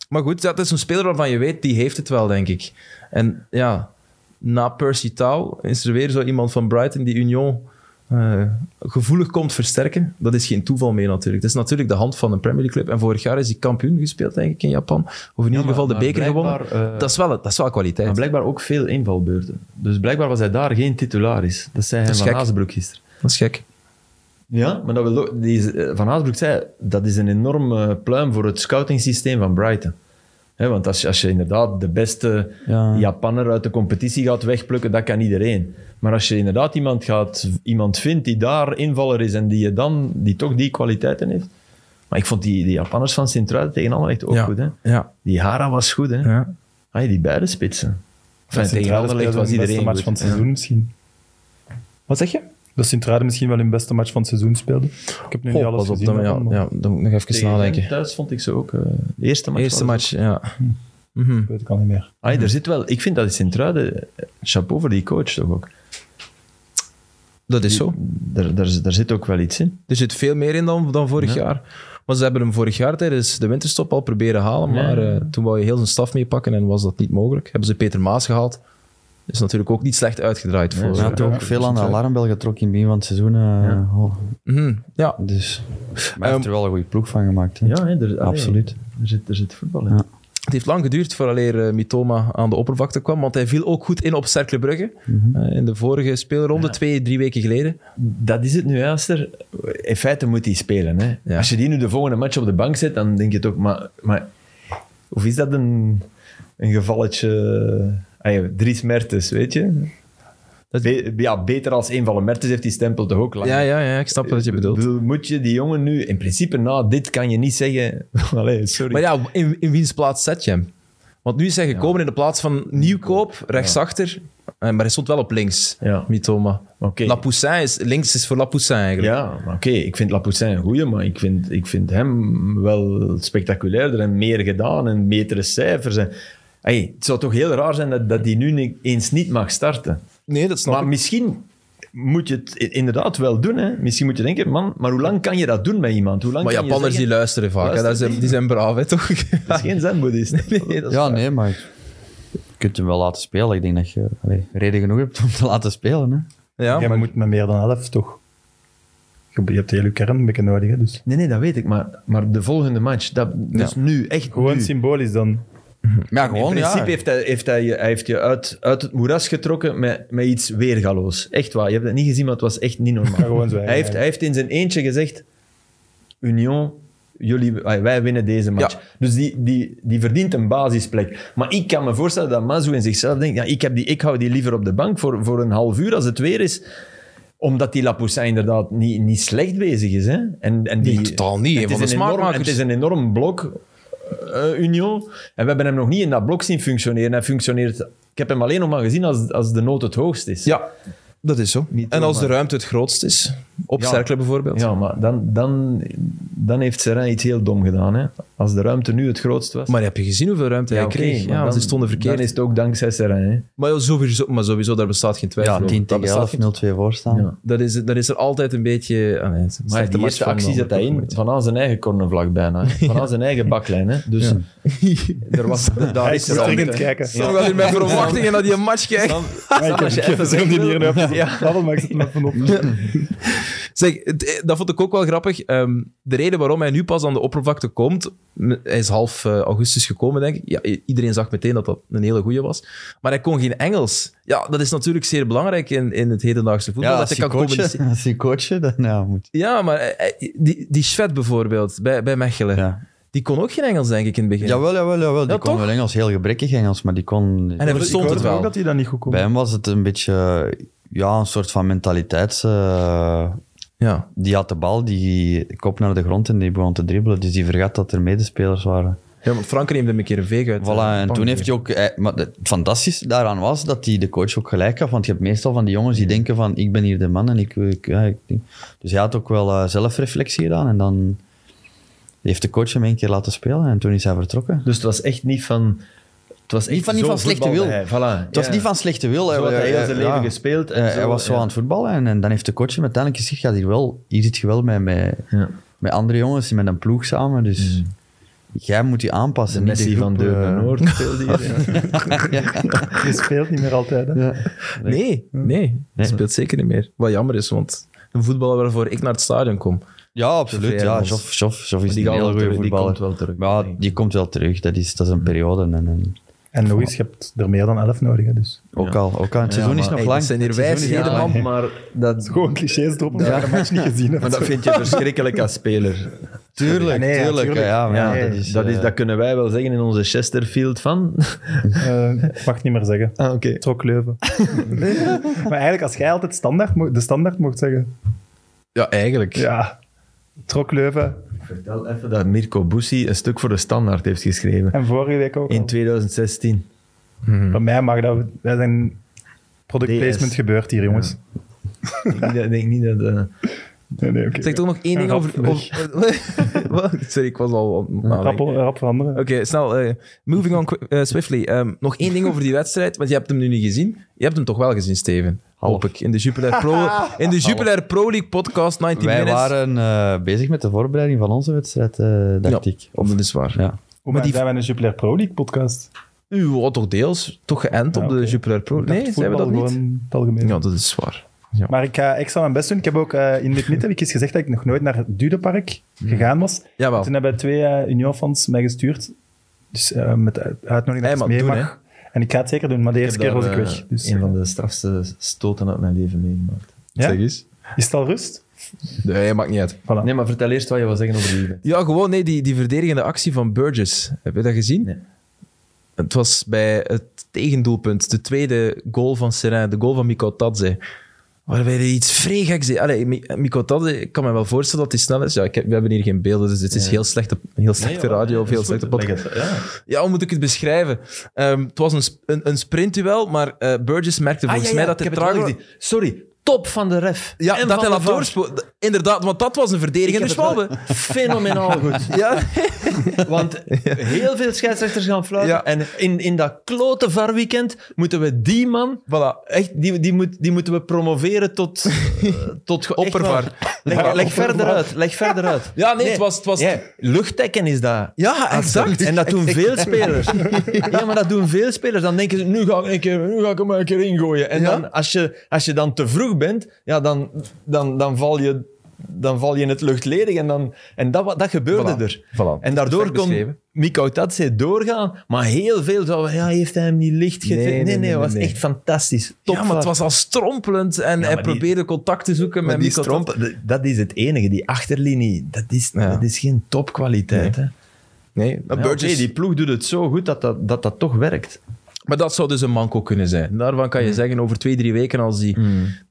S1: maar goed, dat is een speler waarvan je weet, die heeft het wel, denk ik. En ja, na Percy Tau is er weer zo iemand van Brighton die Union eh, gevoelig komt versterken. Dat is geen toeval meer natuurlijk. Dat is natuurlijk de hand van een Premier League club. En vorig jaar is hij kampioen gespeeld, denk ik, in Japan. Of in ieder geval de beker gewonnen.
S2: eh,
S1: Dat is wel, dat is wel kwaliteit.
S2: Maar blijkbaar ook veel invalbeurten. Dus blijkbaar was hij daar geen titularis. Dat zei hij
S1: Dat is
S2: Van
S1: gek.
S2: Haasbroek gisteren.
S1: Dat is gek.
S2: Ja, maar dat wil ook, die, is- eh, Van Haasbroek zei, dat is een enorme pluim voor het scoutingsysteem van Brighton. Hè, want als je, als je inderdaad de beste
S3: Ja.
S2: Japanner uit de competitie gaat wegplukken, dat kan iedereen. Maar als je inderdaad iemand, gaat, iemand vindt die daar invaller is en die, je dan, die toch die kwaliteiten heeft. Maar ik vond die, die Japanners van Sint-Truiden tegen allemaal echt ook
S1: ja.
S2: goed. Hè?
S1: Ja.
S2: Die Hara was goed, hè?
S1: ja.
S2: Ah, die beide spitsen. Enfin, tegen
S4: Sint-Truiden
S2: Anderlecht was
S4: speelde
S2: iedereen
S4: hun beste match
S2: goed.
S4: van het seizoen misschien.
S1: Wat zeg je?
S4: Dat Sint-Truiden misschien wel hun beste match van het seizoen speelde. Ik heb nu niet alles
S1: pas op,
S4: gezien.
S1: dan, ja,
S4: daarvan, maar
S1: ja, dan moet ik nog even
S2: Tegen
S1: nadenken.
S2: hen thuis vond ik ze ook. eh, de eerste match.
S1: Eerste
S2: was-
S1: match, ja.
S4: Dat weet ik al niet meer.
S2: Ah, er zit wel, ik vind dat Sint-Truiden, eh, chapeau voor die coach toch ook.
S1: Dat is zo.
S2: Daar, daar, daar zit ook wel iets in.
S1: Er zit veel meer in dan, dan vorig jaar. Maar ze hebben hem vorig jaar tijdens de winterstop al proberen halen. Maar
S2: Ja.
S1: eh, toen wou je heel zijn staf meepakken en was dat niet mogelijk. Hebben ze Peter Maas gehaald. Is natuurlijk ook niet slecht uitgedraaid voor. eh,
S3: We hadden ook veel aan de alarmbel getrokken in het begin van het seizoen. eh, oh,
S1: Mhm, ja.
S3: ehm, dus. Maar hij heeft er wel een goede ploeg van gemaakt. Hè?
S2: Ja, hè, er, allee,
S3: Absoluut.
S2: Er zit, er zit voetbal in.
S3: Ja.
S1: Het heeft lang geduurd vooraleer eh, Mitoma aan de oppervlakte kwam, want hij viel ook goed in op Cercle Brugge.
S3: Mhm.
S1: Eh, in de vorige speelronde, twee, drie weken geleden.
S2: Dat is het nu, hè, Aster. In feite moet hij spelen. Hè.
S1: Ja.
S2: Als je die nu de volgende match op de bank zet, dan denk je het ook, maar, maar of is dat een, een gevalletje... Ah, ja, Dries Mertens, weet je? Be- ja, beter als een van de Mertens heeft die stempel toch ook lang.
S1: Ja, ja, ja, ik snap wat je bedoelt.
S2: Bedoel, moet je die jongen nu... In principe, na dit kan je niet zeggen... (laughs) Allee, sorry.
S1: Maar ja, in, in wiens plaats zet je hem? Want nu is hij gekomen in de plaats van Nieuwkoop, rechtsachter. Eh, Maar hij stond wel op links,
S2: Ja.
S1: Mitoma.
S2: Oké.
S1: Lapoussin is, links is voor Lapoussin eigenlijk.
S2: Ja, maar oké, ik vind Lapoussin een goeie, maar ik vind, ik vind hem wel spectaculairder en meer gedaan en betere cijfers. En, hey, het zou toch heel raar zijn dat, dat hij nu niet, eens niet mag starten.
S1: Nee, dat snap
S2: Maar misschien moet je het i- inderdaad wel doen. Hè? Misschien moet je denken, man, maar hoe lang kan je dat doen met iemand? Hoe lang
S1: Maar
S2: kan je
S1: Japanners die
S2: zeggen-
S1: luisteren vaak. hè.
S2: Luisteren
S1: Dat zijn, die zijn braaf, hè, toch?
S2: (laughs) Dat is geen zenboeddhist.
S1: (laughs) Nee, dat is
S3: Ja,
S1: waar.
S3: nee, maar je kunt hem wel laten spelen. Ik denk dat je allee, reden genoeg hebt om te laten spelen. Hè.
S1: Ja,
S4: Jij
S1: maar-
S4: moet met meer dan elf, toch? Je je hebt de hele kern een beetje nodig, hè, dus...
S2: Nee, nee, dat weet ik, maar, maar de volgende match, dat, dus nu, echt
S4: Gewoon
S2: nu.
S4: symbolisch dan.
S3: Maar ja, gewoon,
S2: In
S3: ja.
S2: principe heeft, hij, heeft hij, je- hij heeft je uit, uit het moeras getrokken met, met iets weergaloos. Echt waar. Je hebt het niet gezien, maar het was echt niet
S4: Ga
S2: normaal.
S4: gewoon zwijgen.
S2: hij, heeft, hij heeft in zijn eentje gezegd: Union, jullie, ah, wij winnen deze match.
S1: Ja.
S2: Dus die, die, die verdient een basisplek. Maar ik kan me voorstellen dat Mazou in zichzelf denkt: ja, ik, heb die, ik hou die liever op de bank voor, voor een half uur als het weer is omdat die Lapoussin inderdaad niet, niet slecht bezig is. Hè? En, en die,
S1: Nee, totaal niet.
S2: en
S1: Een
S2: Het
S1: van
S2: is,
S1: de
S2: een enorm,
S1: smaakmakers.
S2: het is een enorm blok, eh, Union. En we hebben hem nog niet in dat blok zien functioneren. Hij functioneert... Ik heb hem alleen nog maar gezien als, als de nood het hoogst is.
S1: ja, dat is zo.
S2: Niet
S1: En als de
S2: zomaar.
S1: ruimte het grootst is, op
S2: Ja.
S1: Cercle bijvoorbeeld.
S2: Ja, maar dan, dan, dan heeft Serrain iets heel dom gedaan. Hè? Als de ruimte nu het grootst was...
S1: Maar heb je gezien hoeveel ruimte
S2: Ja,
S1: hij
S2: oké,
S1: kreeg?
S2: maar
S1: Ja, want
S2: dan-
S1: ze stonden verkeerd.
S2: Dan is het ook dankzij Serrain. Hè?
S1: Maar, ja, sowieso, maar sowieso, daar bestaat geen twijfel
S3: ja,
S1: over.
S3: 10
S1: Daar
S3: tegen
S1: bestaat
S3: 11,
S1: geen-
S3: 0-2 voorstaan.
S2: Ja.
S1: Dat is, dat is er altijd een beetje... ah, nee, het is een
S2: Maar
S1: slechte
S2: die
S1: match
S2: eerste
S1: van eh,
S2: actie
S1: Anderlecht.
S2: zet hij in van aan zijn eigen cornervlak
S3: (laughs)
S2: bijna. hè. Van aan zijn eigen baklijn. Hè? Dus er (laughs) was... Daar
S4: Hij
S2: is
S4: is
S2: er
S4: goed
S2: al-
S4: in het kijken.
S1: Ik zat wel in mijn verwachtingen naar die (laughs) match kijken.
S4: Ja, ik heb-
S2: als je
S4: ik heb
S2: even
S4: zo'n
S2: weg
S4: die
S2: wil-
S4: hier nu op. (laughs) Babbel, maar ik zet hem even op.
S1: Zeg, het- eh, dat vond ik ook wel grappig. Ehm, de reden waarom hij nu pas aan de oppervlakte komt, m- hij is half eh, augustus gekomen, denk ik. Ja, i- iedereen zag meteen dat dat een hele goeie was. Maar hij kon geen Engels. Ja, dat is natuurlijk zeer belangrijk in, in het hedendaagse voetbal.
S3: Ja,
S1: dat
S3: als
S1: hij kan
S3: je coachen,
S1: communiceren.
S3: (laughs) als je coachen, dan ja, moet.
S1: Ja, maar hij- hij- die, die Schwed bijvoorbeeld, bij, bij Mechelen,
S3: Ja.
S1: die kon ook geen Engels, denk ik, in het begin.
S3: Jawel, jawel, jawel. Die
S1: Ja,
S3: kon
S1: toch?
S3: wel Engels, heel gebrekkig Engels, maar die kon...
S1: En hij
S4: Ik
S1: verstond
S4: hoorde
S1: het wel.
S4: ook dat hij dat niet goed kon.
S3: Bij hem was het een beetje, ja, een soort van mentaliteits... eh,
S1: Ja.
S3: die had de bal, die kop naar de grond en die begon te dribbelen. Dus die vergat dat er medespelers waren.
S1: ja, want Frank neemde hem een keer een veeg uit. eh,
S3: Voilà, en
S1: Pank
S3: toen
S1: weer.
S3: heeft hij ook... eh, Maar het fantastische daaraan was dat hij de coach ook gelijk had. Want je hebt meestal van die jongens die denken van... Ik ben hier de man en ik... ik, ja, ik denk- dus hij had ook wel eh, zelfreflectie gedaan. En dan heeft de coach hem een keer laten spelen. En toen is hij vertrokken.
S2: Dus het was echt niet van... Het was echt
S3: Niet van- niet
S2: zo
S3: van slechte wil.
S2: voetbalde hij. Voilà,
S3: Het was
S2: ja.
S3: niet van slechte wil.
S2: Zo had hij heel
S3: eh,
S2: zijn leven gespeeld en
S3: Eh, hij
S2: zo,
S3: was zo
S2: ja.
S3: aan het voetballen. En, en dan heeft de coach hem uiteindelijk gezegd... Ja, hier, wel, hier zit je wel met, met,
S2: Ja. Mm.
S3: met andere jongens, met een ploeg samen. Dus jij moet je aanpassen.
S2: De
S3: niet de
S2: Messi van
S3: groep,
S2: Deurne
S3: eh,
S2: Noord speelde hier.
S4: Je speelt niet meer altijd. Hè.
S1: (laughs) Nee, nee. Hij speelt zeker niet meer. Wat jammer is, want een voetballer waarvoor ik naar het stadion kom.
S3: Ja, absoluut.
S1: Zover
S3: Ja,
S1: ons.
S3: Joff, Joff, Joff is
S2: die
S3: een
S2: gaat
S3: heel
S2: wel
S3: goede
S2: terug, die
S3: voetballer.
S2: komt wel terug,
S3: Maar
S2: denk
S3: ja,
S2: ik.
S3: die komt wel terug. Dat is, dat is een periode. En, en
S4: En nog eens, je hebt er meer dan elf nodig. hè, dus.
S3: ook, al, ook al. Het seizoen
S2: maar,
S3: is nog
S1: Ah, hey,
S3: lang.
S1: dat zijn hier
S3: Het seizoen is
S1: wijsheden,
S3: nog lang.
S2: (laughs) Ja, maar dat,
S4: Gewoon clichés erop, omdat ik de match niet gezien heb.
S2: maar dat vind je verschrikkelijk als speler.
S3: Tuurlijk,
S4: Nee, ja,
S3: tuurlijk.
S4: tuurlijk.
S3: Ja, maar
S2: Ja, dus,
S3: ja,
S2: dat, is, dat,
S3: eh,
S2: kunnen wij wel zeggen in onze Chesterfield van. (laughs)
S4: Eh, ik mag het niet meer zeggen.
S2: Ah, oké.
S1: (laughs)
S4: Trok Leuven. maar eigenlijk, als jij altijd standaard, mo- de standaard mocht zeggen.
S1: Ja, eigenlijk.
S4: Ja, Trok Leuven.
S2: Vertel even dat Mirko Bussi een stuk voor de standaard heeft geschreven.
S4: En vorige week ook.
S2: In
S4: al.
S2: 2016.
S4: Bij mij mag dat. Wij zijn product
S2: DS.
S4: placement gebeurt hier, jongens.
S2: Ik denk, dat- denk niet dat. (laughs) eh,
S4: Nee, nee, oké.
S1: Zeg toch nog één ding
S4: Rap
S1: over...
S4: weg.
S1: over- (laughs) Wat? Sorry, ik was al... aan- aan-
S4: Rap, rap veranderen.
S1: Oké, snel. eh, moving on qui- eh, swiftly. Ehm, nog één ding over die wedstrijd, want je hebt hem nu niet gezien. Je hebt hem toch wel gezien, Steven? Hoop ik. In de Jupiler Pro,
S3: (laughs)
S1: in de Jupiler Pro League podcast 19
S3: wij
S1: Minutes.
S3: waren eh, bezig met de voorbereiding van onze wedstrijd, eh, dacht
S1: Ja.
S3: ik.
S1: Of dat is waar.
S3: Ja.
S4: Hoe
S1: maar die-
S4: zijn wij een Jupiler Pro League podcast?
S1: U had toch deels toch geënt
S4: Ja,
S1: op de
S4: oké.
S1: Jupiler Pro?
S4: Ik dacht
S1: Nee, zijn we
S4: voetbal
S1: dat niet?
S4: gewoon in het algemeen.
S1: Ja, dat is waar. Ja.
S4: Maar ik ga extra mijn best doen. Ik heb ook eh, in dit midden heb ik eens gezegd dat ik
S2: Hmm.
S4: nog nooit naar het Dudepark gegaan was.
S1: Jawel.
S4: Toen hebben twee eh, Union-fans mij gestuurd. Dus eh, met de uitnodiging
S1: Hey,
S4: dat ik
S1: maar
S4: mee
S1: doen,
S4: mag. En ik ga het zeker doen, maar de eerste keer was ik
S2: daar,
S4: weg.
S2: eh,
S4: Dus,
S2: Een van de strafste stoten uit mijn leven meegemaakt.
S4: ja?
S1: Zeg eens.
S4: Is het al rust?
S1: Nee, maakt niet uit.
S4: Voilà.
S2: Nee, maar vertel eerst wat je wil zeggen over die event.
S1: Ja, gewoon nee, die, die verdedigende actie van Burgess. Heb je dat gezien?
S2: Nee.
S1: Het was bij het tegendoelpunt, de tweede goal van Serain, de goal van Mikko Tadze. Waarbij hij iets vreegeks deed. Allee, Mi- Mikko Tadze, ik kan me wel voorstellen dat hij snel is. Ja, ik heb- we hebben hier geen beelden, dus dit is
S2: Nee.
S1: heel slechte, heel slechte
S2: Nee, ja,
S1: radio of
S2: dat
S1: heel
S2: is goed.
S1: slechte podcast.
S2: Leg het- Ja.
S1: Ja, hoe moet ik het beschrijven? Ehm, het was een, sp- een, een sprintduel, maar eh, Burgess merkte
S2: Ah,
S1: volgens
S2: ja, ja,
S1: mij dat
S2: ik
S1: hij
S2: heb het wel
S1: trager was.
S2: gezien. Sorry, top van de ref.
S1: Ja,
S2: En
S1: dat
S2: van
S1: hij
S2: de
S1: laat
S2: VAR.
S1: doorspoelen. Inderdaad, want dat was een
S2: Ik heb
S1: verdedigende
S2: het wel
S1: schwalbe.
S2: Fenomenaal goed.
S1: (laughs) Ja.
S2: Want (laughs) heel veel scheidsrechters gaan fluiten.
S1: Ja.
S2: En in, in dat klote varweekend moeten we die man...
S1: Voilà.
S2: Echt, die, die, moet, die moeten we
S1: (laughs)
S2: promoveren tot... eh, tot ge- echt
S1: Oppervar.
S2: waar. Leg, leg verder uit. Leg verder uit.
S1: Ja, nee, het was- het was-
S2: ja, luchttekken is dat.
S1: Ja, exact.
S2: En
S1: (laughs)
S2: dat doen veel spelers. Ja, maar dat doen veel spelers. Dan denken ze, nu ga ik, een keer, nu ga ik hem een keer ingooien. En
S1: Ja.
S2: dan, als, je, als je dan te vroeg bent, ja, dan, dan, dan, val, je, dan val je in het luchtledig. En, dan, en dat, wa- dat gebeurde
S1: Voilà.
S2: er.
S1: Voilà.
S2: En daardoor
S1: Perfect
S2: kon
S1: beschreven.
S2: Mikko Tatse doorgaan. Maar heel veel zouden ja, heeft hij hem niet licht
S1: Nee,
S2: gegeven? Nee, nee,
S1: nee, nee,
S2: het was
S1: nee.
S2: echt fantastisch. Top
S1: ja, maar het
S2: van-
S1: was al strompelend en hij
S2: maar die-
S1: probeerde contact te zoeken
S2: maar
S1: met
S2: die
S1: Mikkel
S2: stromp, dat- dat is het enige. Die achterlinie, dat is,
S1: Ja.
S2: dat is geen topkwaliteit. Hè?
S1: Tot- Nee,
S2: Ja,
S1: Burgess.
S2: oké, die ploeg doet het zo goed dat dat, dat, dat toch werkt.
S1: Maar dat zou dus een manco kunnen zijn. Daarvan kan je zeggen, over twee, drie weken als die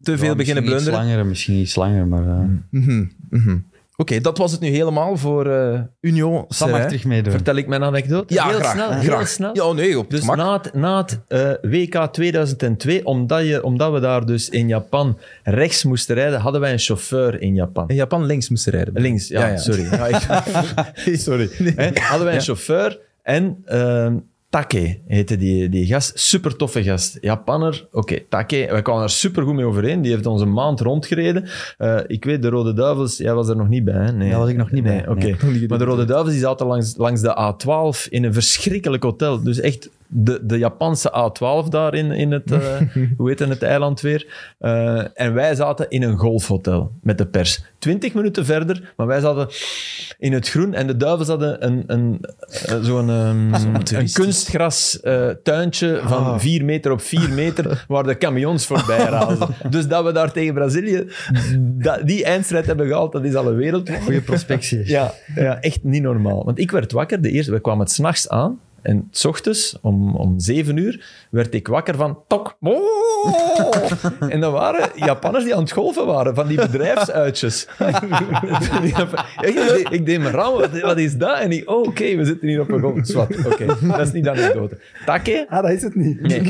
S1: te veel
S3: Ja,
S1: beginnen
S3: misschien
S1: blunderen.
S3: Iets langer, misschien iets langer, maar... eh,
S1: Mhm, mhm. Oké, dat was het nu helemaal voor eh, Union.
S3: Sam mag
S1: Serrain.
S3: terug meedoen.
S2: Vertel ik mijn anekdote?
S1: Ja,
S2: heel
S1: graag.
S2: snel.
S1: graag.
S2: Heel snel.
S1: Ja, oh, nee, op
S2: Dus
S1: het gemak.
S2: na het, na het eh, WK 2002, omdat, je, omdat we daar dus in Japan rechts moesten rijden, hadden wij een chauffeur in Japan.
S1: In Japan links moesten rijden.
S2: Links, ja,
S1: Ja, ja.
S2: sorry. Ja, ik- (laughs) sorry. Hè, Hadden wij een chauffeur en ehm, Take heette die, die gast. Super toffe gast. Japanner. Oké, Take. Wij kwamen daar super goed mee overeen. Die heeft ons een maand rondgereden. Eh, ik weet, de Rode Duivels, jij was er nog niet bij, hè? Nee.
S3: Daar was ik nog niet bij,
S2: Nee, oké.
S3: nee.
S2: Maar de Rode Duivels die zaten langs, langs de A12 in een verschrikkelijk hotel. Dus echt de, de Japanse A12 daar in, in het, eh, hoe heet het, het eiland weer. Eh, en wij zaten in een golfhotel met de pers. Twintig minuten verder, maar wij zaten in het groen. En de Duivels hadden een, een, eh, zo'n ehm, een kunstgras eh, tuintje van 4 meter op 4 meter, waar de camions voorbij razen. Dus dat we daar tegen Brazilië dat, die eindstrijd hebben gehaald, dat is al een wereld.
S3: Goede prospectie.
S2: Ja, ja, echt niet normaal. Want ik werd wakker, de eerste, we kwamen het s'nachts aan. En s ochtends, om, om zeven uur, werd ik wakker van tok. mo. En dat waren Japanners die aan het golven waren, van die bedrijfsuitjes. (laughs) Die Japan- Echt, ik, deed, ik deed me raam, wat, wat is dat? En ik, oh, oké, we zitten hier op een golf. Zwat, oké, dat is niet de anekdote. Take,
S4: Ah, dat is het niet. (laughs)
S2: Nee.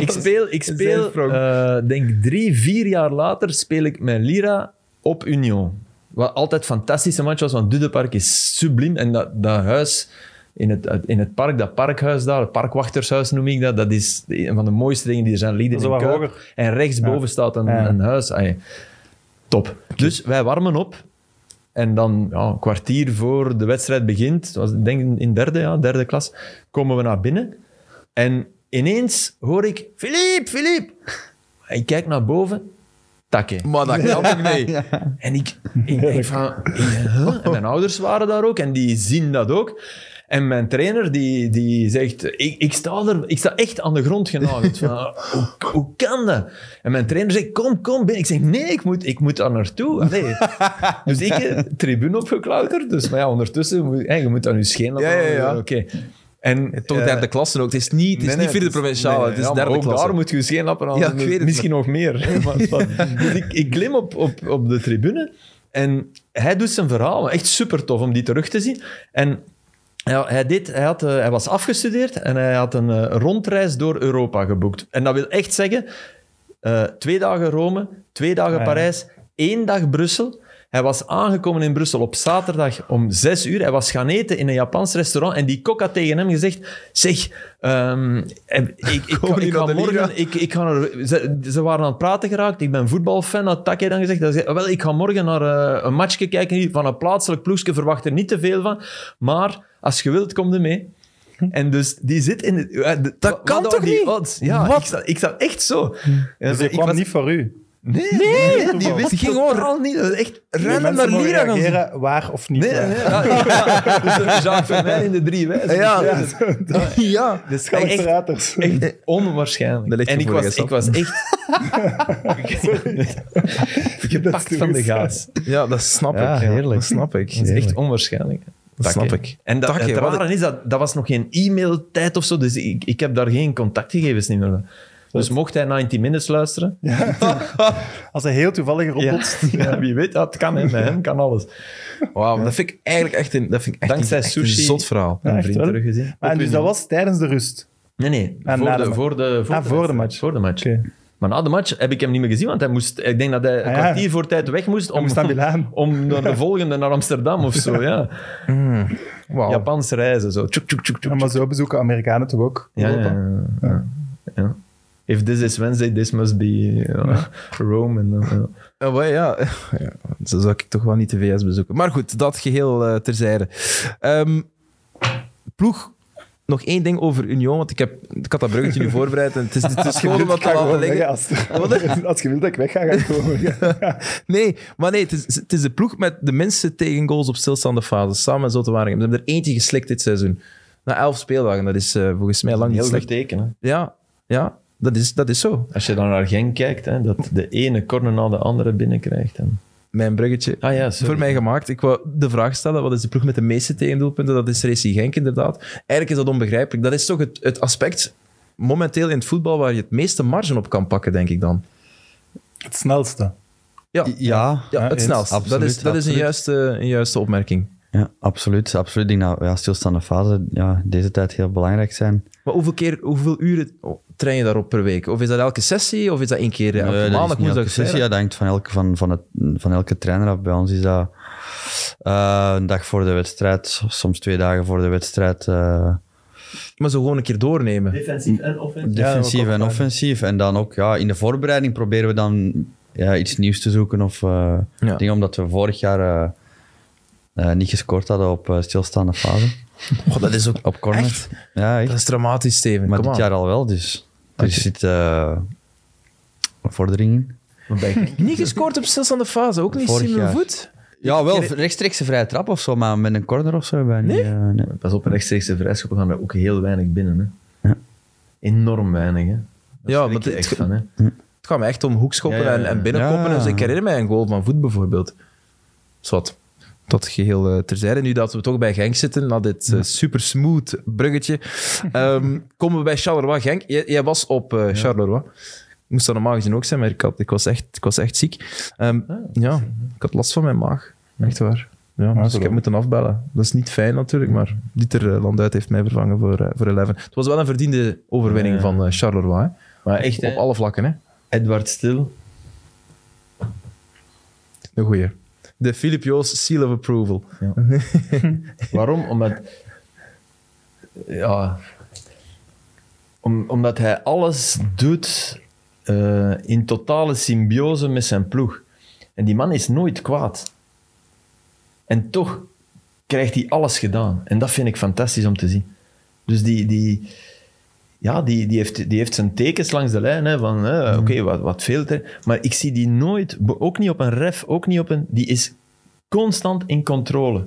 S2: ik speel, ik speel
S4: Zijsprong.
S2: eh, denk drie, vier jaar later speel ik mijn Lira op Union. Wat altijd een fantastische match was, want Dudepark is subliem. En dat, dat huis in het, in het park, dat parkhuis daar, het parkwachtershuis noem ik dat, dat is een van de mooiste dingen die er zijn. Lieden
S4: Dat is
S2: in
S4: wel
S2: Kuip.
S4: hoger.
S2: En rechtsboven
S4: Ja.
S2: staat een,
S4: Ja.
S2: een huis. Ai, top. Dus wij warmen op. En dan ja, een kwartier voor de wedstrijd begint, het was ik denk in- in derde, ja, derde klas, komen we naar binnen. En ineens hoor ik, Filip, Filip. Ik kijk naar boven, takke.
S1: Maar (laughs) dat kan toch niet?
S2: En ik, ik denk van... huh? En mijn ouders waren daar ook en die zien dat ook. En mijn trainer die, die zegt... Ik, ik, sta er, ik sta echt aan de grond genageld. Van,
S1: (laughs)
S2: hoe, hoe kan dat? En mijn trainer zegt, kom, kom binnen. Ik zeg, nee, ik moet, ik moet daar naartoe. Allee.
S1: (laughs)
S2: Dus ik eh, tribune opgeklauterd. Dus, maar ja, ondertussen, moet, hey, je moet aan je scheen laten.
S1: Ja, ja, ja.
S2: Oké. En,
S1: Toch
S2: eh,
S1: derde klasse ook. Het is niet, het is
S2: Nee,
S1: niet
S2: nee,
S1: vierde
S2: het is-
S1: provinciale,
S2: nee,
S1: het is
S2: ja, maar
S1: derde
S2: ook
S1: klasse.
S2: daar moet je geen lappen aan.
S1: Ja,
S2: doen. Dus
S1: ik weet het,
S2: Misschien nog meer. Maar het
S1: (laughs)
S2: was- dus ik, ik klim op, op, op de tribune en hij doet zijn verhaal. maar Echt super tof om die terug te zien. En ja, hij, deed, hij, had, eh, hij was afgestudeerd en hij had een eh, rondreis door Europa geboekt. En dat wil echt zeggen, eh, twee dagen Rome, twee dagen
S1: Ah,
S4: Ja.
S2: Parijs, één dag Brussel. Hij was aangekomen in Brussel op zaterdag om zes uur. Hij was gaan eten in een Japans restaurant en die kok had tegen hem gezegd... Zeg, ehm, ik, ik, ik,
S1: Kom niet
S2: ik
S1: naar
S2: ga
S1: de Liga."
S2: morgen ik, ik ga naar, ze, ze waren aan het praten geraakt. Ik ben voetbalfan, had Takke dan gezegd. Hij zei, wel, ik ga morgen naar eh, een matchje kijken hier van een plaatselijk ploegje. Verwacht er niet te veel van. Maar als je wilt, kom er mee. En dus die zit in... Het, eh, de-
S1: Hm. Dat
S2: wat
S1: kan
S2: waren
S1: toch
S2: die
S1: niet?
S2: odds? Ja,
S1: Wat? Hm.
S2: ik zat, ik zat echt zo. En
S4: Dus je
S2: ik
S4: kwam
S2: was-
S4: niet voor u.
S2: Nee,
S1: Nee,
S2: nee, die
S4: toeval.
S2: wist
S1: Die ging
S2: totaal
S1: gewoon-
S2: niet. Dat is echt
S4: Die
S1: Random naar
S4: mensen mogen
S1: Lira gaan zien.
S4: reageren, waar of niet eh,
S2: Nee,
S4: waar. (laughs)
S2: nee, (laughs) ja, dus er zaten voor mij in de drie wijzen.
S1: Ja. Oh,
S2: (laughs) ja.
S4: De
S1: dus-
S2: echt-
S4: schalkverraters.
S2: Echt onwaarschijnlijk.
S1: Dat ligt
S2: en ik
S1: voor de
S2: was,
S1: gast
S2: ik was echt (laughs)
S4: Dat
S2: gepakt
S4: is
S2: van de
S4: goed.
S2: gaas.
S1: Ja, dat snap
S2: Ja,
S1: ik.
S2: heerlijk.
S1: Dat snap ik.
S2: Dat is echt onwaarschijnlijk.
S1: Dat snap
S2: Takke.
S1: ik.
S2: En dat,
S1: Takke,
S2: het
S1: wat-
S2: rare is, dat, dat was nog geen e-mailtijd of zo, dus ik, ik heb daar geen contactgegevens niet meer van. Dus mocht hij 90 Minutes luisteren,
S4: Als hij heel toevallig
S2: (laughs)
S4: erop
S2: ja.
S4: botst.
S2: Ja, wie weet, dat kan hem, met hem kan alles.
S1: Wauw, dat vind ik eigenlijk echt een, dat vind ik echt
S2: Dankzij
S1: een, echt
S2: sushi.
S1: een zot verhaal.
S4: Ja,
S2: Een
S4: echt
S2: vriend
S4: wel.
S2: teruggezien.
S4: Maar en
S2: Op
S4: dus
S2: hun-
S4: dat was tijdens de rust.
S2: Nee, nee,
S4: Ah,
S2: voor,
S4: na
S2: de,
S4: de match.
S2: voor, de, voor,
S4: Ah,
S2: de,
S4: voor de
S2: wedstrijd.
S4: match.
S2: Voor de match.
S4: Oké.
S2: Maar na de match heb ik hem niet meer gezien, want hij moest, ik denk dat hij een
S4: Ah, ja.
S2: kwartier voor tijd weg moest om,
S4: moest naar Milaan.
S2: (laughs) om naar de volgende naar Amsterdam of zo. (laughs) Ja.
S1: Wauw.
S2: Japans reizen, zo. Tjoek, tjoek, tjoek, tjoek.
S4: Ja, maar zo bezoeken Amerikanen toch ook
S2: Ja,
S4: Europa?
S2: ja, ja. Ja. If this is Wednesday, this must be uh, Rome. En, dan, ja.
S1: Oh, wel, ja. (laughs) ja, zo zou ik toch wel niet de VS bezoeken. Maar goed, dat geheel eh, terzijde. Ehm, ploeg, nog één ding over Union, want ik, heb, ik had dat bruggetje
S2: (laughs)
S1: nu voorbereid en het is, het is gewoon om dat te
S4: Ga
S1: laten
S4: gewoon weg,
S1: liggen. (laughs)
S4: Als, (laughs) als je wilt dat ik wegga, ga ik gewoon weg.
S1: Nee, maar nee, het is, het is de ploeg met de minste tegengoals op stilstaande fases, samen met Zotte Waringen. Ze hebben er eentje geslikt dit seizoen. Na elf speeldagen, dat is eh, volgens mij lang niet
S2: Heel goed
S1: slecht.
S2: teken. Hè.
S1: Ja, ja dat, is, dat is zo.
S2: Als je dan naar Genk kijkt, hè, dat de ene corner na de andere binnenkrijgt. En...
S1: Mijn bruggetje.
S2: Ah ja, sorry.
S1: Voor mij gemaakt. Ik wou de vraag stellen, wat is de ploeg met de meeste tegendoelpunten? Dat is Racing Genk, inderdaad. Eigenlijk is dat onbegrijpelijk. Dat is toch het, het aspect momenteel in het voetbal waar je het meeste marge op kan pakken, denk ik dan.
S4: (laughs) Het snelste.
S1: Ja,
S3: Ja,
S1: ja het
S4: eens.
S1: snelst. dat is,
S3: Absoluut,
S1: dat is een,
S3: absoluut.
S1: juiste, een juiste opmerking.
S3: ja, absoluut. absoluut. Ik denk dat ja, stilstaande fase ja, deze tijd heel belangrijk zijn.
S1: Maar hoeveel, keer, hoeveel uren oh, train je daarop per week? Of is dat elke sessie? Of is dat één keer eh, elke
S3: Nee, dat is
S1: maandag?
S3: niet
S1: woensdag,
S3: elke sessie.
S1: vrijdag?
S3: Ja, dat hangt van elke, van, van, het, van elke trainer af. Bij ons is dat eh, een dag voor de wedstrijd, soms twee dagen voor de wedstrijd. eh,
S1: Maar zo gewoon een keer doornemen.
S2: Defensief en offensief.
S3: defensief en offensief. En dan ook ja, in de voorbereiding proberen we dan ja, iets nieuws te zoeken. Of eh,
S1: Ja.
S3: dingen omdat we vorig jaar eh, eh, niet gescoord hadden op eh, stilstaande fase.
S1: Goh, dat is ook...
S3: Op corner.
S1: Echt?
S3: Ja, echt.
S1: Dat is dramatisch, Steven.
S3: Maar
S1: Kom
S3: dit
S1: aan.
S3: jaar al wel, dus er zit eh, een vordering in.
S1: Niet gescoord op stilstaande fase. Ook niet
S3: Vorig
S1: Simon
S3: jaar.
S1: Voet.
S3: Ja, wel rechtstreeks een vrije trap of zo, maar met een corner of zo hebben wij niet. eh, nee.
S2: Pas op, rechtstreekse vrijschoppen gaan er ook heel weinig binnen. Hè.
S3: Ja.
S2: Enorm weinig. Hè. Daar
S1: Ja,
S2: schrik
S1: want
S2: je
S1: het-
S2: echt van. Hè.
S1: Het gaat me echt om hoekschoppen
S2: Ja, ja, ja.
S1: en, en binnenkoppen.
S3: Ja.
S1: Dus ik herinner mij een goal van voet bijvoorbeeld. Zwat. Dat geheel eh, terzijde. Nu dat we toch bij Genk zitten, na dit super smooth bruggetje,
S2: (laughs)
S1: ehm, komen we bij Charleroi Genk. Jij, jij was op eh, Charleroi. Ik moest dat normaal gezien ook zijn, maar ik, had, ik, was, echt, ik was echt ziek. Ehm,
S2: Ah,
S1: ja, ik had last van mijn maag. Echt waar. Ja,
S2: Ah,
S1: dus ik
S4: zo.
S1: heb moeten afbellen. Dat is niet fijn natuurlijk, maar Dieter eh, Landuit heeft mij vervangen voor, eh, voor 11. Het was wel een verdiende overwinning
S2: Ja.
S1: van eh, Charleroi. hè.
S2: Maar echt, eh,
S1: Op
S2: hè,
S1: alle vlakken, hè.
S2: Edward Stil.
S1: De goeie. De Philip Joos Seal of Approval.
S2: Waarom? Omdat... Ja... Om, omdat hij alles doet eh, in totale symbiose met zijn ploeg. En die man is nooit kwaad. En toch krijgt hij alles gedaan. En dat vind ik fantastisch om te zien. Dus die... die ja, die, die, heeft, die heeft zijn tekens langs de lijn. Hè, van, hè, oké, wat, wat veel er. Maar ik zie die nooit, be- ook niet op een ref, ook niet op een... Die is constant in controle.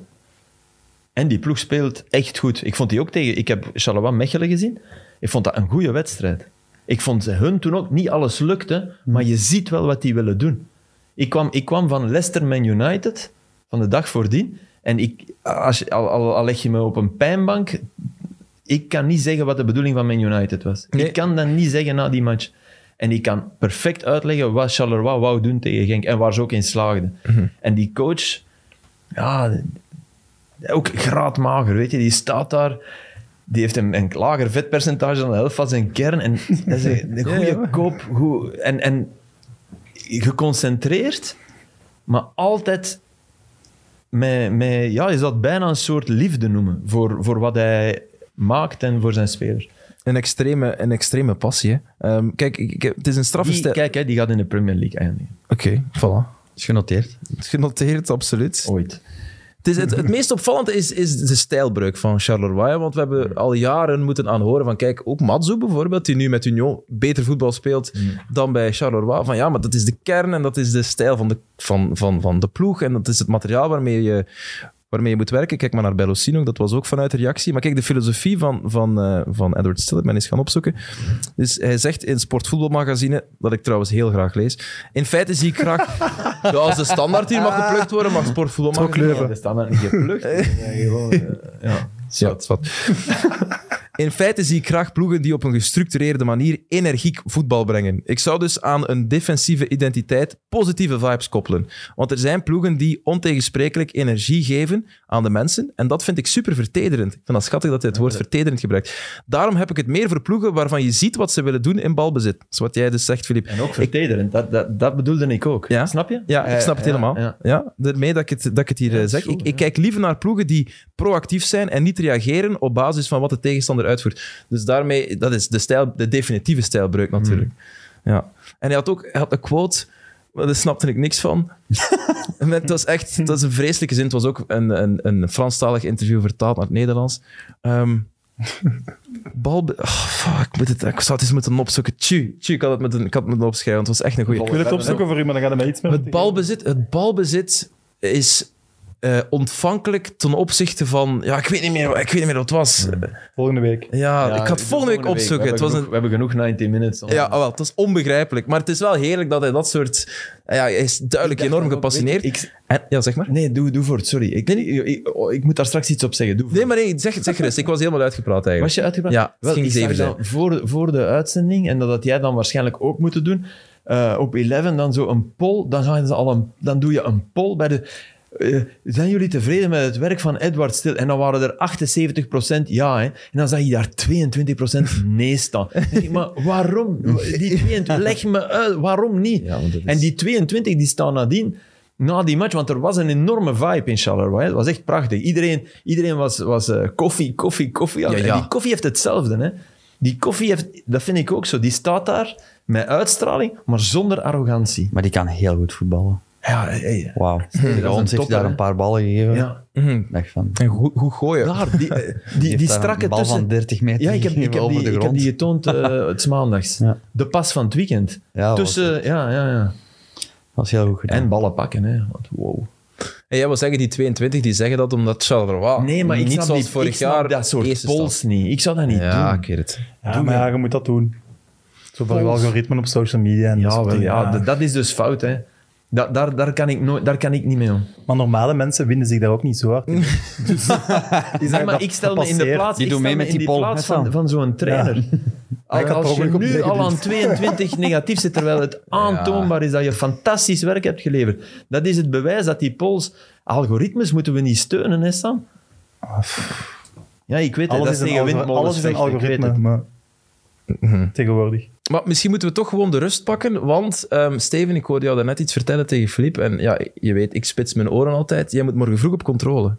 S2: En die ploeg speelt echt goed. Ik vond die ook tegen... Ik heb Charleroi Mechelen gezien. Ik vond dat een goede wedstrijd. Ik vond ze hun toen ook niet alles lukte, maar je ziet wel wat die willen doen. Ik kwam, ik kwam van Leicester Man United, van de dag voordien. En ik, als, je- al, al, al leg je me op een pijnbank, ik kan niet zeggen wat de bedoeling van Man United was.
S1: Nee.
S2: Ik kan dat niet zeggen na die match. En ik kan perfect uitleggen wat Charleroi wou doen tegen Genk en waar ze ook in slaagden. En die coach, ja, ook graadmager, weet je, die staat daar. Die heeft een, een lager vetpercentage dan de helft van zijn kern. En dat is een, een goede koop. Goed, en, en geconcentreerd, maar altijd met, met, ja, je zou het bijna een soort liefde noemen voor, voor wat hij maakt en voor zijn spelers.
S1: Een extreme, een extreme passie. Hè. Ehm, kijk, ik, ik heb- het is een
S2: Die,
S1: strafstijl. Oké,
S2: kijk, hè, die gaat in de Premier League eindigen.
S1: (laughs) voilà.
S3: Is genoteerd.
S1: Genoteerd, absoluut.
S2: Ooit.
S1: Het, is het, het meest opvallende is, is de stijlbreuk van Charleroi. Want we hebben al jaren moeten aanhoren van, kijk, ook Matsu bijvoorbeeld, die nu met Union beter voetbal speelt dan bij Charleroi. Van ja, maar dat is de kern en dat is de stijl van de, van, van, van de ploeg. En dat is het materiaal waarmee je, waarmee je moet werken. Kijk maar naar Bellosino, dat was ook vanuit reactie. Maar kijk, de filosofie van, van, eh, van Edward Stilleman is gaan opzoeken. Dus hij zegt in Sportvoetbalmagazine, dat ik trouwens heel graag lees. In feite zie ik graag... ja, als de standaard hier mag geplukt worden, mag Sportvoetbalmagazine...
S4: Trokleuven.
S2: Dat is dan maar niet
S1: (laughs)
S2: geplukt. Ja, gewoon, eh, ja.
S1: Ja, het is wat. In feite zie ik graag ploegen die op een gestructureerde manier energiek voetbal brengen. Ik zou dus aan een defensieve identiteit positieve vibes koppelen. Want er zijn ploegen die ontegensprekelijk energie geven aan de mensen. En dat vind ik super vertederend. Ik vind dat schattig dat hij het woord vertederend gebruikt. Daarom heb ik het meer voor ploegen waarvan je ziet wat ze willen doen in balbezit. Dat is wat jij dus zegt, Filip.
S2: En ook vertederend, dat, dat, dat bedoelde ik ook.
S1: Ja.
S2: Snap je?
S1: Ja, ik snap het
S2: ja,
S1: helemaal. Ja,
S2: ja.
S1: daarmee dat ik het, dat ik het hier eh, zeg.
S2: zo,
S1: ik,
S2: ja.
S1: ik kijk liever naar ploegen die proactief zijn en niet reageren op basis van wat de tegenstander uitvoert. Dus daarmee, dat is de, stijl, de definitieve stijlbreuk natuurlijk.
S2: Hmm.
S1: Ja. En hij had ook hij had een quote, maar daar snapte ik niks
S2: (laughs)
S1: van. En het was echt, het was een vreselijke zin. Het was ook een, een, een Franstalig interview vertaald naar het Nederlands. Ehm bal... Oh, fuck, ik, moet het, ik zou het eens moeten opzoeken. Tju, tju, ik had het moeten, ik had het moeten opschrijven, want het was echt een goeie.
S4: Ik wil het opzoeken voor u, maar dan gaat hij mij iets meer
S1: Het balbezit, het balbezit is eh, ontvankelijk ten opzichte van... Ja, ik weet niet meer, wat- ik weet niet meer wat het was.
S4: Volgende week.
S1: Ja,
S2: Ja, dus
S1: ik ga het volgende week opzoeken.
S2: We
S1: het
S2: hebben,
S1: was
S2: genoeg,
S1: een...
S2: we hebben genoeg 19 minutes. om-
S1: Ja, ah, wel, het was onbegrijpelijk. Maar het is wel heerlijk dat hij dat soort... Ja, hij is duidelijk
S2: Ik dacht
S1: enorm
S2: dan ook,
S1: gepassioneerd.
S2: weet je, ik-
S1: En, ja, zeg maar.
S2: Nee, doe, doe voort, sorry. Ik, ik, ik, oh, ik moet daar straks iets op zeggen. Doe
S1: Nee,
S2: voort.
S1: maar nee, zeg, zeg gerust. Ik was helemaal uitgepraat
S2: Was
S1: eigenlijk.
S2: je uitgebracht?
S1: Ja, het
S2: Wel,
S1: ging
S2: ik zag
S1: zeven
S2: dan voor, voor de uitzending, en dat had jij dan waarschijnlijk ook moeten doen, eh, op 11 dan zo een poll, dan, gaan ze al een, dan doe je een poll bij de... eh, zijn jullie tevreden met het werk van Edward Stil? En dan waren er 78% ja. Hè? En dan zag je daar 22% nee staan. Dan denk ik, maar waarom? Die 22, leg me uit, waarom niet?
S3: Ja, want dat is-
S2: En die 22 die staan nadien na die match, want er was een enorme vibe in Charleroi. hè. Het was echt prachtig. Iedereen, iedereen was, was eh, koffie, koffie, koffie. aan.
S1: Ja,
S2: En
S1: ja.
S2: die koffie heeft hetzelfde. Hè? Die koffie heeft, dat vind ik ook zo, die staat daar met uitstraling, maar zonder arrogantie.
S3: Maar die kan heel goed voetballen.
S2: (laughs) Ja, hey,
S3: Wauw.
S2: een
S3: Ons heeft
S2: topper,
S3: daar
S2: hè.
S3: een paar ballen gegeven.
S2: ja.
S1: Mhm.
S3: Echt van.
S1: En hoe, hoe gooien?
S2: daar, die, (laughs) eh, die, die,
S3: heeft daar
S2: strakke
S3: een bal
S2: tussen...
S3: van 30 meter
S2: ja, ik (laughs) heb, ik
S3: gegeven
S2: heb,
S3: over
S2: die,
S3: de
S2: ik heb
S3: grond.
S2: die getoond (laughs) eh, het is maandags.
S3: Ja.
S2: De pas van het weekend.
S3: Ja, dat
S2: tussen, ja, ja, ja.
S3: Dat is heel goed gedaan.
S2: En ballen pakken, hè. Want, wow.
S1: En jij wil zeggen, die 22, die zeggen dat omdat Charleroi
S2: Nee, maar ik
S1: niet
S2: snap,
S1: zoals
S2: die-
S1: vorig
S2: ik snap
S1: jaar
S2: dat soort
S1: eerste staat.
S2: polls niet. Ik zou dat niet
S1: Ja,
S2: doen.
S1: ik weet het.
S4: Ja,
S2: Doe
S4: maar
S2: maar.
S4: ja, je moet dat doen. Zo voor je
S2: Volgens-
S4: algoritmen op social media en dat
S2: Ja,
S4: soort
S2: wel,
S4: dingen.
S2: ja, d- dat is dus fout, hè. Da- daar, daar, kan ik nooit, daar kan ik niet mee om.
S4: Maar normale mensen winden zich daar ook niet zo hard in. dus, is
S2: Nee, maar ik stel me in de plaats,
S3: Die
S2: ik
S3: doen
S2: stel
S3: mee
S2: me
S3: met
S2: in
S3: die poll,
S2: plaats
S3: hè,
S2: van,
S3: Sam?
S2: van zo'n trainer. Als-
S4: Ik had
S2: Als
S4: per
S2: je
S4: ongeluk op
S2: nu
S4: negen
S2: al aan
S4: duwt.
S2: 22 negatief zit, terwijl het aantoonbaar is dat je fantastisch werk hebt geleverd. Dat is het bewijs dat die polls... Algoritmes moeten we niet steunen, hè, Sam? Ja, ik weet het.
S4: Alles
S2: Dat
S4: is
S2: is
S4: een,
S2: tegen
S4: algo-
S2: windmolens
S4: alles is een
S2: vechten, ik weet
S4: algoritme,
S2: het.
S4: maar Mhm. tegenwoordig.
S1: Maar misschien moeten we toch gewoon de rust pakken, want ehm, Steven, ik hoorde jou daarnet iets vertellen tegen Filip. En ja, je weet, ik spits mijn oren altijd. Jij moet morgen vroeg op controle.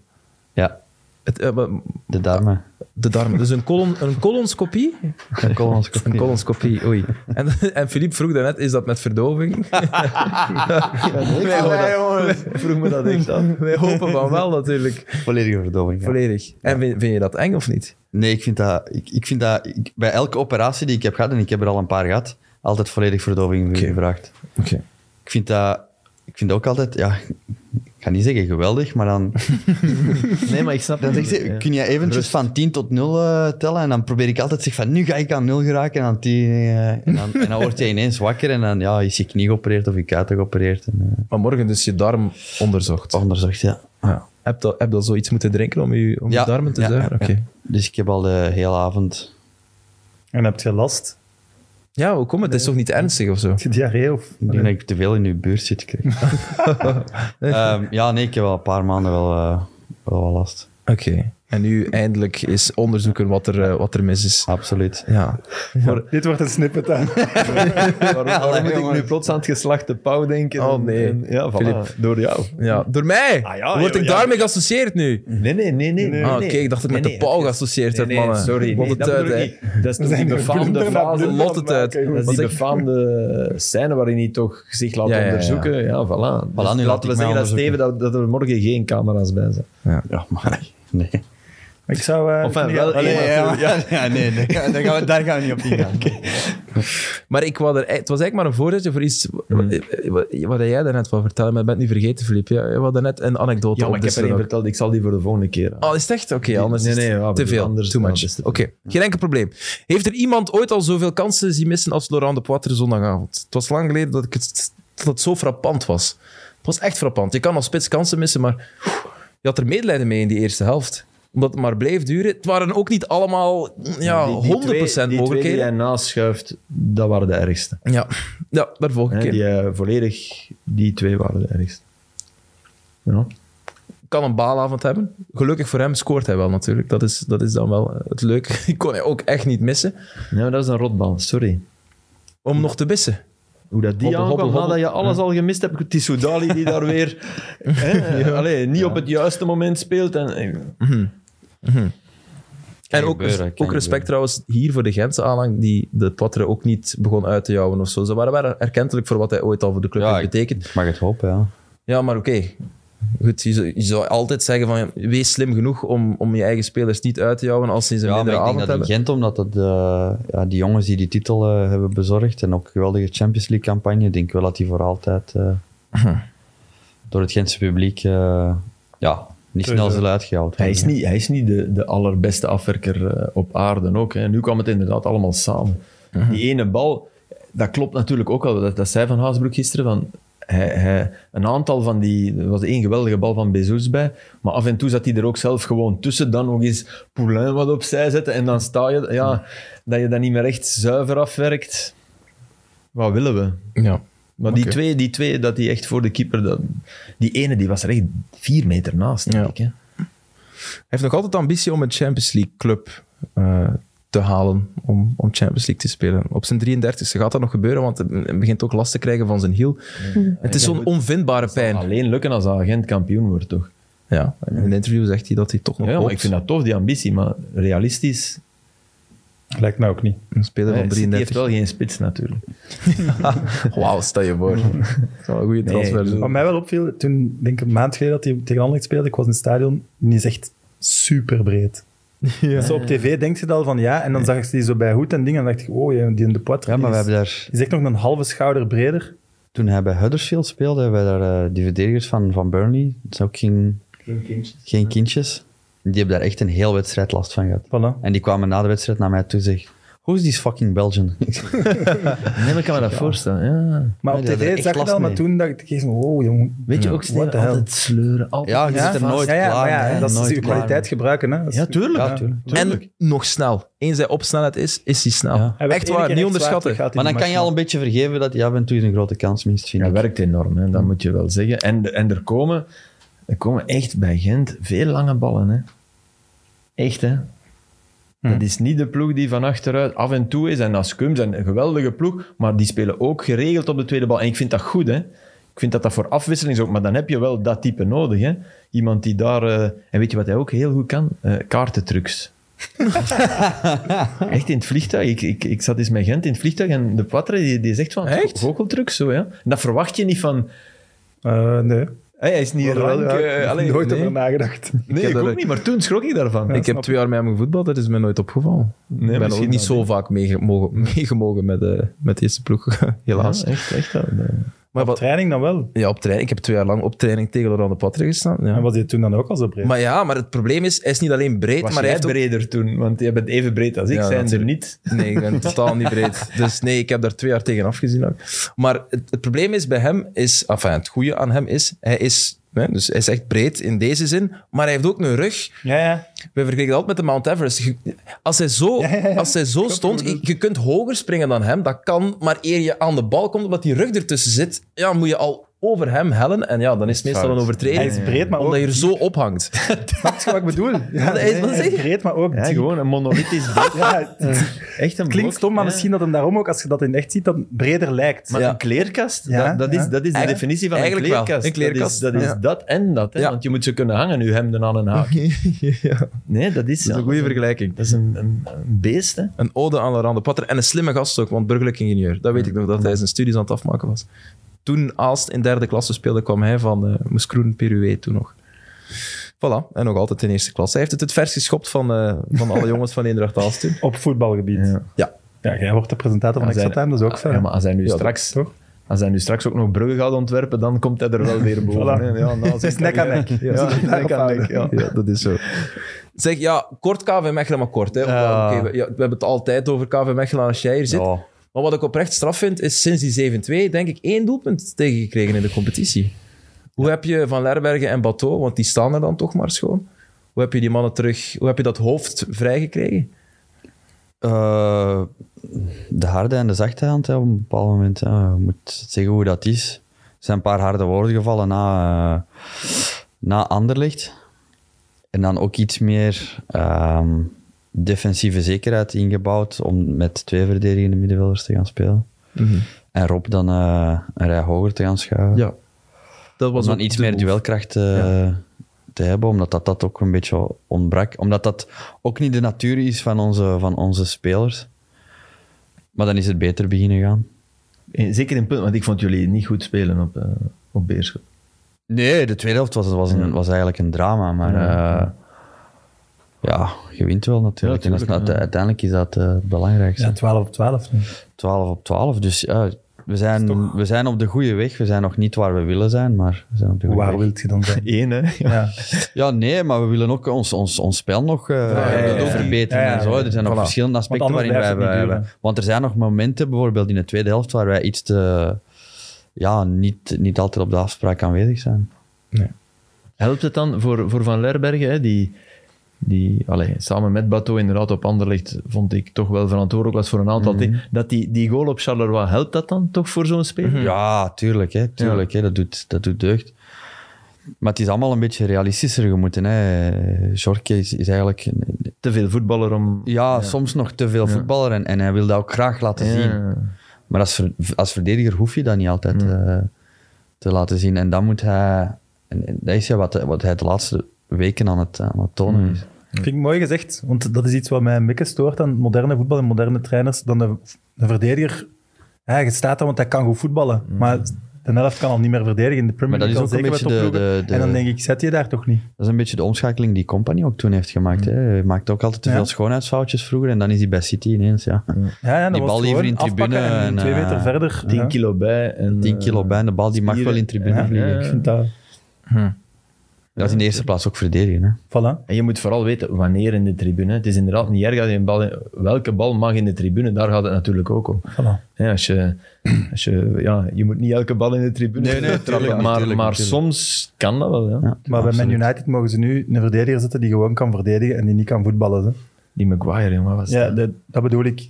S3: Ja,
S1: Het, eh, maar-
S3: de
S2: (laughs)
S3: darmen.
S1: de darmen. Dus een, colon, een colonscopie.
S3: Een
S1: Een
S3: kolonskopie.
S1: colonscopie, oei. En, (laughs) en Filip vroeg daarnet, is dat met verdoving? (laughs)
S3: (laughs)
S2: Nee, jongen. (laughs) Vroeg me dat echt af.
S1: Wij hopen van wel, natuurlijk.
S3: Volledige verdoving. ja.
S1: Volledig. En vind, vind je dat eng of niet?
S3: Nee, ik vind dat... Ik, ik vind dat ik- bij elke operatie die ik heb gehad, en ik heb er al een paar gehad, altijd volledig verdoving gevraagd.
S1: Oké.
S3: Ik vind dat... Ik vind dat ook altijd... Ja, ik ga niet zeggen geweldig, maar dan...
S2: Nee, maar ik snap
S3: Dan
S2: het.
S3: zeg ze,
S2: Ja.
S3: kun je eventjes van 10 tot 0 eh, tellen? En dan probeer ik altijd zeg van, nu ga ik aan 0 geraken en aan 10. eh, en, dan, en dan word je ineens wakker en dan ja, is je knie geopereerd of je kuiten geopereerd. En,
S1: Maar morgen dus je darm onderzocht.
S3: eh onderzocht, ja.
S1: Ja. Heb je heb dat zoiets moeten drinken om je, om
S3: Ja,
S1: je darmen te
S3: ja,
S1: zuiveren?
S3: ja.
S1: Oké.
S3: Dus ik heb al de hele avond...
S4: En heb je last?
S1: Ja, hoe komt het? Het is toch niet ernstig of zo?
S4: Heb je diarree of...
S3: Ik denk dat ik te veel in uw buurt zit. (laughs) Ehm, Kreeg. ja, nee, ik heb al een paar maanden wel, eh, wel wat last.
S1: Oké. En nu eindelijk is onderzoeken wat er, eh, wat er mis is.
S3: Absoluut.
S1: Ja.
S4: Dit wordt een snippet (laughs) aan.
S2: Waarom, waarom
S3: allee,
S2: moet ik nu
S3: jongens.
S2: plots aan het geslacht de pauw denken?
S1: Oh,
S2: En-
S1: nee.
S2: en- ja, voilà,
S1: Filip.
S2: door jou.
S1: ja. Door mij?
S2: Ah, ja,
S1: Word
S2: ja,
S1: ik
S2: ja.
S1: daarmee geassocieerd nu?
S2: Nee, nee, nee. nee, nee
S1: Ah, oké, ik dacht dat ik met de pauw geassocieerd werd, mannen.
S2: Sorry,
S1: Wat
S2: nee,
S1: het eh,
S2: dat
S1: uit,
S2: bedoel
S1: hè.
S2: ik niet. Dat is toch
S4: zijn
S2: die
S4: hier
S2: befaamde
S4: blinder naar
S2: fase.
S4: blinder.
S1: Lot het uit.
S4: Dat is
S2: Dat is
S1: Wat
S2: die
S1: zeg-
S2: befaamde scène waarin hij toch zich laat
S1: Ja, ja, ja.
S2: onderzoeken. Ja, voilà. Dus
S3: laat ik mij
S2: laten we zeggen dat
S3: onderzoeken.
S2: Steven dat, dat er morgen geen camera's bij zijn.
S3: Ja, maar... Nee.
S4: Ik zou... eh,
S2: Enfin,
S4: niet-
S2: wel
S3: Allee,
S2: één
S3: ja, ja, (laughs) ja, nee, nee, daar gaan, we, daar gaan we niet op (laughs) ingaan.
S1: Maar ik wou er, het was eigenlijk maar een voorzetje voor iets wa-
S2: Hmm.
S1: wa- wat jij daarnet wou vertellen. Maar ik ben het nu vergeten, Filip. Ja, je wou daarnet een anekdote
S2: Ja, maar ik heb
S1: opdisselen
S2: er één
S1: ook.
S2: verteld. Ik zal die voor de volgende keer.
S1: Oh, is het echt? Oké, anders
S2: nee,
S1: is het
S2: nee, ja,
S1: te
S2: bedoel,
S1: veel.
S2: anders-
S1: Too much.
S2: anders is
S1: Oké,
S2: het-
S1: geen enkel probleem. Heeft er iemand ooit al zoveel kansen zien missen als Laurent de Poitre zondagavond? Het was lang geleden dat, ik het, dat het zo frappant was. Het was echt frappant. Je kan als spits kansen missen, maar oeh, je had er medelijden mee in die eerste helft. Omdat het maar bleef duren. Het waren ook niet allemaal ja, 100%
S2: Ah, Die twee die
S1: mogelijkheden.
S2: hij naschuift, dat waren de ergste.
S1: ja. ja, daar volg ik
S2: Hè,
S1: in.
S2: Die eh, volledig, die twee waren de ergste. Ja.
S1: kan een baalavond hebben. Gelukkig voor hem scoort hij wel natuurlijk. Dat is, dat is dan wel het leuke. (laughs) Die kon hij ook echt niet missen.
S2: Nee, maar dat is een rotbal, sorry.
S1: Om nog te missen.
S2: Hoe dat die
S1: Hobbel,
S2: aankwam,
S1: hobbel,
S2: nadat je alles al gemist hebt. Het is Soudali die daar weer hè, allee, niet op het juiste moment speelt. En, eh,
S1: en ook,
S3: gebeuren, kan
S1: ook respect
S3: gebeuren.
S1: trouwens hier voor de Gentse aanhang, die de Poitre ook niet begon uit te jouwen of zo. Ze waren wel erkentelijk voor wat hij ooit al voor de club
S3: Ja,
S1: heeft betekend.
S3: Ik mag het hopen, ja.
S1: Ja, maar oké. Goed, je zou, je zou altijd zeggen van, wees slim genoeg om, om je eigen spelers niet uit te jouwen als ze een
S3: Ja, maar
S1: mindere
S3: ik denk
S1: avond
S3: dat
S1: hebben.
S3: in Gent, omdat dat, eh, ja, die jongens die die titel eh, hebben bezorgd en ook een geweldige Champions League campagne, ik denk wel dat die voor altijd eh,
S2: (laughs)
S3: door het Gentse publiek eh, ja, niet
S4: Dus,
S3: snel
S4: eh,
S3: zullen uitgehaald
S2: hij is
S3: worden.
S2: niet, hij is niet de, de allerbeste afwerker eh, op aarde ook. Hè. Nu kwam het inderdaad allemaal samen.
S1: Uh-huh.
S2: Die ene bal, dat klopt natuurlijk ook wel. Dat, dat zei Van Haasbroek gisteren. Van, hij, hij, een aantal van die... Er was één geweldige bal van Bezos bij. Maar af en toe zat hij er ook zelf gewoon tussen. Dan nog eens Poulain wat opzij zetten. En dan sta je... Ja, dat je dat niet meer echt zuiver afwerkt. Wat willen we?
S1: Ja.
S2: Maar die,
S1: Oké.
S2: twee, die twee, dat die echt voor de keeper... Dat, die ene, die was er echt vier meter naast, denk
S1: Ja.
S2: ik. Hè?
S1: Hij heeft nog altijd de ambitie om een Champions League club eh, te halen. Om, om Champions League te spelen. Op zijn 33ste gaat dat nog gebeuren, want hij begint ook last te krijgen van zijn hiel. Het is zo'n onvindbare pijn.
S2: Alleen lukken als de agent kampioen wordt, toch?
S1: Ja, in een interview zegt hij dat hij toch nog
S2: Ja, maar
S1: hoopt.
S2: ik vind dat tof, die ambitie. Maar realistisch...
S4: Lijkt mij ook niet.
S1: Een speler
S2: hè,
S1: van
S2: City heeft
S1: 33.
S2: wel geen spits, natuurlijk.
S1: Wauw, stel je voor. Dat zou een goede
S2: Nee,
S1: transfer
S2: ik
S1: zijn.
S2: bedoel-
S4: Wat mij wel opviel, toen denk ik een maand geleden dat hij tegen Anderlecht speelde, ik was in het stadion, die is echt super
S3: (laughs)
S4: breed. Zo op tv denk je dan van ja, en dan zag ik die zo bij hoed en dingen, en dan dacht ik, oh, ja, die in de poitre.
S3: Ja, maar we
S4: die is-
S3: hebben daar,
S4: die is echt nog een halve schouder breder.
S3: toen hij bij Huddersfield speelde, hebben we daar eh, die verdedigers van, van Burnley, dat is ook geen,
S4: Geen kindjes.
S3: geen kindjes, die hebben daar echt een heel wedstrijd last van gehad.
S4: Voilà.
S3: En die kwamen na de wedstrijd naar mij toe en zeggen, who is this fucking Belgian? Ik zeg,
S2: Nee, maar ik kan me dat voorstellen. Ja.
S4: Maar
S3: Nee,
S4: op
S3: die hadden
S4: tv
S3: echt
S4: zag je
S3: last
S4: dat, maar
S3: mee.
S4: toen dacht ik, oh jong.
S2: Weet je
S1: Ja.
S2: ook, Steven,
S4: What the hell?
S2: altijd sleuren. Altijd
S3: ja, je zit er nooit
S4: ja, ja,
S3: klaar
S4: maar ja,
S3: mee,
S4: dat is
S3: nooit
S4: je
S3: klaar
S4: kwaliteit
S3: mee.
S4: gebruiken. Hè. Dat is-
S2: Ja, tuurlijk.
S3: Ja, tuurlijk.
S1: En nog snel. Eens hij op snelheid is, is hij snel.
S3: Ja.
S4: Hij werd
S1: Echt
S4: één
S1: waar,
S4: keer
S1: niet
S4: echt zwaar
S1: onderschatten.
S4: teruggehaald in
S3: Maar dan
S4: die
S3: kan je
S4: match,
S3: al een beetje vergeven dat je af en toe eens een grote kans mist, vind
S2: Dat
S3: ik.
S2: werkt enorm, hè. dat moet je wel zeggen. En, en er, komen, er komen echt bij Gent veel lange ballen. Hè. Echt, hè. Dat is niet de ploeg die van achteruit af en toe is. En dat Scum zijn een geweldige ploeg, maar die spelen ook geregeld op de tweede bal. En ik vind dat goed, hè. Ik vind dat dat voor afwisseling is ook, maar dan heb je wel dat type nodig, hè. Iemand die daar... eh, en weet je wat hij ook heel goed kan? Eh, kaartentrucs. Echt in het vliegtuig. Ik, ik, ik zat eens met Gent in het vliegtuig en de Patre die, die zegt van...
S1: Echt?
S2: Goocheltrucs, zo, ja. En dat verwacht je niet van...
S4: maar- Eh, nee.
S2: Hé, hij is niet
S4: Wel,
S2: rank.
S4: ja,
S2: eh,
S4: ik heb
S2: allee,
S4: nooit
S2: nee.
S4: over nagedacht. (laughs)
S2: Nee,
S1: Ik heb
S2: ik,
S1: dat
S2: ook
S1: ook-
S2: niet, maar toen schrok ik daarvan.
S1: ik heb twee jaar met hem gevoetbald, dat is me nooit opgevallen. ik ben ook
S2: misschien
S1: niet
S2: wel,
S1: zo vaak meegemogen, meegemogen met, eh, met de eerste ploeg, (laughs) helaas.
S2: Ja, echt, echt. wel.
S1: maar wat,
S4: Training dan wel.
S1: ja, op training. Ik heb twee jaar lang op training tegen Laurent de Patre gestaan. Ja.
S4: En was hij toen dan ook al zo breed?
S1: Maar ja, maar het probleem is, hij is niet alleen breed,
S2: Was
S1: maar hij
S2: jij
S1: heeft ook...
S2: breder toen? Want jij bent even breed als ik,
S1: Ja,
S2: zijn ze er
S1: natuurlijk.
S2: niet.
S1: Nee, ik
S4: (laughs)
S1: ben totaal niet breed. Dus nee, ik heb daar twee jaar tegen afgezien. ook. Maar het, het probleem is bij hem, is, enfin, het goede aan hem is, hij is, hè, dus hij is echt breed in deze zin, maar hij heeft ook een rug.
S4: Ja, ja.
S1: We vergelijken dat altijd met de Mount Everest. Je- Als hij zo,
S4: (laughs) ja, ja.
S1: Als hij zo
S4: wat
S1: stond,
S4: je
S1: je,
S4: bedoelt.
S1: je kunt hoger springen dan hem, dat kan, maar eer je aan de bal komt, omdat die rug ertussen zit, ja, moet je al over hem hellen. En ja, dan is het meestal
S2: fout.
S1: een overtreding.
S4: Hij is breed, maar
S1: Omdat
S4: ook
S1: je er zo
S4: (laughs)
S1: ophangt.
S4: Snap je wat ik bedoel? Ja, (laughs)
S1: nee,
S4: hij
S1: wat zeg je?
S4: is breed, maar ook
S2: Ja,
S4: diep.
S2: gewoon een (laughs) monolithisch beeld.
S4: Ja, het
S2: Echt een blok,
S4: klinkt stom, maar
S2: ja.
S4: misschien dat hem daarom ook, als je dat in echt ziet, dan breder lijkt.
S2: Maar
S1: Ja.
S2: een kleerkast,
S4: Ja,
S2: dat, dat
S4: ja.
S2: is, dat is de
S1: Eigenlijk-
S2: definitie van een
S1: eigenlijk wel,
S2: kleerkast.
S1: een kleerkast,
S2: Dat is, dat,
S1: ja.
S2: is dat en dat, hè?
S1: Ja.
S2: want je moet ze kunnen hangen, je hemden aan een haak. Nee, dat is, ja,
S1: een goede
S2: dat
S1: vergelijking.
S2: Dat is een, een, een beest, hè.
S1: Een ode aan Laurent de Potter en een slimme gast ook, want burgerlijk ingenieur. Dat weet ik nog, dat hij zijn studies aan het afmaken was. Toen Aalst in derde klasse speelde, kwam hij van eh Moeskroen Peruwe toen nog. Voilà, en nog altijd in eerste klasse. Hij heeft het het vers geschopt van, eh, van alle jongens van Eendracht Aalst
S4: (laughs)
S1: toen.
S4: Op voetbalgebied. Ja.
S1: Ja. Ah,
S4: jij wordt de presentator van
S2: Als hij-
S4: Extra Time, dat is dus ook fijn.
S2: Ja, maar als hij nu,
S1: Ja,
S2: straks,
S4: toch?
S2: als hij nu straks ook nog bruggen gaat ontwerpen, dan komt hij er wel weer boven.
S4: (laughs) Voilà.
S2: hè. Ja, nou,
S4: Het is nek aan nek.
S2: Ja, nek aan nek, ja.
S1: Ja, dat is zo. Zeg, ja, kort KV Mechelen, maar kort. Hè.
S3: Ja.
S1: Oké, we, ja, we hebben het altijd over KV Mechelen als jij hier zit.
S3: Ja.
S1: Maar wat ik oprecht straf vind, is sinds die 7-2 denk ik één doelpunt tegengekregen in de competitie. Hoe heb je Van Lerbergen en Bateau, want die staan er dan toch maar schoon. Hoe heb je die mannen terug, hoe heb je dat hoofd vrijgekregen?
S3: Eh, de harde en de zachte hand hè, op een bepaald moment. Hè. Je moet zeggen hoe dat is. Er zijn een paar harde woorden gevallen na, eh, na Anderlicht. En dan ook iets meer ehm, defensieve zekerheid ingebouwd om met twee verdedigende middenvelders te gaan spelen. En Rob dan eh, een rij hoger te gaan schuiven.
S1: Ja. Dat was
S3: Om dan
S1: ook
S3: iets
S1: de
S3: meer
S1: move.
S3: duelkracht eh, te hebben, omdat dat, dat ook een beetje ontbrak. Omdat dat ook niet de natuur is van onze, van onze spelers. Maar dan is het beter beginnen gaan.
S2: In- Eh, Zeker in punt, want ik vond jullie niet goed spelen op, eh, op Beerschot.
S3: Nee, de tweede helft was, was, een, was eigenlijk een drama, maar... eh, ja, je wint wel natuurlijk.
S2: Ja,
S3: en dat,
S2: tuurlijk,
S3: dat- uiteindelijk is dat eh, het belangrijkste.
S4: Ja, 12 op 12. nu.
S3: 12 op 12, dus ja, we, zijn, we zijn op de goede weg. We zijn nog niet waar we willen zijn, maar we zijn op de goede
S4: Waar
S3: weg.
S4: wilt je dan zijn?
S2: Eén, hè.
S4: Ja.
S3: Ja, nee, maar we willen ook ons, ons, ons spel nog eh,
S4: ja, ja.
S3: verbeteren.
S4: Ja, ja,
S3: en zo. Er zijn nog
S1: Voilà.
S3: verschillende aspecten
S4: anders
S3: waarin wij...
S4: blijft het niet
S3: wij-
S4: duren.
S3: want er zijn nog momenten, bijvoorbeeld in de tweede helft, waar wij iets te... Ja, niet, niet altijd op de afspraak aanwezig zijn.
S2: Helpt het dan voor, voor Van Lerbergen, hè, die, die allee, samen met Bato inderdaad op Anderlecht vond ik toch wel verantwoordelijk was voor een aantal
S3: Mhm.
S2: dingen. Dat die, die goal op Charleroi, helpt dat dan toch voor zo'n speler?
S4: Mhm.
S3: Ja, tuurlijk. Hè, tuurlijk Hè, dat, doet, dat doet deugd. Maar het is allemaal een beetje realistischer gemoeten. Hè. Jorke is, is eigenlijk... een-
S2: Te veel voetballer om...
S3: ja, soms nog te veel voetballer. En, en hij wil dat ook graag laten zien. Maar als, ver- als verdediger hoef je dat niet altijd eh, te laten zien. En dan moet hij... En en dat is ja wat, wat hij de laatste weken aan het, aan het tonen is.
S4: Vind ik mooi gezegd, want dat is iets wat mij een beetje stoort aan moderne voetbal en moderne trainers. Dan de, de verdediger, ja, je staat daar, want hij kan goed voetballen. Maar de helft kan al niet meer verdedigen in de Premier
S3: Maar dat
S4: League.
S3: is ook
S4: al
S3: een
S4: zeker
S3: beetje
S4: met
S3: de-
S4: topploegen.
S3: de-
S4: En dan
S3: de-
S4: denk ik, zet je daar toch niet?
S3: Dat is een beetje de omschakeling die Company ook toen heeft gemaakt. Hè. Hij maakte ook altijd te
S4: Ja.
S3: veel schoonheidsfoutjes vroeger. En dan is hij bij City ineens, ja.
S4: Ja, ja, dan
S3: Die
S4: was
S3: bal
S4: het
S3: liever
S4: gewoon
S3: in tribune
S4: afpakken En,
S3: en,
S4: twee
S3: eh,
S4: meter verder.
S2: 10
S4: Ja.
S2: kilo bij en... eh,
S3: 10 kilo bij en de bal, die mag
S2: spieren.
S3: wel in tribune
S4: Ja,
S3: vliegen.
S4: Ik vind dat...
S1: Hm.
S3: Dat is in de eerste plaats ook verdedigen. Hè.
S4: Voilà.
S2: En je moet vooral weten wanneer in de tribune. Het is inderdaad niet erg dat je een bal... in- welke bal mag in de tribune, daar gaat het natuurlijk ook om.
S4: voilà.
S2: Hè, als je, als je, ja, je moet niet elke bal in de tribune (laughs)
S3: Nee, nee,
S2: trappen,
S3: tuurlijk,
S2: maar,
S3: tuurlijk,
S2: maar
S3: tuurlijk.
S2: soms kan dat wel. Ja.
S4: Maar bij Man United mogen ze nu een verdediger zetten die gewoon kan verdedigen en die niet kan voetballen. Hè.
S2: Die Maguire, jongen, was
S4: Ja,
S2: dat,
S4: dat, dat bedoel ik.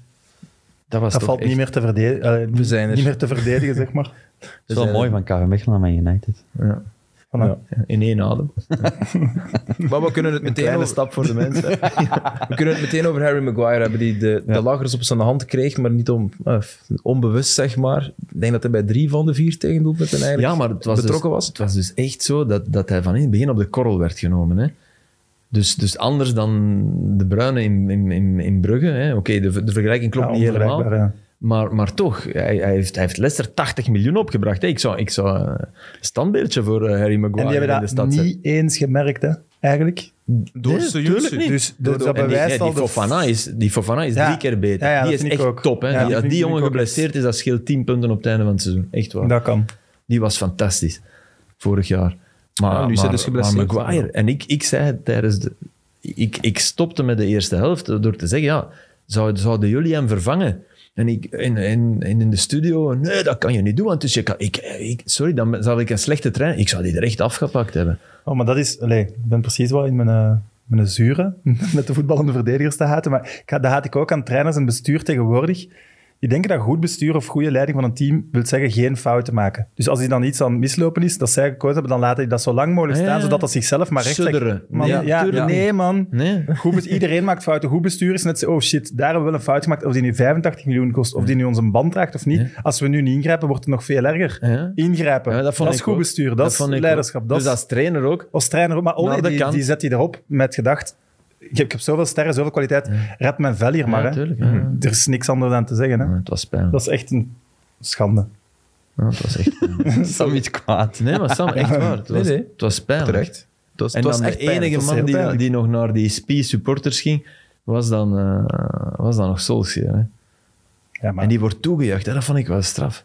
S2: was
S4: Dat
S2: toch
S4: valt
S2: echt-
S4: niet meer, te verdedigen, eh, niet-
S1: zijn er.
S4: niet meer te verdedigen, zeg maar.
S3: Dat is wel
S2: zijn-
S3: mooi van KV Mechelen naar Man (laughs) United.
S2: Ja,
S4: Voilà.
S2: in één adem.
S1: Maar we kunnen, het meteen
S2: Kleine
S1: over,
S2: stap voor de (laughs) mensen.
S1: we kunnen het meteen over Harry Maguire hebben, die de, de lachers op zijn hand kreeg, maar niet om, eh, onbewust, zeg maar. Ik denk dat hij bij drie van de vier tegendoelpunten eigenlijk
S2: ja, maar het was,
S1: betrokken
S2: dus,
S1: was.
S2: het was dus echt zo dat, dat hij van in het begin op de korrel werd genomen. Hè. Dus, dus anders dan de Bruine in, in, in, in Brugge. hè. Oké, de, de vergelijking klopt
S4: Ja,
S2: niet helemaal.
S4: onvergelijkbaar, ja.
S2: Maar, maar toch, hij, hij, heeft, hij heeft Leicester 80 miljoen opgebracht. Hè. Ik zou, ik zou eh, een standbeeldje voor eh, Harry Maguire
S4: En die
S2: in
S4: hebben
S2: de
S4: dat
S2: stad zetten.
S4: niet eens gemerkt, hè, eigenlijk.
S1: Door
S2: Nee,
S1: Soyuncu.
S2: tuurlijk niet.
S4: Dus dat- dat
S2: En die-
S4: bewijst
S2: ja, die,
S4: al dat-
S2: Fofana is, die Fofana is
S4: Ja.
S2: drie keer beter.
S4: Ja, ja,
S2: die
S4: dat
S2: is
S4: vind ik
S2: echt
S4: ook.
S2: top. Hè?
S4: Ja,
S2: die,
S4: dat
S2: als
S4: vind
S2: die
S4: ik
S2: jongen
S4: ook.
S2: geblesseerd is, dat scheelt 10 punten op het einde van het seizoen. Echt waar.
S4: Dat kan.
S2: Die was fantastisch. Vorig jaar. Maar,
S1: Ja, nu is
S2: maar,
S1: hij dus geblesseerd.
S2: maar Maguire. En ik, ik zei het tijdens de... Ik, ik stopte met de eerste helft door te zeggen, ja, zou- zouden jullie hem vervangen? En, ik, en, en, en in de studio, nee, dat kan je niet doen. Want dus je kan, ik, ik, sorry, dan zal ik een slechte trein... Ik zou die er echt afgepakt hebben.
S4: Oh, maar dat is... Allee, ik ben precies wel in mijn, eh, mijn (laughs) zure met de voetballende verdedigers te haten. Maar ik, ga- dat haat ik ook aan trainers en bestuur tegenwoordig. Ik denk dat goed bestuur of goede leiding van een team wil zeggen geen fouten maken. Dus als hij dan iets aan het mislopen is, dat zij gekozen hebben, dan laat hij dat zo lang mogelijk
S2: Ja,
S4: staan,
S2: ja.
S4: zodat dat zichzelf maar recht
S2: Sudderen.
S4: Man,
S2: Ja,
S4: ja,
S2: tuurlijk.
S4: nee, man.
S2: Nee.
S4: Goed bes- iedereen maakt fouten. Goed bestuur is net zo, oh shit, daar hebben we wel een fout gemaakt. Of die nu 85 miljoen kost, of die nu ons een band raakt of niet. Als we nu niet ingrijpen, wordt het nog veel erger.
S2: Ja.
S4: Ingrijpen,
S2: Ja,
S4: dat,
S2: vond
S4: is
S2: ik
S4: goed
S2: ook.
S4: bestuur, dat,
S2: vond ik
S4: is
S2: ook.
S4: leiderschap. Dat
S2: dus
S4: is-
S2: als trainer ook.
S4: als trainer ook. Maar Olly,
S2: Nou, dat
S4: die,
S2: kan.
S4: die zet hij erop met gedacht... Ik heb, ik heb zoveel sterren, zoveel kwaliteit. Red mijn vel hier maar.
S2: Ja,
S4: hè. Hm.
S2: tuurlijk, ja.
S4: Er is niks anders aan te zeggen. Hè.
S2: Ja, het was pijn.
S4: Dat is echt een schande.
S2: Ja, het was echt pijn.
S3: Sam iets kwaad.
S2: Nee, maar Sam, echt waar. Het was,
S1: Nee, nee.
S2: Het was pijnlijk.
S1: Terecht. Het was,
S2: En
S1: het was
S2: dan
S1: echt
S2: de enige
S1: pijnlijk.
S4: was
S2: man
S4: heel
S2: die,
S4: pijnlijk.
S2: die nog naar die SPI-supporters ging, was dan, eh, was dan nog Solskjaer. hè.
S4: Ja, maar
S2: En die wordt toegejuicht. hè. Dat vond ik wel straf.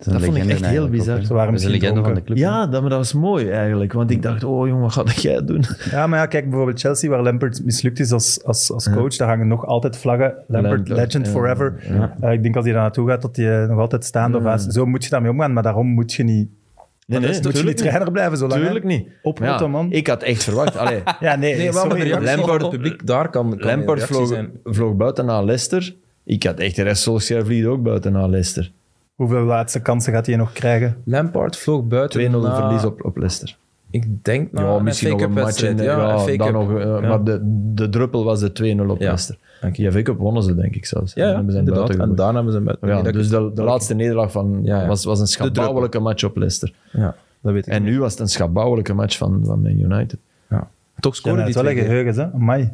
S3: is een
S2: Dat vond ik
S3: legende
S2: echt heel
S3: eigenlijk ook,
S2: bizar.
S3: hè.
S4: Ze waren
S3: Dat is een
S4: misschien
S3: legende van de
S4: dronken.
S3: club.
S2: Ja, dat, maar dat was mooi eigenlijk. Want ik dacht, oh jongen, wat ga jij doen?
S4: Ja, maar ja, kijk, bijvoorbeeld Chelsea, waar Lampert mislukt is als, als, als coach, daar hangen nog altijd vlaggen. Lampert,
S2: Lampard,
S4: legend
S2: ja,
S4: forever. Eh, ik denk als hij daar naartoe gaat, dat hij eh, nog altijd staande of haast- Zo moet je daarmee omgaan, maar daarom moet je niet,
S2: Nee, nee,
S4: moet je niet
S2: tuurlijk niet.
S4: trainer blijven zo lang. hè?
S2: Tuurlijk niet.
S4: Op
S2: Maar ja,
S4: Otto, man.
S2: Ik had echt verwacht. Allee,
S4: Ja, nee,
S1: Nee, wel
S4: sorry,
S1: met de reactie
S2: Lampard-
S1: van het publiek. Daar kan, kan een
S2: (laughs) Lampard
S1: reactie
S2: vloog,
S1: zijn.
S2: vloog buiten naar Leicester. Ik had echt de rest Solskjaer vliegt ook buiten naar Leicester. 2-0
S4: Hoeveel laatste kansen gaat hij nog krijgen?
S1: Lampard vloog buiten na-
S2: verlies op, op Leicester.
S1: Ik denk na een FA Cup Ah, wedstrijd.
S2: en-
S1: Ja,
S2: ja,
S1: FA
S2: dan
S1: Cup.
S2: nog, eh,
S1: Ja.
S2: Maar de, de druppel was de 2-0 op
S1: Ja.
S2: Leicester.
S1: Dank je.
S2: Die FA Cup wonnen ze, denk ik zelfs.
S1: Ja,
S2: En
S1: ja,
S2: dan hebben ze hem
S1: inderdaad. En
S2: buiten
S1: daarna hebben ze hem
S2: gegooid.
S1: buiten.
S2: ja,
S1: Nee, dat-
S2: dus de, de laatste nederlaag van,
S1: Ja, ja.
S2: Was, was een
S1: druppel.
S2: schabouwelijke match op Leicester.
S1: ja, dat weet ik.
S2: En nu was het een schabouwelijke match van, van Man United.
S1: Ja. Toch
S4: Ja,
S1: scoren
S4: dat
S1: die
S4: is wel
S1: twee
S4: een
S1: keer.
S4: geheugen, hè? Amai.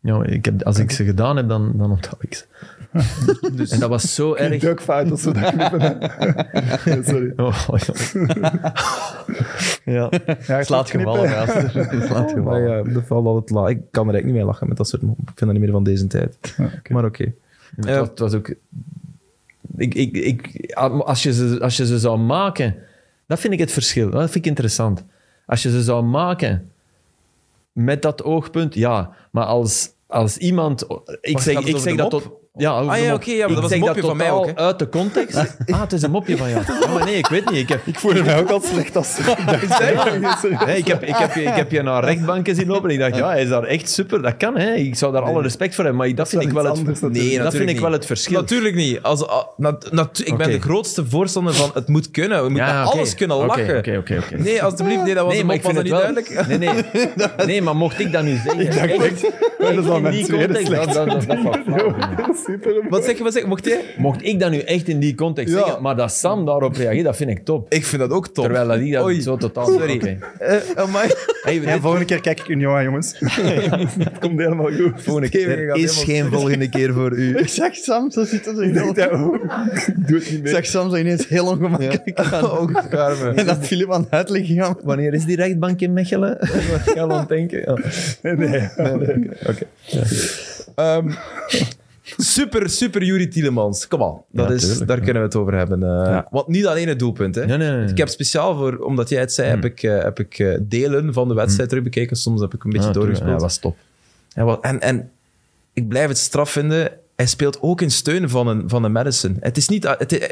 S2: Ja, maar ik heb, als ik ze gedaan heb, dan, dan onthoud
S1: (laughs)
S2: ik ze.
S1: Dus-
S2: En dat was zo erg.
S4: fout als we dat knippen. (laughs) Ja, Sorry.
S2: Oh, (laughs)
S1: (laughs)
S2: ja. ja.
S4: Ja,
S3: Slaat gevallen, gasten.
S2: (laughs)
S3: Slaat
S1: Oh, Maar
S3: gevallen.
S1: ja, dat valt altijd laag. Ik kan er eigenlijk niet mee lachen met dat soort... mo- Ik vind dat niet meer van deze tijd. Maar oké.
S2: Het, was,
S1: Eh,
S2: het was ook... Ik, ik, ik, ah, als, je ze, als je ze zou maken... Dat vind ik het verschil. Dat vind ik interessant. Als je ze zou maken met dat oogpunt, ja. Maar als, als iemand... Ik
S1: Wacht,
S2: zeg,
S1: gaat het
S2: ik
S1: over
S2: zeg
S1: de
S2: dat
S1: mop?
S2: tot... Ja, over
S1: Ah
S2: de
S1: ja,
S2: mop.
S1: oké, ja, maar
S2: Ik
S1: dat was een
S2: zeg
S1: mopje van mij
S2: totaal
S1: ook, hè?
S2: uit de
S1: (laughs)
S2: context. Ah, het is een mopje van jou. Ja, maar nee, ik weet niet. Ik heb,
S4: voelde mij ook al slecht als (laughs)
S2: Hè, ik, heb, ik, heb, je- ik heb je naar rechtbanken zien lopen en ik dacht, ja, hij is daar echt super. Dat kan, hè. Ik zou daar alle respect voor hebben, maar dat, vind
S4: wel
S2: ik wel
S4: iets
S2: het...
S4: anders
S2: nee,
S4: natuurlijk.
S1: Nee,
S2: dat vind
S1: natuurlijk
S2: ik wel
S1: niet.
S2: het verschil.
S1: Natuurlijk niet. Als, a- nat- natu- ik ben
S2: Oké.
S1: de grootste voorstander van het moet kunnen. We moeten
S2: Ja,
S1: met
S2: oké.
S1: alles kunnen
S2: Oké,
S1: lachen.
S2: oké, oké, oké.
S1: Nee, alstublieft. Nee, dat was,
S2: Nee,
S1: een
S2: maar
S1: mop,
S2: ik vind
S1: was dat
S2: het
S1: niet
S2: wel...
S1: duidelijk.
S2: Nee, (laughs) nee. nee, maar mocht ik dat nu zeggen? Ik dacht echt,
S4: dat is al
S2: in
S4: mijn
S2: die
S4: tweede
S2: context... Dat, dat, dat, dat was (laughs) flauw.
S4: Super.
S1: Wat zeg je? Wat zeg je? Mocht jij?
S2: mocht ik dat nu echt in die context
S1: Ja.
S2: zeggen, maar dat Sam daarop reageert, dat vind (laughs) ik top.
S1: Ik vind dat ook top.
S2: Terwijl dat ik dat
S1: Oei.
S2: zo totaal...
S1: Sorry.
S2: Oké.
S1: Eh, amai.
S2: Hey,
S4: En
S2: dit-
S4: volgende keer kijk ik Union aan, jongens. Het komt helemaal goed.
S1: Volgende keer
S3: Er
S1: gaat
S3: is
S1: helemaal-
S3: geen volgende
S1: (laughs)
S3: keer voor u.
S5: Ik zag Sam zo zitten. Zo
S4: Ik
S5: heel,
S4: dacht,
S3: (laughs)
S4: ja, oh, ik doe het niet
S5: ik
S4: meer.
S5: zag Sam zo ineens heel ongemakkelijk
S3: (laughs)
S5: gaan.
S1: Ook schermen.
S5: En dat Filip aan het uitleggen ging.
S2: Wanneer is die rechtbank in Mechelen? Ik ga wel denken. Ja.
S4: Nee,
S1: (laughs)
S4: nee.
S1: Ehm, super, super Juri Tielemans. Kom aan. Dat
S2: Ja,
S1: is,
S2: tuurlijk,
S1: daar kunnen we het over hebben. eh. Want niet alleen het doelpunt. Hè.
S2: Nee, nee, nee.
S1: Ik heb speciaal voor, omdat jij het zei,
S2: Hmm.
S1: heb ik, eh, heb ik eh, delen van de wedstrijd terugbekeken. Soms heb ik een beetje
S2: Ah, tuurlijk. Hmm. Ja,
S1: doorgespeeld.
S2: dat was top.
S1: Hij wa- en, en ik blijf het straf vinden. Hij speelt ook in steun van een, van een Madison. Het is niet, het,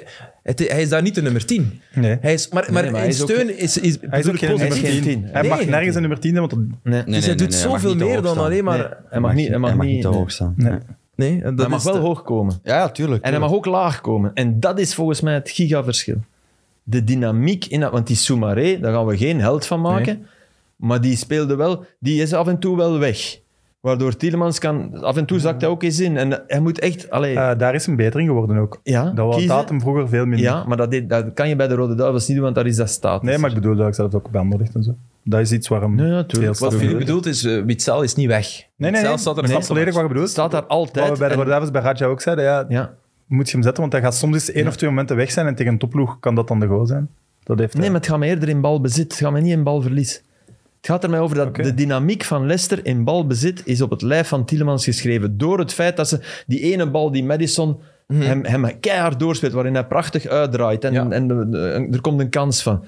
S1: het, hij is daar niet de nummer 10.
S4: Nee.
S1: Hij is, maar maar
S2: maar hij
S1: in
S2: is ook-
S1: steun is, is,
S4: Hij is ook geen
S2: Hij is
S4: nummer
S2: geen
S4: 10.
S2: tien.
S4: Hij
S1: Nee,
S4: mag
S1: geen
S4: nergens een nummer 10 want dat...
S2: Nee.
S1: dus hij doet zoveel meer dan alleen maar...
S2: Nee, hij mag niet, hij mag niet,
S3: te
S2: nee.
S3: hoog staan.
S4: Nee.
S3: Ja.
S1: Nee, en dat
S2: hij mag
S1: is
S2: wel
S1: de-
S2: hoog komen.
S3: Ja, ja, tuurlijk.
S2: En hij mag ook laag komen. En dat is volgens mij het gigaverschil. De dynamiek in dat... Want die Soumaré, daar gaan we geen held van maken. Maar die speelde wel... Die is af en toe wel weg. Waardoor Tielemans kan... Af en toe zakt hij ook eens in. En hij moet echt... Allee,
S4: Eh, daar is een betering geworden ook.
S2: Ja,
S4: dat was
S2: kiezen.
S4: dat hem vroeger veel minder.
S2: ja, maar dat, deed- dat kan je bij de Rode Duivels niet doen, want daar is dat status.
S4: Nee, maar ik bedoel dat ik zelf ook bij Anderlecht en zo. Dat is iets waar hem
S2: Ja, ja, tuurlijk.
S4: veel
S1: Wat
S4: staat.
S1: Filip bedoelt is, eh, Witzel is niet weg.
S4: Nee, nee, nee.
S1: Witzel staat er
S4: nee,
S1: vast op.
S4: volledig wat je bedoelt.
S2: staat daar altijd.
S4: Wat we bij de
S2: en-
S4: Rode Duivels bij Raja ook zeiden, ja,
S2: ja.
S4: moet je hem zetten, want hij gaat soms eens één of twee momenten weg zijn en tegen een topploeg kan dat dan de goal zijn. Dat heeft hij.
S2: Nee, maar het gaat me eerder in balbezit. Het gaat me niet in balverlies. Het gaat er mij over dat
S4: Oké.
S2: de dynamiek van Leicester in balbezit is op het lijf van Tielemans geschreven. Door het feit dat ze die ene bal die Madison hem, hem keihard doorspeelt, waarin hij prachtig uitdraait en,
S1: Ja.
S2: en de- de- er komt een kans van.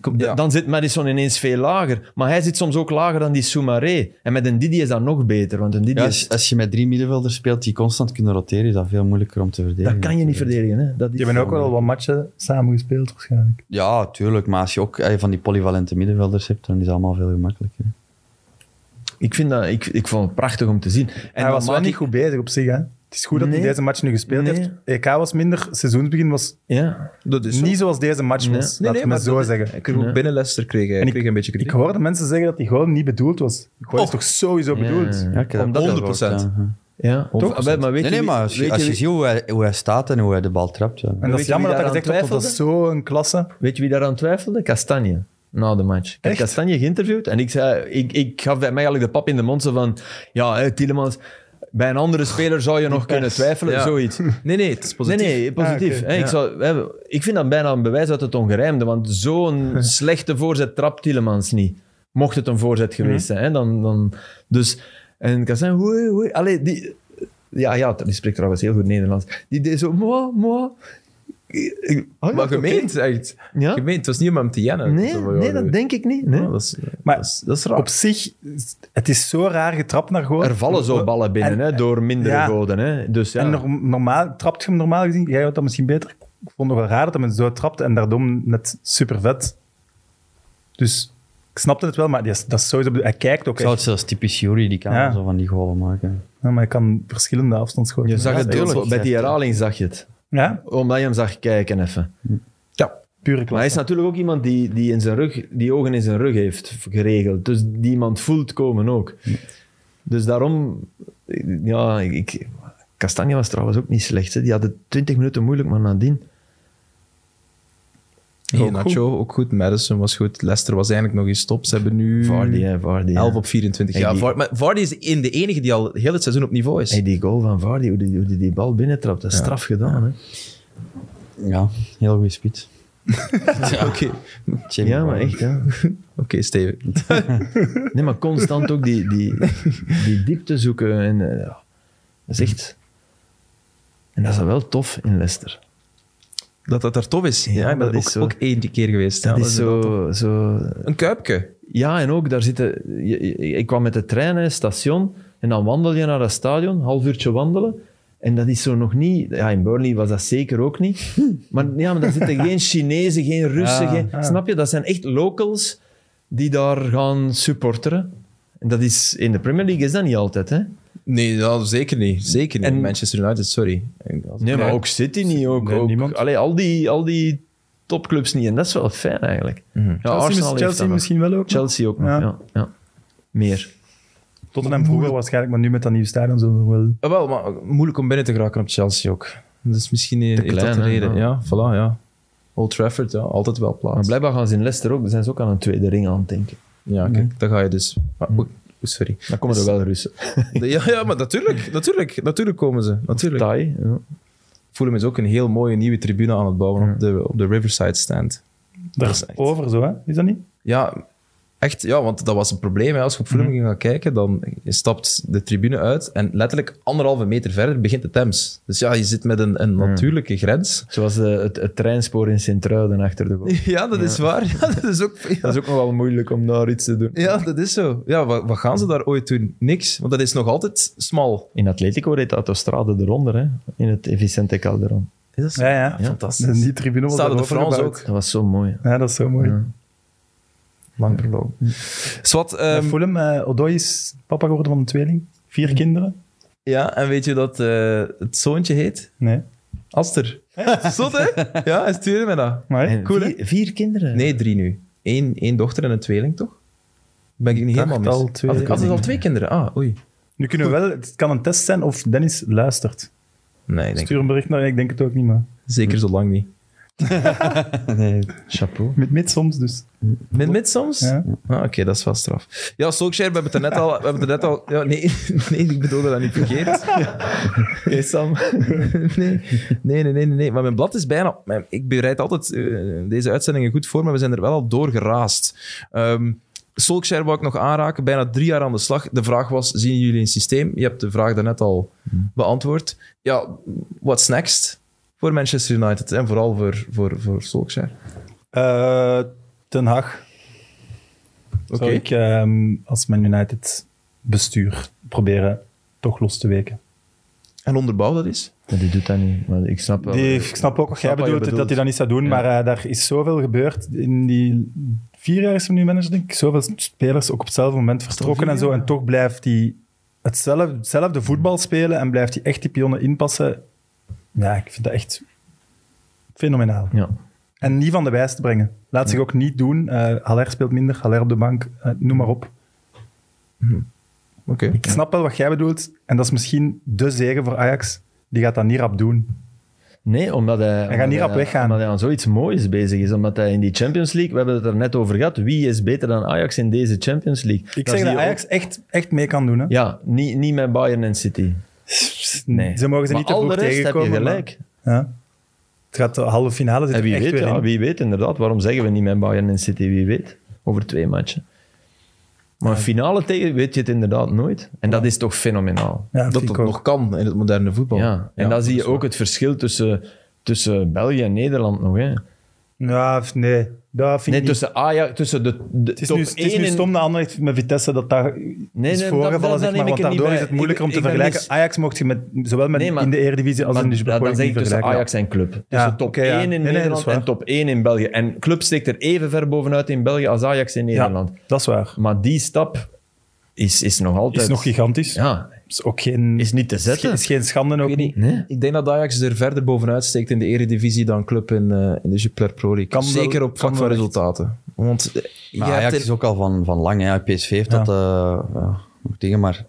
S2: Kom-
S1: Ja.
S2: Dan zit Madison ineens veel lager. Maar hij zit soms ook lager dan die Soumaré. En met een Didi is dat nog beter. Want een Didi
S3: Ja,
S2: is,
S3: als, als je met drie middenvelders speelt die constant kunnen roteren, is dat veel moeilijker om te verdedigen.
S2: dat kan je niet verdedigen. Hè? Dat is,
S4: Je bent ook wel al wat matchen samen gespeeld waarschijnlijk.
S3: Ja, tuurlijk. Maar als je ook eh, van die polyvalente middenvelders hebt, dan is het allemaal veel gemakkelijker.
S2: ik, vind dat, ik, ik vond het prachtig om te zien. En
S4: hij
S2: dan
S4: was wel
S2: maak
S4: niet
S2: ik-
S4: goed bezig op zich, hè. Het is goed dat
S2: Nee.
S4: hij deze match nu gespeeld
S2: Nee.
S4: heeft. EK was minder, seizoensbegin was
S2: Ja.
S1: Dat is zo.
S4: niet zoals deze match
S2: Nee.
S4: was. Laat me zo
S1: dat-
S4: zeggen.
S1: Ik kreeg ook binnen Leicester kreeg, hij-
S4: En ik-
S1: kreeg hij een beetje
S4: Ik
S1: kritiek.
S4: hoorde mensen zeggen dat die goal niet bedoeld was. Goal is
S1: Oh.
S4: toch sowieso bedoeld?
S2: Ja,
S3: Ja, ik heb dat ook
S1: 100%.
S3: gehoord, ja.
S2: Ja, toch? Maar weet
S3: Nee,
S2: je
S3: nee,
S2: wie-
S3: maar als,
S2: weet
S3: je- als
S2: je
S3: je
S2: wie-
S3: ziet hoe hij, hoe hij staat en hoe hij de bal trapt. Ja.
S4: En dat is
S2: je wie
S4: jammer dat hij
S2: daaraan
S4: gezegd wordt, dat is zo'n klasse.
S2: Weet je wie daaraan twijfelde? Castanje. Na de match. Ik heb
S4: Echt?
S2: Castanje geïnterviewd en ik, zei, ik, ik gaf mij eigenlijk de pap in de mond zo van... Ja, hè, Tielemans, bij een andere speler zou je nog kunnen twijfelen,
S1: Ja.
S2: zoiets.
S1: Nee, nee, het is positief.
S2: Nee, nee, positief.
S4: Ah,
S2: hè,
S4: oké.
S2: ik,
S1: Ja.
S2: zou, hè, ik vind dat bijna een bewijs uit het ongerijmde, want zo'n slechte voorzet trapt Tielemans niet. Mocht het een voorzet geweest zijn. Hè, dan, dan, dus, en Kazijn, hoe, hoe, allee, die... Ja, ja, die spreekt trouwens heel goed Nederlands. Die deed zo, moi, moi. Ik- ik- Ah,
S1: Maar
S2: oké.
S1: gemeend, echt.
S2: Ja?
S1: Gemeend. Het was niet om hem te jennen.
S2: Nee,
S1: Zo van,
S2: nee,
S1: ja,
S2: dat denk ik niet.
S1: ja,
S2: Nee.
S1: dat is, eh,
S4: Maar
S1: dat is, dat is raar.
S4: Op zich, het is zo raar getrapt naar goal.
S2: Er vallen zo ballen binnen
S4: En-
S2: hè, door mindere
S4: ja.
S2: goden. Hè. Dus ja.
S4: En nor- normaal, trapt je hem normaal gezien? Jij houdt dat misschien beter. Ik vond het wel raar dat hij hem zo trapt en daardoor net super vet. Dus ik snapte het wel, maar die is- dat is sowieso... bedo- Hij kijkt ook
S3: Ik zou
S4: echt.
S3: het zelfs typisch Jury, die kan
S4: Ja.
S3: zo van die golen maken.
S4: Ja, maar hij kan verschillende afstandsschoten.
S2: je zag
S3: Ja,
S2: het heel
S3: tuurlijk.
S2: zo- bij die herhaling zag je het.
S4: Ja,
S2: Omdat je hem zag kijken even.
S4: pure
S2: Maar hij is
S4: klasse.
S2: natuurlijk ook iemand die, die, in zijn rug, die ogen in zijn rug heeft geregeld. Dus die iemand voelt komen ook. Dus daarom... Ja, ik... Kastanje was trouwens ook niet slecht. Hè. Die had het 20 minuten moeilijk, maar nadien...
S1: Hey,
S4: ook
S1: Nacho ook goed. Madison was goed. Leicester was eigenlijk nog eens top. Ze hebben nu
S2: Vardy, hè, Vardy. hè.
S1: 11 Hmm. op 24.
S2: Hey,
S1: Ja,
S2: die-
S1: Var- maar Vardy is in de enige die al heel het seizoen op niveau is.
S2: Hey, die goal van Vardy, hoe die, hoe die, die bal binnentrapt, dat is straf gedaan. Hè.
S3: Ja, heel goede spits.
S1: (laughs) Oké,
S3: Jamie
S2: Ja, maar
S3: Vardy.
S2: echt. Hè.
S1: Oké, Steven.
S2: Nee, maar constant ook die, die, die diepte zoeken. En, eh, ja. Dat is echt... En dat is dan wel tof in Leicester.
S1: Dat dat daar tof is. Ja, ik ben
S2: dat
S1: ook,
S2: is zo.
S1: ook één keer geweest.
S2: Dat
S1: Ja,
S2: is zo, zo...
S1: Een kuipje.
S2: Ja, en ook daar zitten... je- je- Ik kwam met de trein naar het station en dan wandel je naar het stadion, half uurtje wandelen. En dat is zo nog niet... Ja, in Burnley was dat zeker ook niet. Maar, ja, maar daar zitten geen Chinezen, geen Russen.
S3: Ja,
S2: geen- Snap je? Dat zijn echt locals die daar gaan supporteren. En dat is... In de Premier League is dat niet altijd, hè?
S1: Nee, dat zeker niet. Zeker niet.
S2: En-
S1: Manchester United, sorry.
S2: Nee, maar ook City niet. Ook,
S4: Nee,
S2: ook-
S4: niemand.
S2: Allee, al, die, al die topclubs niet. En dat is wel fijn eigenlijk. Ja,
S4: Chelsea,
S2: Arsenal heeft dat
S4: Chelsea
S2: nog.
S4: misschien wel ook.
S2: Chelsea ook nog,
S4: Ja.
S2: ja. ja, Meer.
S4: Tottenham vroeger waarschijnlijk, maar nu met dat nieuwe stadion zullen we wel...
S1: Ah, wel, maar moeilijk om binnen te geraken op Chelsea ook. Dus misschien heeft dat
S2: klein,
S1: de
S2: hè,
S1: reden.
S2: ja.
S1: Ja, voilà, ja. Old Trafford, ja, altijd wel
S2: Maar
S1: plaats.
S2: blijkbaar gaan ze in Leicester ook. Daar zijn ze ook aan een tweede ring aan het denken.
S1: Ja, kijk, daar ga je dus. Maar,
S2: Hm.
S1: oei, sorry.
S2: Dan komen er wel Russen.
S1: De- Ja, ja maar natuurlijk, natuurlijk. Natuurlijk komen ze. Natuurlijk.
S2: Thai. Ja.
S1: Fulham is dus ook een heel mooie nieuwe tribune aan het bouwen op, de, op de Riverside Stand.
S4: Daar
S1: is echt-
S4: over zo, hè? Is dat niet?
S1: Ja, echt. Ja, want dat was een probleem. Hè. Als je op
S2: Hm.
S1: Fulham ging gaan kijken, dan je stapt de tribune uit en letterlijk anderhalve meter verder begint de Thames. Dus ja, je zit met een, een
S2: Hm.
S1: natuurlijke grens. (laughs)
S2: Zoals eh, het, het treinspoor in Sint-Truiden achter de goal.
S1: Ja, dat is waar. (laughs) Ja, dat is ook...
S2: Dat is ook nog wel moeilijk om daar iets te doen.
S1: Ja, dat is zo. Ja, wat, wat gaan ze daar ooit doen? Niks. Want dat is nog altijd smal.
S2: In Atletico reed de autostrade eronder, hè. In het Vicente Calderon.
S1: Is dat zo?
S4: Ja, ja.
S1: Fantastisch.
S4: Die tribune was
S1: Stade de
S4: daarover
S1: France
S4: gebouwd.
S1: ook.
S2: Dat was zo mooi. hè.
S4: Ja, dat is zo mooi.
S1: Lang verlopen. Swat,
S4: Bij
S1: ehm,
S4: Fulham, eh, Odoi is papa geworden van een tweeling. Vier kinderen.
S1: ja, en weet je dat eh, het zoontje heet?
S4: Nee.
S1: Aster. Zot, hè? Ja, hij stuurde me dat.
S4: Maar,
S2: En
S4: cool, hè?
S2: vier, vier kinderen.
S1: Nee, drie nu. Eén, één dochter en een tweeling, toch? Ben ik niet helemaal mis?
S4: al twee.
S1: Had ik altijd al twee kinderen? Ah, oei.
S4: Nu kunnen we wel... Het kan een test zijn of Dennis luistert.
S1: Nee, ik denk
S4: Stuur een bericht naar... Ik denk het ook niet, maar...
S1: zeker zo lang niet.
S3: (laughs) Nee,
S2: Chapeau.
S4: Met mid soms, dus.
S1: Met mid soms?
S4: Ja.
S1: Ah, Oké, dat is wel straf. Ja, Solskjaer, we hebben het er net al... We hebben het er net al ja, nee, (laughs) nee, ik bedoelde dat niet verkeerd.
S2: Hey Sam.
S1: (laughs) nee. Nee, nee, nee, nee, nee. Maar mijn blad is bijna... mijn- ik bereid altijd eh, deze uitzendingen goed voor, maar we zijn er wel al door geraast. Ehm Solskjaer wou ik nog aanraken. Bijna drie jaar aan de slag. De vraag was, zien jullie een systeem? Je hebt de vraag daarnet al beantwoord. Ja, what's next? Voor Manchester United en vooral voor, voor, voor Solskjaer.
S4: Eh, Ten Hag.
S1: Oké.
S4: Zou ik ehm, als Man United bestuur proberen toch los te weken.
S1: En onderbouw dat is?
S2: Maar die doet dat niet. Maar ik snap wel.
S4: Die, ik eh, snap ook wat jij
S2: snap wat je
S4: bedoelt, dat
S2: bedoelt.
S4: hij dat niet zou doen, maar eh, daar is zoveel gebeurd. In die vier jaar is hij nu manager, denk ik. Zoveel spelers ook op hetzelfde moment vertrokken en zo. En toch blijft die hetzelfde, hetzelfde voetbal spelen en blijft hij echt die pionnen inpassen. Ja, ik vind dat echt fenomenaal.
S2: Ja.
S4: En niet van de wijs te brengen. Laat zich ook niet doen. Eh Haller speelt minder, Haller op de bank, eh, noem maar op.
S2: Oké.
S4: Ik snap wel wat jij bedoelt. En dat is misschien de zegen voor Ajax. Die gaat dat niet rap doen.
S2: Nee, omdat hij...
S4: gaat
S2: omdat
S4: niet rap weggaan.
S2: Omdat hij aan zoiets moois bezig is. Omdat hij in die Champions League... We hebben het er net over gehad. Wie is beter dan Ajax in deze Champions League?
S4: Ik zeg
S2: zie
S4: dat
S2: je
S4: Ajax echt, echt mee kan doen. Hè?
S2: ook- ja, niet, niet met Bayern en City. nee.
S4: Ze mogen ze
S2: maar
S4: niet te
S2: al
S4: vroeg
S2: de rest
S4: tegenkomen.
S2: heb je
S4: maar-
S2: gelijk.
S4: Ja. Het gaat de halve finale
S2: En
S4: zitten
S2: wie
S4: echt
S2: weet,
S4: weer
S2: ja,
S4: in.
S2: wie weet inderdaad. Waarom zeggen we niet met Bayern en City? Wie weet. Over twee matchen. Maar finale tegen weet je het inderdaad nooit. En dat is toch fenomenaal.
S4: Ja,
S1: dat
S4: vind
S1: dat
S4: ik ook.
S1: nog kan in het moderne voetbal.
S2: Ja. En dan zie je
S1: dat is
S2: ook het verschil tussen, tussen België en Nederland nog. Hè.
S4: Ja, of nee. Dat vind
S2: Nee,
S4: ik niet.
S2: tussen Ajax, tussen de, de
S4: Het is,
S2: top
S4: nu, het is
S2: 1
S4: nu
S2: en-
S4: stom dat Anderlecht met Vitesse dat daar
S2: nee,
S4: is
S2: dat-
S4: voorgevallen,
S2: dat- dat
S4: zeg
S2: neem
S4: maar,
S2: ik
S4: want
S2: er niet
S4: daardoor
S2: bij.
S4: is het moeilijker
S2: Ik-
S4: om te
S2: ik ben
S4: vergelijken.
S2: mis-
S4: Ajax mocht je met, zowel met,
S2: Nee, maar-
S4: in de Eredivisie als
S2: Maar
S4: in de Super
S2: dat- dan
S4: League
S2: zeg ik
S4: niet
S2: tussen
S4: vergelijken.
S2: Ajax en club.
S4: Ja,
S2: tussen top
S4: oké, ja.
S2: 1 in
S4: Nee, nee, dat is
S2: Nederland
S4: waar.
S2: en top 1 in België. En club steekt er even ver bovenuit in België als Ajax in Nederland.
S4: Ja, dat is waar.
S2: Maar die stap is, is nog altijd...
S4: Is nog gigantisch.
S2: Ja,
S4: Is ook geen,
S2: is niet te
S4: is geen,
S2: zetten.
S4: is geen schande. Ook.
S1: Ik, weet niet.
S2: Nee.
S1: ik denk dat Ajax er verder bovenuit steekt in de eredivisie dan club in, eh, in de Jupiler Pro League.
S4: Kan wel-
S1: Zeker op
S4: kan
S1: vlak van
S4: wel echt.
S1: resultaten. Want eh, je
S3: Maar
S1: hebt
S3: Ajax
S1: er-
S3: is ook al van, van lang. Hè. PSV heeft dat eh, ja, nog tegen, maar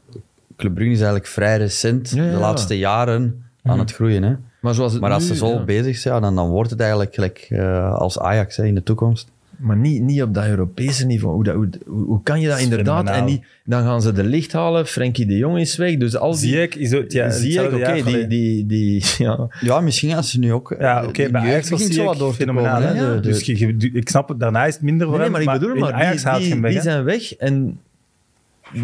S3: Club Brugge is eigenlijk vrij recent,
S2: Ja, ja,
S3: de
S2: ja.
S3: laatste jaren, aan het groeien. Hè.
S2: Maar, zoals het
S3: Maar als
S2: nu-
S3: ze zo
S2: ja.
S3: bezig zijn, dan, dan wordt het eigenlijk gelijk, eh, als Ajax hè, in de toekomst.
S2: Maar niet, niet op dat Europese niveau. Hoe, dat, hoe, hoe hoe kan je dat
S4: Dat is
S2: inderdaad? En
S4: fenomenaal.
S2: niet, dan gaan ze de licht halen. Frenkie de Jong is weg. Dus al die...
S4: Ziyech is ook... Ja,
S2: Zie ik,
S4: hetzelfde
S2: oké,
S4: jaar
S2: die,
S4: geleden.
S2: die, die, ja.
S3: Ja, misschien als ze nu ook... eh,
S4: Ja,
S3: de-
S4: oké,
S3: de
S4: bij
S3: jeugd
S4: Ajax was
S3: begint zo
S4: Ziyech
S3: wat door te
S4: fenomenaal.
S3: komen. Hè.
S4: hè.
S3: De- de-
S4: Dus je- je- du- ik snap het, daarna is het minder voor
S2: Nee,
S4: hem.
S2: maar ik bedoel,
S4: in
S2: maar
S4: Ajax
S2: die,
S4: haalt
S2: die,
S4: geen weg,
S2: die
S4: hè.
S2: zijn weg en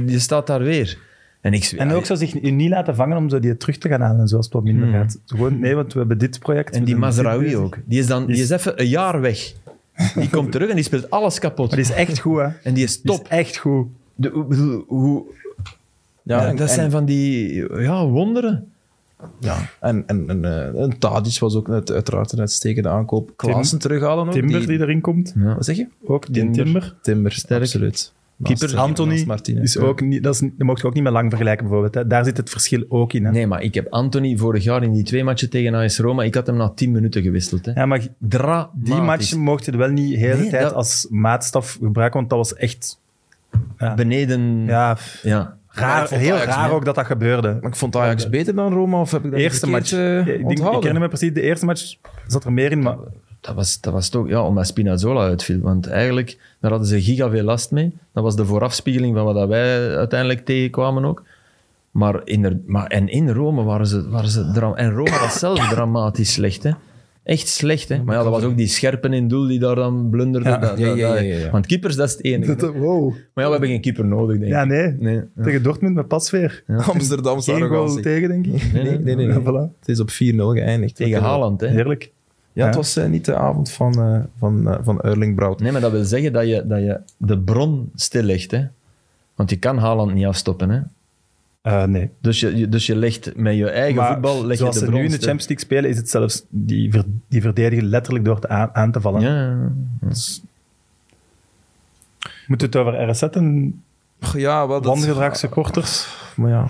S2: je staat daar weer. En ik zweer-
S4: En ook zo zich niet laten vangen om zo die terug te gaan halen, zoals het wat minder gaat. Zo Gewoon, nee, want we hebben dit project.
S2: en
S4: we
S2: die
S4: doen dit
S2: Mazraoui
S4: bezig.
S2: ook. Die is, dan, die is even een jaar weg. Die komt terug en die speelt alles kapot.
S4: Maar die is echt goed, hè.
S2: (laughs) en die is
S4: Die
S2: top.
S4: is echt goed.
S2: De- hoe- hoe- hoe,
S1: ja,
S2: dat
S1: en-
S2: zijn van die ja, wonderen.
S1: Ja, en, en, en, eh, en Tadic was ook net, uiteraard een uitstekende aankoop. Klaassen terughalen ook.
S4: Timber die, erin komt.
S2: Ja.
S1: Wat zeg je?
S4: Ook die Timber.
S1: Timber, absoluut. Naast- eh,
S2: Keeper,
S1: naast
S4: Anthony
S1: Martinez,
S4: is
S1: ja.
S4: ook niet, dat, is, niet- dat mocht je ook niet met Lang vergelijken, bijvoorbeeld. Hè. Daar zit het verschil ook in. Hè.
S2: Nee, maar ik heb Anthony vorig jaar in die twee matchen tegen AS Roma, ik had hem na tien minuten gewisseld. Hè.
S4: Ja, maar
S2: Dramatisch.
S4: die match mocht je wel niet de hele
S2: Nee,
S4: tijd
S2: dat-
S4: als maatstaf gebruiken, want dat was echt ja.
S2: beneden. Ja.
S4: ja, f-
S1: Maar ik
S4: raar,
S1: vond
S4: heel
S1: Ajax,
S4: raar
S1: nee.
S4: ook dat dat gebeurde.
S1: Maar ik vond Ajax beter dan Roma, of heb ik dat
S4: De eerste
S1: verkeerd,
S4: match.
S1: eh,
S4: ik, denk- ik
S1: onthouden?
S4: herinner me precies, de eerste match zat er meer in, maar
S2: Dat, was, dat was toch ja, omdat Spinazzola uitviel. Want eigenlijk, daar hadden ze giga veel last mee. Dat was de voorafspiegeling van wat wij uiteindelijk tegenkwamen ook. Maar in, er- maar, en in Rome waren ze, waren ze dra- en Rome was zelf dramatisch slecht. Hè. Echt slecht, hè? Maar ja, dat was ook die scherpen in doel die daar dan blunderde.
S4: Ja.
S2: Dat- dat-
S1: Ja, ja, ja, ja,
S2: dat-
S1: ja.
S2: Want keepers, dat is het enige. hè.
S5: Wow.
S2: Maar ja, we hebben geen keeper nodig, denk ik.
S4: ja, nee.
S2: Nee, ja.
S4: Tegen Dortmund met Pasveer.
S1: (laughs) Amsterdamse
S4: Geen goal
S1: arrogantie.
S4: tegen, denk ik.
S1: Nee, nee, nee. nee.
S4: (laughs) Voilà.
S1: Het is op 4-0 geëindigd.
S2: Tegen
S1: Haaland.
S2: Haaland, hè?
S4: Heerlijk.
S1: Ja, het
S4: Ja.
S1: was eh, niet de avond van, eh van, eh, van Erling Braut.
S2: Nee, maar dat wil zeggen dat je, dat je de bron stillegt, hè? Want je kan Haaland niet afstoppen, hè?
S4: Eh, nee.
S2: Dus je, je- dus je legt met je eigen
S4: Maar
S2: voetbal leg je
S4: zoals
S2: de
S4: ze nu
S2: bron
S4: in de
S2: stil.
S4: Champions League spelen, is het zelfs die, ver- die verdedigen letterlijk door te aan, aan te vallen.
S2: Ja, ja, ja.
S4: Moeten we het over RSZ en
S1: Goh, Ja, wel, dat... Ah.
S4: wangedrag supporters?
S1: Maar ja.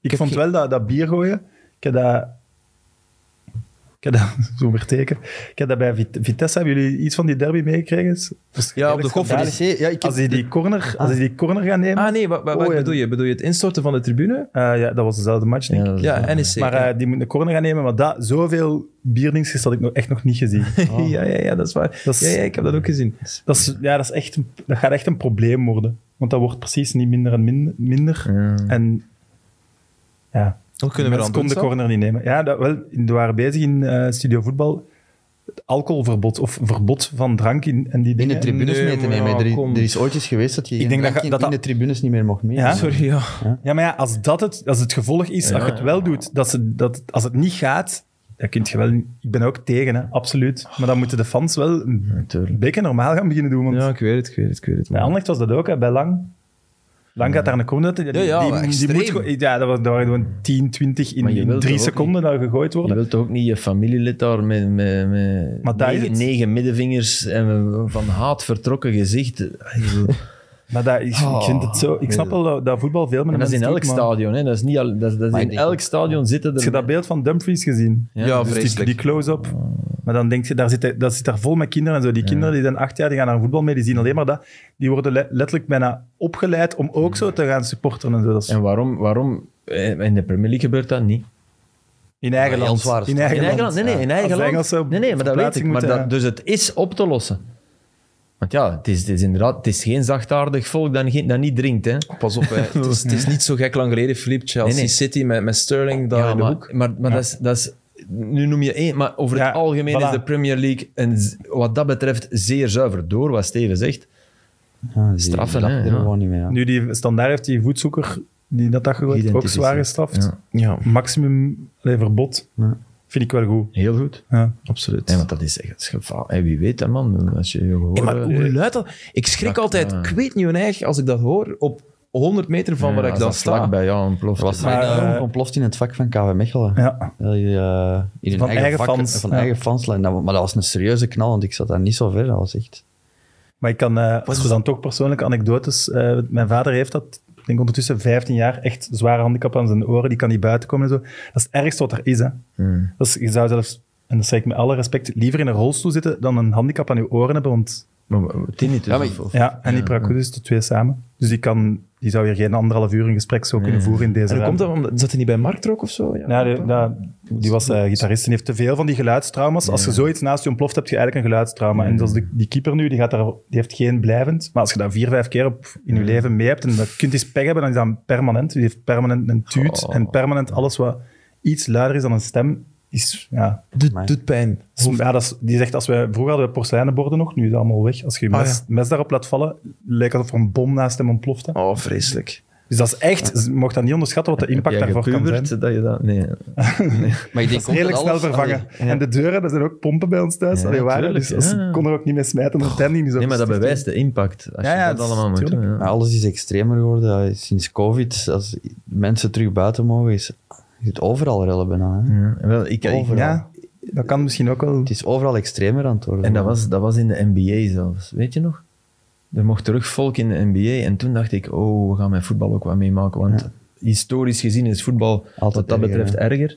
S4: Ik vond wel dat, dat bier gooien. Ik heb dat... Ik heb dat... (laughs) Zo weer teken. Ik heb dat bij Vit- Vitesse. Hebben jullie iets van die derby meegekregen? Dus Dat is
S1: Ja, op de
S4: redelijk
S1: koffer.
S4: schandalig.
S3: Ja, ik heb-
S4: Als die die corner, als die die corner gaan nemen...
S1: Ah nee, wat, wat, wat
S4: Oh, ja.
S1: bedoel je? Bedoel je het instorten van de tribune?
S4: eh, ja, dat was dezelfde match, denk ik.
S2: dat is-
S1: Ja, E NEC.
S4: Maar eh, die moet een corner gaan nemen, maar dat, zoveel bierdingsjes had ik nog, echt nog niet gezien.
S1: (laughs) ja, ja, ja, dat is waar.
S4: Dat is-
S1: Ja, ja, ik heb dat ook gezien.
S4: Dat, is, ja, dat, is echt, een- dat gaat echt een probleem worden. Want dat wordt precies niet minder en min- minder. En ja,
S1: Dan
S4: de mensen konden de corner niet nemen. Ja, dat wel, we waren bezig in eh, studio voetbal. Het alcoholverbod of verbod van drank in, en die
S3: In
S4: dingen.
S3: de tribunes
S1: Nee,
S3: mee te
S1: maar
S3: nemen.
S1: ja,
S3: er,
S1: kom.
S3: er is ooit eens geweest dat je geen
S4: denk dat
S3: drank
S4: je-
S3: in-
S4: dat
S3: in de
S4: dat-
S3: tribunes niet meer mocht mee.
S4: Ja?
S1: Sorry, ja.
S4: Ja, maar ja, als dat het, als het gevolg is, als je het wel doet, dat ze, dat, als het niet gaat, dan kun je wel... niet- Ik ben ook tegen, hè, absoluut. Maar dan moeten de fans wel een
S2: Natuurlijk.
S4: beetje normaal gaan beginnen doen. Want
S1: Ja, ik weet het, ik weet het, ik weet het.
S4: Bij
S1: maar-
S4: Anderlecht was dat ook, hè, bij Lang. Lang gaat daar een corner uit.
S1: Ja, ja, maar extreem.
S4: moet gewoon- ja, dat, was, dat waren gewoon 10, 20 in,
S2: Maar je
S4: in
S2: wilt
S4: drie
S2: toch ook
S4: seconden dat gegooid
S2: Je
S4: worden.
S2: wilt toch ook niet je familielid daar met, met, met
S4: Maar daar is
S2: negen,
S4: het.
S2: negen middenvingers en van haat vertrokken gezicht. Ik bedoel,
S4: Maar dat, ik, ik
S1: Oh,
S4: vind het zo... Ik snap wel dat, dat voetbal veel meer
S2: En dat is in
S4: mensen
S2: elk
S4: doet, maar-
S2: stadion. Hè. Dat is niet al, dat is, dat is
S3: Maar ik
S2: in
S3: denk-
S2: elk stadion zitten
S4: Heb je dat
S2: er...
S4: beeld van Dumfries gezien?
S1: Ja,
S4: Dus die-
S1: vreselijk.
S4: Die close-up. Maar dan denk je, daar zit, hij- dat zit daar vol met kinderen en zo. Die kinderen die zijn acht jaar, die gaan naar voetbal mee, die zien alleen maar dat. Die worden le- letterlijk bijna opgeleid om ook zo te gaan supporteren en zo. Dat is
S2: En waarom, waarom... eh, In de Premier League gebeurt dat niet.
S4: in eigen
S3: heel
S4: land.
S3: zwaar is
S4: in
S3: het.
S4: eigen
S2: In eigen
S4: land.
S2: land, nee, nee, in eigen
S4: Als
S2: land.
S4: Engelsen
S2: nee, nee, maar dat weet ik.
S4: verplaatsing
S2: Maar
S4: moeten,
S2: dat, dus het is op te lossen. Want ja, het is, het is inderdaad het is geen zachtaardig volk dat, geen- dat niet drinkt. Hè.
S1: Pas (laughs) op, hè. het, is, het is niet zo gek lang geleden, Philippe. Chelsea
S2: Nee, nee.
S1: City met, met Sterling daar
S2: Ja,
S1: in de
S2: maar,
S1: hoek.
S2: Maar, maar dat, is, dat is... Nu noem je één, maar over
S4: Ja,
S2: het algemeen
S4: voilà.
S2: is de Premier League een, z- wat dat betreft zeer zuiver. Door wat Steven zegt.
S3: Ja, die
S2: Straffen,
S3: dacht
S2: hè,
S3: er
S2: ja.
S3: gewoon niet meer aan.
S4: Nu die standaard heeft die voetzoeker die dat dag gegooid, heeft, ook
S2: Identificeerd.
S4: zwaar gestraft.
S2: Ja.
S1: Ja,
S4: Maximum allee, verbod.
S3: Ja.
S4: Vind ik wel goed.
S2: Heel goed.
S4: Ja.
S1: absoluut.
S2: Nee, want dat is echt het geval. En wie weet, hè, man. Als je je gehoor,
S1: Hey, maar
S2: eh,
S1: hoe luidt dat? Ik schrik
S2: dat-
S1: altijd,
S2: ja.
S1: ik weet niet hoe eigen, als ik dat hoor, op 100 meter van waar
S2: ja,
S1: ik
S2: als
S1: dan
S2: dat
S1: sta.
S2: vlak bij jou ontploft.
S3: Was
S4: Maar,
S3: er een
S4: eh,
S3: ontploft in het vak van KV Mechelen.
S4: Ja.
S3: Wel, je, eh, in hun
S4: Van eigen
S3: vak-
S4: fans,
S3: Van
S4: ja.
S3: eigen fans. En dat- Maar dat was een serieuze knal, want ik zat daar niet zo ver. Dat was echt...
S4: Maar ik kan, eh, als we dan toch persoonlijke anekdotes... eh, mijn vader heeft dat, ik denk ondertussen 15 jaar, echt zware handicap aan zijn oren. Die kan niet buiten komen en zo. Dat is het ergste wat er is, hè.
S2: Hmm.
S4: Dat is, je zou zelfs, en dat zeg ik met alle respect, liever in een rolstoel zitten dan een handicap aan je oren hebben. Want
S2: Maar, maar, tinnitus
S3: Ja, maar-
S2: of- of-
S4: ja, en die Prakudis, de twee samen. Dus die, kan, die zou hier geen anderhalf uur een gesprek zo kunnen voeren in deze
S1: En hoe komt
S4: ruimte.
S1: dat? Omdat, zat hij niet bij Marktrock of zo? Ja,
S4: Ja, die, dat- Nou, die was eh, gitarist en heeft te veel van die geluidstrauma's. Als je zoiets naast je ontploft, heb je eigenlijk een geluidstrauma. En zoals die, die keeper nu, die, gaat daar, die heeft geen blijvend. Maar als je dat vier, vijf keer op, in je leven mee hebt en dat kunt eens pech hebben, dan is dat permanent. Die heeft permanent een tuut en permanent alles wat iets luider is dan een stem. Is, ja,
S1: Doet, doet pijn.
S4: Hoe- Ja, dat is, die zegt, als wij, vroeger hadden we porseleinenborden nog, nu is dat allemaal weg. Als je je
S1: Ah,
S4: mes,
S1: ja.
S4: mes daarop laat vallen, lijkt alsof er een bom naast hem ontplofte.
S1: Oh, vreselijk.
S4: Dus dat is echt, je mocht dat niet onderschatten wat de
S2: Heb
S4: impact
S2: jij
S4: daarvoor kan zijn.
S2: gepubert dat je dat... Nee.
S3: Maar ik denk ook
S4: Redelijk
S3: dat
S4: snel
S3: alles-
S4: vervangen.
S3: Allee,
S4: En de deuren, er zijn ook pompen bij ons thuis.
S2: Ja,
S4: Allee, waren,
S2: tuurlijk,
S4: dus als,
S2: ja.
S4: ik kon er ook niet mee smijten, omdat Danny niet zo
S2: nee, maar dat
S4: verstikt
S2: bewijst de impact. Als
S4: Ja, ja,
S2: je dat
S4: dat is-
S2: allemaal moet doen.
S4: tuurlijk.
S2: ja.
S3: maar alles is extremer geworden. Ja, Sinds COVID, als mensen terug buiten mogen, is is het overal rellen bijna. Hè.
S2: Ja, wel, ik, ik-
S4: is. Ja, dat kan misschien ook wel.
S3: Het is overal extremer aan het worden.
S2: En dat was, dat was in de NBA zelfs, weet je nog? Er mocht terug volk in de NBA. En toen dacht ik, oh, we gaan met voetbal ook wat meemaken. Want historisch gezien is voetbal
S3: Altijd
S2: wat
S3: erger,
S2: dat betreft
S3: hè?
S2: erger.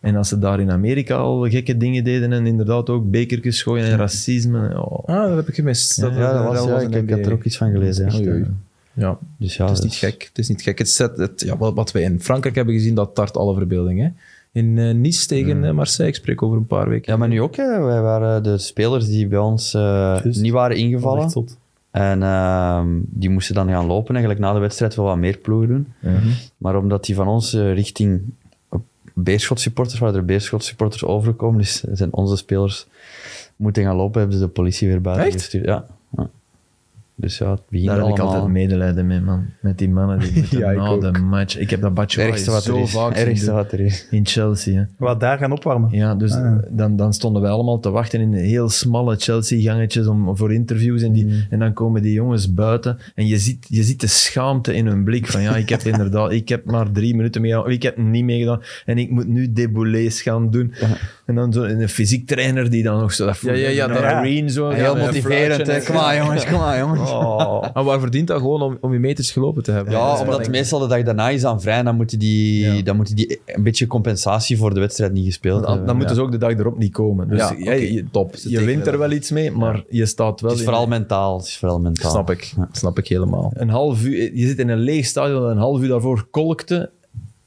S2: En als ze daar in Amerika al gekke dingen deden en inderdaad ook bekertjes gooien en racisme. Oh,
S1: Ah, dat heb ik gemist.
S3: Ja, ja, dat
S1: eh,
S3: was, ja,
S1: in
S3: ik, ik had
S1: NBA.
S3: er ook iets van gelezen. ja.
S2: echt, eh,
S1: Ja,
S3: Dus ja,
S1: het is
S3: dat
S1: niet gek. Het is niet gek. Het zet, het, ja, wat, wat wij in Frankrijk hebben gezien, dat tart alle verbeelding. Hè? In eh, Nice tegen eh, Marseille, ik spreek over een paar weken.
S3: Ja, maar nu ook. Hè. Wij waren de spelers die bij ons eh, niet waren
S4: Dat is
S3: ingevallen.
S4: echt zot.
S3: En ehm, die moesten dan gaan lopen eigenlijk na de wedstrijd wel wat meer ploegen doen.
S2: Mhm.
S3: Maar omdat die van ons eh, richting Beerschot supporters waren, er Beerschot supporters overgekomen, dus zijn onze spelers moeten gaan lopen, hebben ze de politie weer buiten
S1: Echt?
S3: gestuurd. Ja. ja. Dus ja, het begint
S2: daar heb ik
S3: allemaal...
S2: altijd medelijden mee, man. Met die
S3: (laughs)
S2: mannen die moeten
S3: Ja, ik
S2: na
S3: ook.
S2: de match... Ik heb dat
S3: het
S2: Batshuayi
S3: ergste wat er
S2: zo
S3: is.
S2: vaak zien
S3: ergste
S2: doen
S3: wat er is.
S2: in Chelsea. Hè.
S4: Wat daar gaan opwarmen.
S2: Ja, dus
S4: Ah, ja.
S2: Dan, dan stonden wij allemaal te wachten in heel smalle Chelsea-gangetjes om, voor interviews. En, die, en dan komen die jongens buiten en je ziet, je ziet de schaamte in hun blik. Van ja, ik heb inderdaad, ik heb maar drie minuten meegedaan, ik heb niet meegedaan en ik moet nu déboulés gaan doen. En dan zo, en een fysiek trainer die dan nog zo... Dat
S1: Ja, ja, ja,
S2: een
S1: dat-
S2: marine zo.
S3: Heel
S2: ja,
S3: motiverend, hè. Kom maar (laughs) jongens, kom maar jongens.
S2: Oh.
S1: En waar verdient dat gewoon om, om je meters gelopen te hebben?
S3: Ja,
S1: Dat is
S3: omdat
S1: wel-
S3: meestal de dag daarna is aan vrij en dan moeten die, dan moeten die een beetje compensatie voor de wedstrijd niet gespeeld
S2: Dan,
S3: hebben.
S2: dan moeten
S3: Ja.
S2: ze ook de dag erop niet komen. Dus
S1: Ja,
S2: jij-
S1: oké,
S2: je,
S1: top. Ze
S2: je wint
S1: tekenen
S2: er wel iets mee, maar je staat wel
S3: Het is
S2: in-
S3: vooral mentaal. Het is vooral mentaal.
S1: Snap ik. Snap ik helemaal.
S2: een half uur, je zit in een leeg stadion dat een half uur daarvoor kolkte.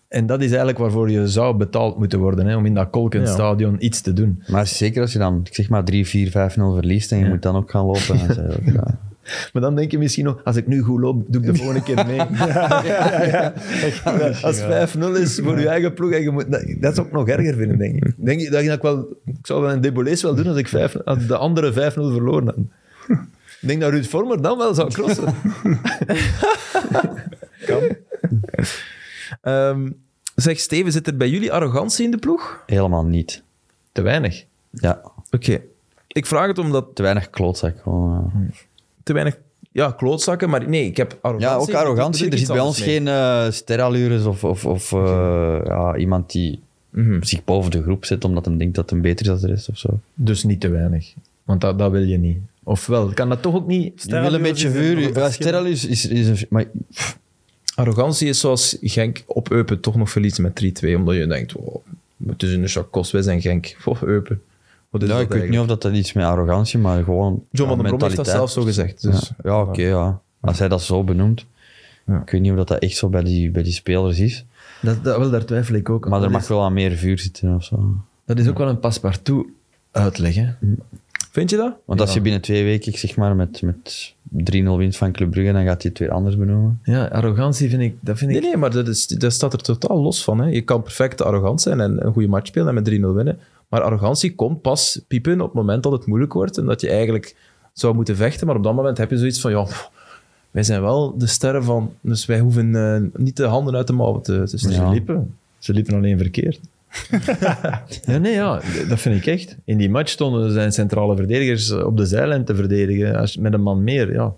S2: En dat is eigenlijk waarvoor je zou betaald moeten worden, hè, om in dat kolkend
S1: Ja.
S2: stadion iets te doen.
S3: Maar zeker als je dan, ik zeg maar, 3-4, 5-0 verliest en je moet dan ook gaan lopen. Dan zei
S1: (laughs)
S3: je ook, ja.
S2: Maar dan denk je misschien nog, als ik nu goed loop, doe ik (laughs) de volgende keer mee. eh, Als 5-0 is voor je eigen ploeg, en je moet, dat, dat is ook nog erger vinden, denk ik. Denk je, dat ik, dat ik, wel, ik zou wel een debolees wel doen als ik vijf, als de andere 5-0 verloren had. Ik denk dat Ruud Vormer dan wel zou (laughs) crossen.
S1: Ehm, zeg, Steven, zit er bij jullie arrogantie in de ploeg?
S3: Helemaal niet.
S2: Te weinig.
S3: Ja,
S1: Oké. Ik vraag het omdat
S3: te weinig klootzak. gewoon, eh. ja.
S1: te weinig... Ja, klootzakken, maar nee, ik heb arrogantie.
S3: Ja, ook
S1: Ik
S3: arrogantie.
S1: druk
S3: Er
S1: iets
S3: zit bij ons
S1: anders mee.
S3: geen eh sterallures of, of, of eh, ja, iemand die
S1: Mhm.
S3: zich boven de groep zet omdat hij denkt dat hij beter is dan de rest of zo.
S2: Dus niet te weinig. Want dat, dat wil je niet. Ofwel, kan dat toch ook niet...
S3: Je wil een beetje vuur. Ja, Sterrel is, is, is een... Maar
S1: Arrogantie is zoals Genk op Eupen toch nog verliest met 3-2, omdat je denkt, wow, het is een shock kost, wij zijn Genk. Of Eupen. Wat is
S3: ja,
S1: dat
S3: ik weet niet
S1: eigenlijk?
S3: of dat, dat iets met arrogantie, maar gewoon
S1: John
S3: ja,
S1: van den Brom heeft dat
S3: mentaliteit.
S1: zelf zo gezegd. Dus.
S3: Ja, ja oké, ja. Als hij dat zo benoemt.
S1: Ja.
S3: Ik weet niet of dat dat echt zo bij die, bij die spelers is.
S2: Dat, dat, wel, daar twijfel ik ook aan.
S3: Maar er
S2: dat,
S3: mag
S2: is,
S3: wel aan meer vuur zitten of zo.
S2: dat is ook wel een paspartout uitleg, hè.
S1: Vind je dat?
S3: Want als je binnen twee weken ik zeg maar, met, met 3-0 wint van Club Brugge, dan gaat hij het weer anders benoemen.
S2: Ja, arrogantie vind ik... Dat vind ik
S1: Nee, nee, maar dat, is, dat staat er totaal los van. Hè. Je kan perfect arrogant zijn en een goede match spelen en met 3-0 winnen. Maar arrogantie komt pas piepen op het moment dat het moeilijk wordt en dat je eigenlijk zou moeten vechten. Maar op dat moment heb je zoiets van, ja, pff, wij zijn wel de sterren van, dus wij hoeven eh, niet de handen uit de mouwen te, te steken.
S3: Ja.
S2: Ze liepen. Ze liepen alleen verkeerd. (laughs) ja, nee, ja, d- dat vind ik echt. In die match stonden zijn centrale verdedigers op de zijlijn te verdedigen. Als, je- met een man meer, ja.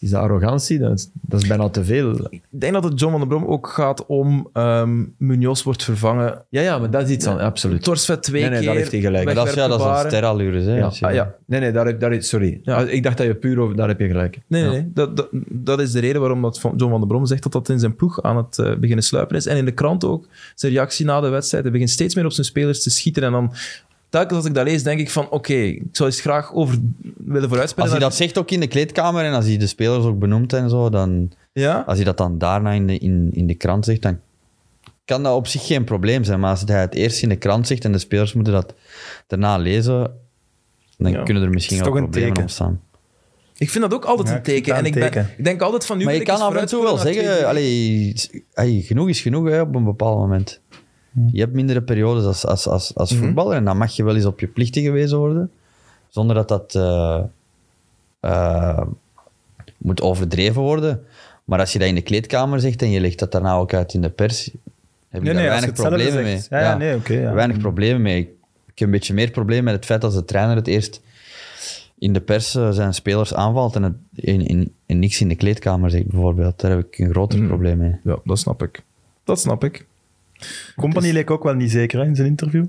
S2: Is dat arrogantie? Dat is, dat is bijna te veel.
S1: Ik denk dat het John van den Brom ook gaat om ehm Munoz wordt vervangen.
S2: Ja, ja, maar dat is iets aan, absoluut.
S1: Torsvet twee
S2: Nee, nee,
S1: keer.
S2: daar heeft hij gelijk.
S1: weg
S3: Maar dat is, ja,
S1: werd
S3: dat is dan
S1: gebaren.
S3: sterallures, hè.
S2: Ja,
S3: Als je-
S2: ah, ja. Nee, nee, daar, heb- daar, sorry.
S1: Ja.
S2: Ah, Ik dacht dat je puur over... Daar heb je gelijk.
S1: Nee, nee,
S2: Ja.
S1: nee. Dat, dat, dat is de reden waarom dat van- John van der Brom zegt dat dat in zijn ploeg aan het eh, beginnen sluipen is. En in de krant ook, zijn reactie na de wedstrijd. Hij begint steeds meer op zijn spelers te schieten. En dan, telkens als ik dat lees, denk ik van, oké, ik zou eens graag over willen
S3: Als
S1: vooruitspelen.
S3: hij dat zegt ook in de kleedkamer en als hij de spelers ook benoemt en zo, dan...
S1: Ja?
S3: Als hij dat dan daarna in de, in, in de krant zegt, dan kan dat op zich geen probleem zijn. Maar als hij het eerst in de krant zegt en de spelers moeten dat daarna lezen, dan
S1: Ja.
S3: kunnen er misschien
S4: Het
S3: wel
S4: is toch een
S3: problemen
S4: teken.
S3: ontstaan.
S1: Ik vind dat ook altijd
S4: Ja,
S1: een
S4: ik vind
S1: teken.
S4: dat
S1: En ik,
S4: een
S1: ben,
S4: teken.
S1: ik denk altijd van, nu
S3: maar
S1: wil
S3: je kan
S1: eens
S3: af en toe wel
S1: vooruitspelen naar
S3: zeggen,
S1: 2-3.
S3: allee, s- hey, genoeg is genoeg hè, op een bepaald moment. Je hebt mindere periodes als, als, als, als voetballer en dan mag je wel eens op je plichten gewezen worden. Zonder dat dat eh, eh, moet overdreven worden. Maar als je dat in de kleedkamer zegt en je legt dat daarna ook uit in de pers, heb je
S4: Nee,
S3: daar
S4: nee, als je
S3: weinig
S4: het zelf
S3: problemen mee.
S4: zegt. Ja, ja, nee, oké, ja.
S3: Weinig problemen mee. Ik heb een beetje meer probleem met het feit als de trainer het eerst in de pers eh, zijn spelers aanvalt en, het, en, en- en niks in de kleedkamer zegt, bijvoorbeeld. Daar heb ik een groter probleem mee.
S1: Ja, dat snap ik. Dat snap ik.
S4: Company
S2: Dus-
S4: leek ook wel niet zeker hè, in zijn interview.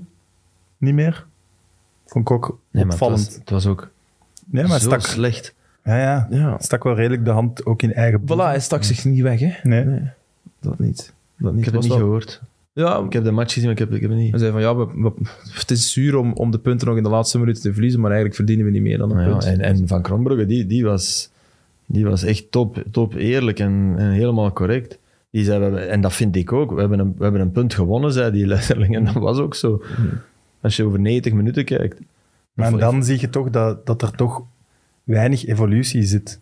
S4: Niet meer. Vond ik ook
S2: Nee, maar het
S4: opvallend.
S2: was, het was ook
S4: nee, maar
S2: zo
S4: stak,
S2: slecht.
S4: ja, ja,
S1: Ja.
S4: stak wel redelijk de hand ook in eigen
S1: Voilà,
S4: boezem.
S1: hij stak zich niet weg, hè.
S4: Nee.
S1: Dat niet. Dat niet.
S2: Ik heb het
S1: Was
S2: niet
S1: wel-
S2: gehoord.
S1: Ja,
S2: Ik heb de match gezien, maar ik heb, ik heb het niet...
S1: We zeiden van ja, we- we- het is zuur om, om de punten nog in de laatste minuten te verliezen, maar eigenlijk verdienen we niet meer dan een
S2: Nou ja,
S1: punt.
S2: en, en Van Kronbrugge, die, die, was, die was echt top, top eerlijk en, en helemaal correct. Die zei, we hebben- en dat vind ik ook, we hebben een, we hebben een punt gewonnen, zei die letterlijk. En dat was ook zo.
S1: Mm.
S2: Als je over 90 minuten kijkt.
S4: Maar dan zie je toch dat, dat er toch weinig evolutie zit.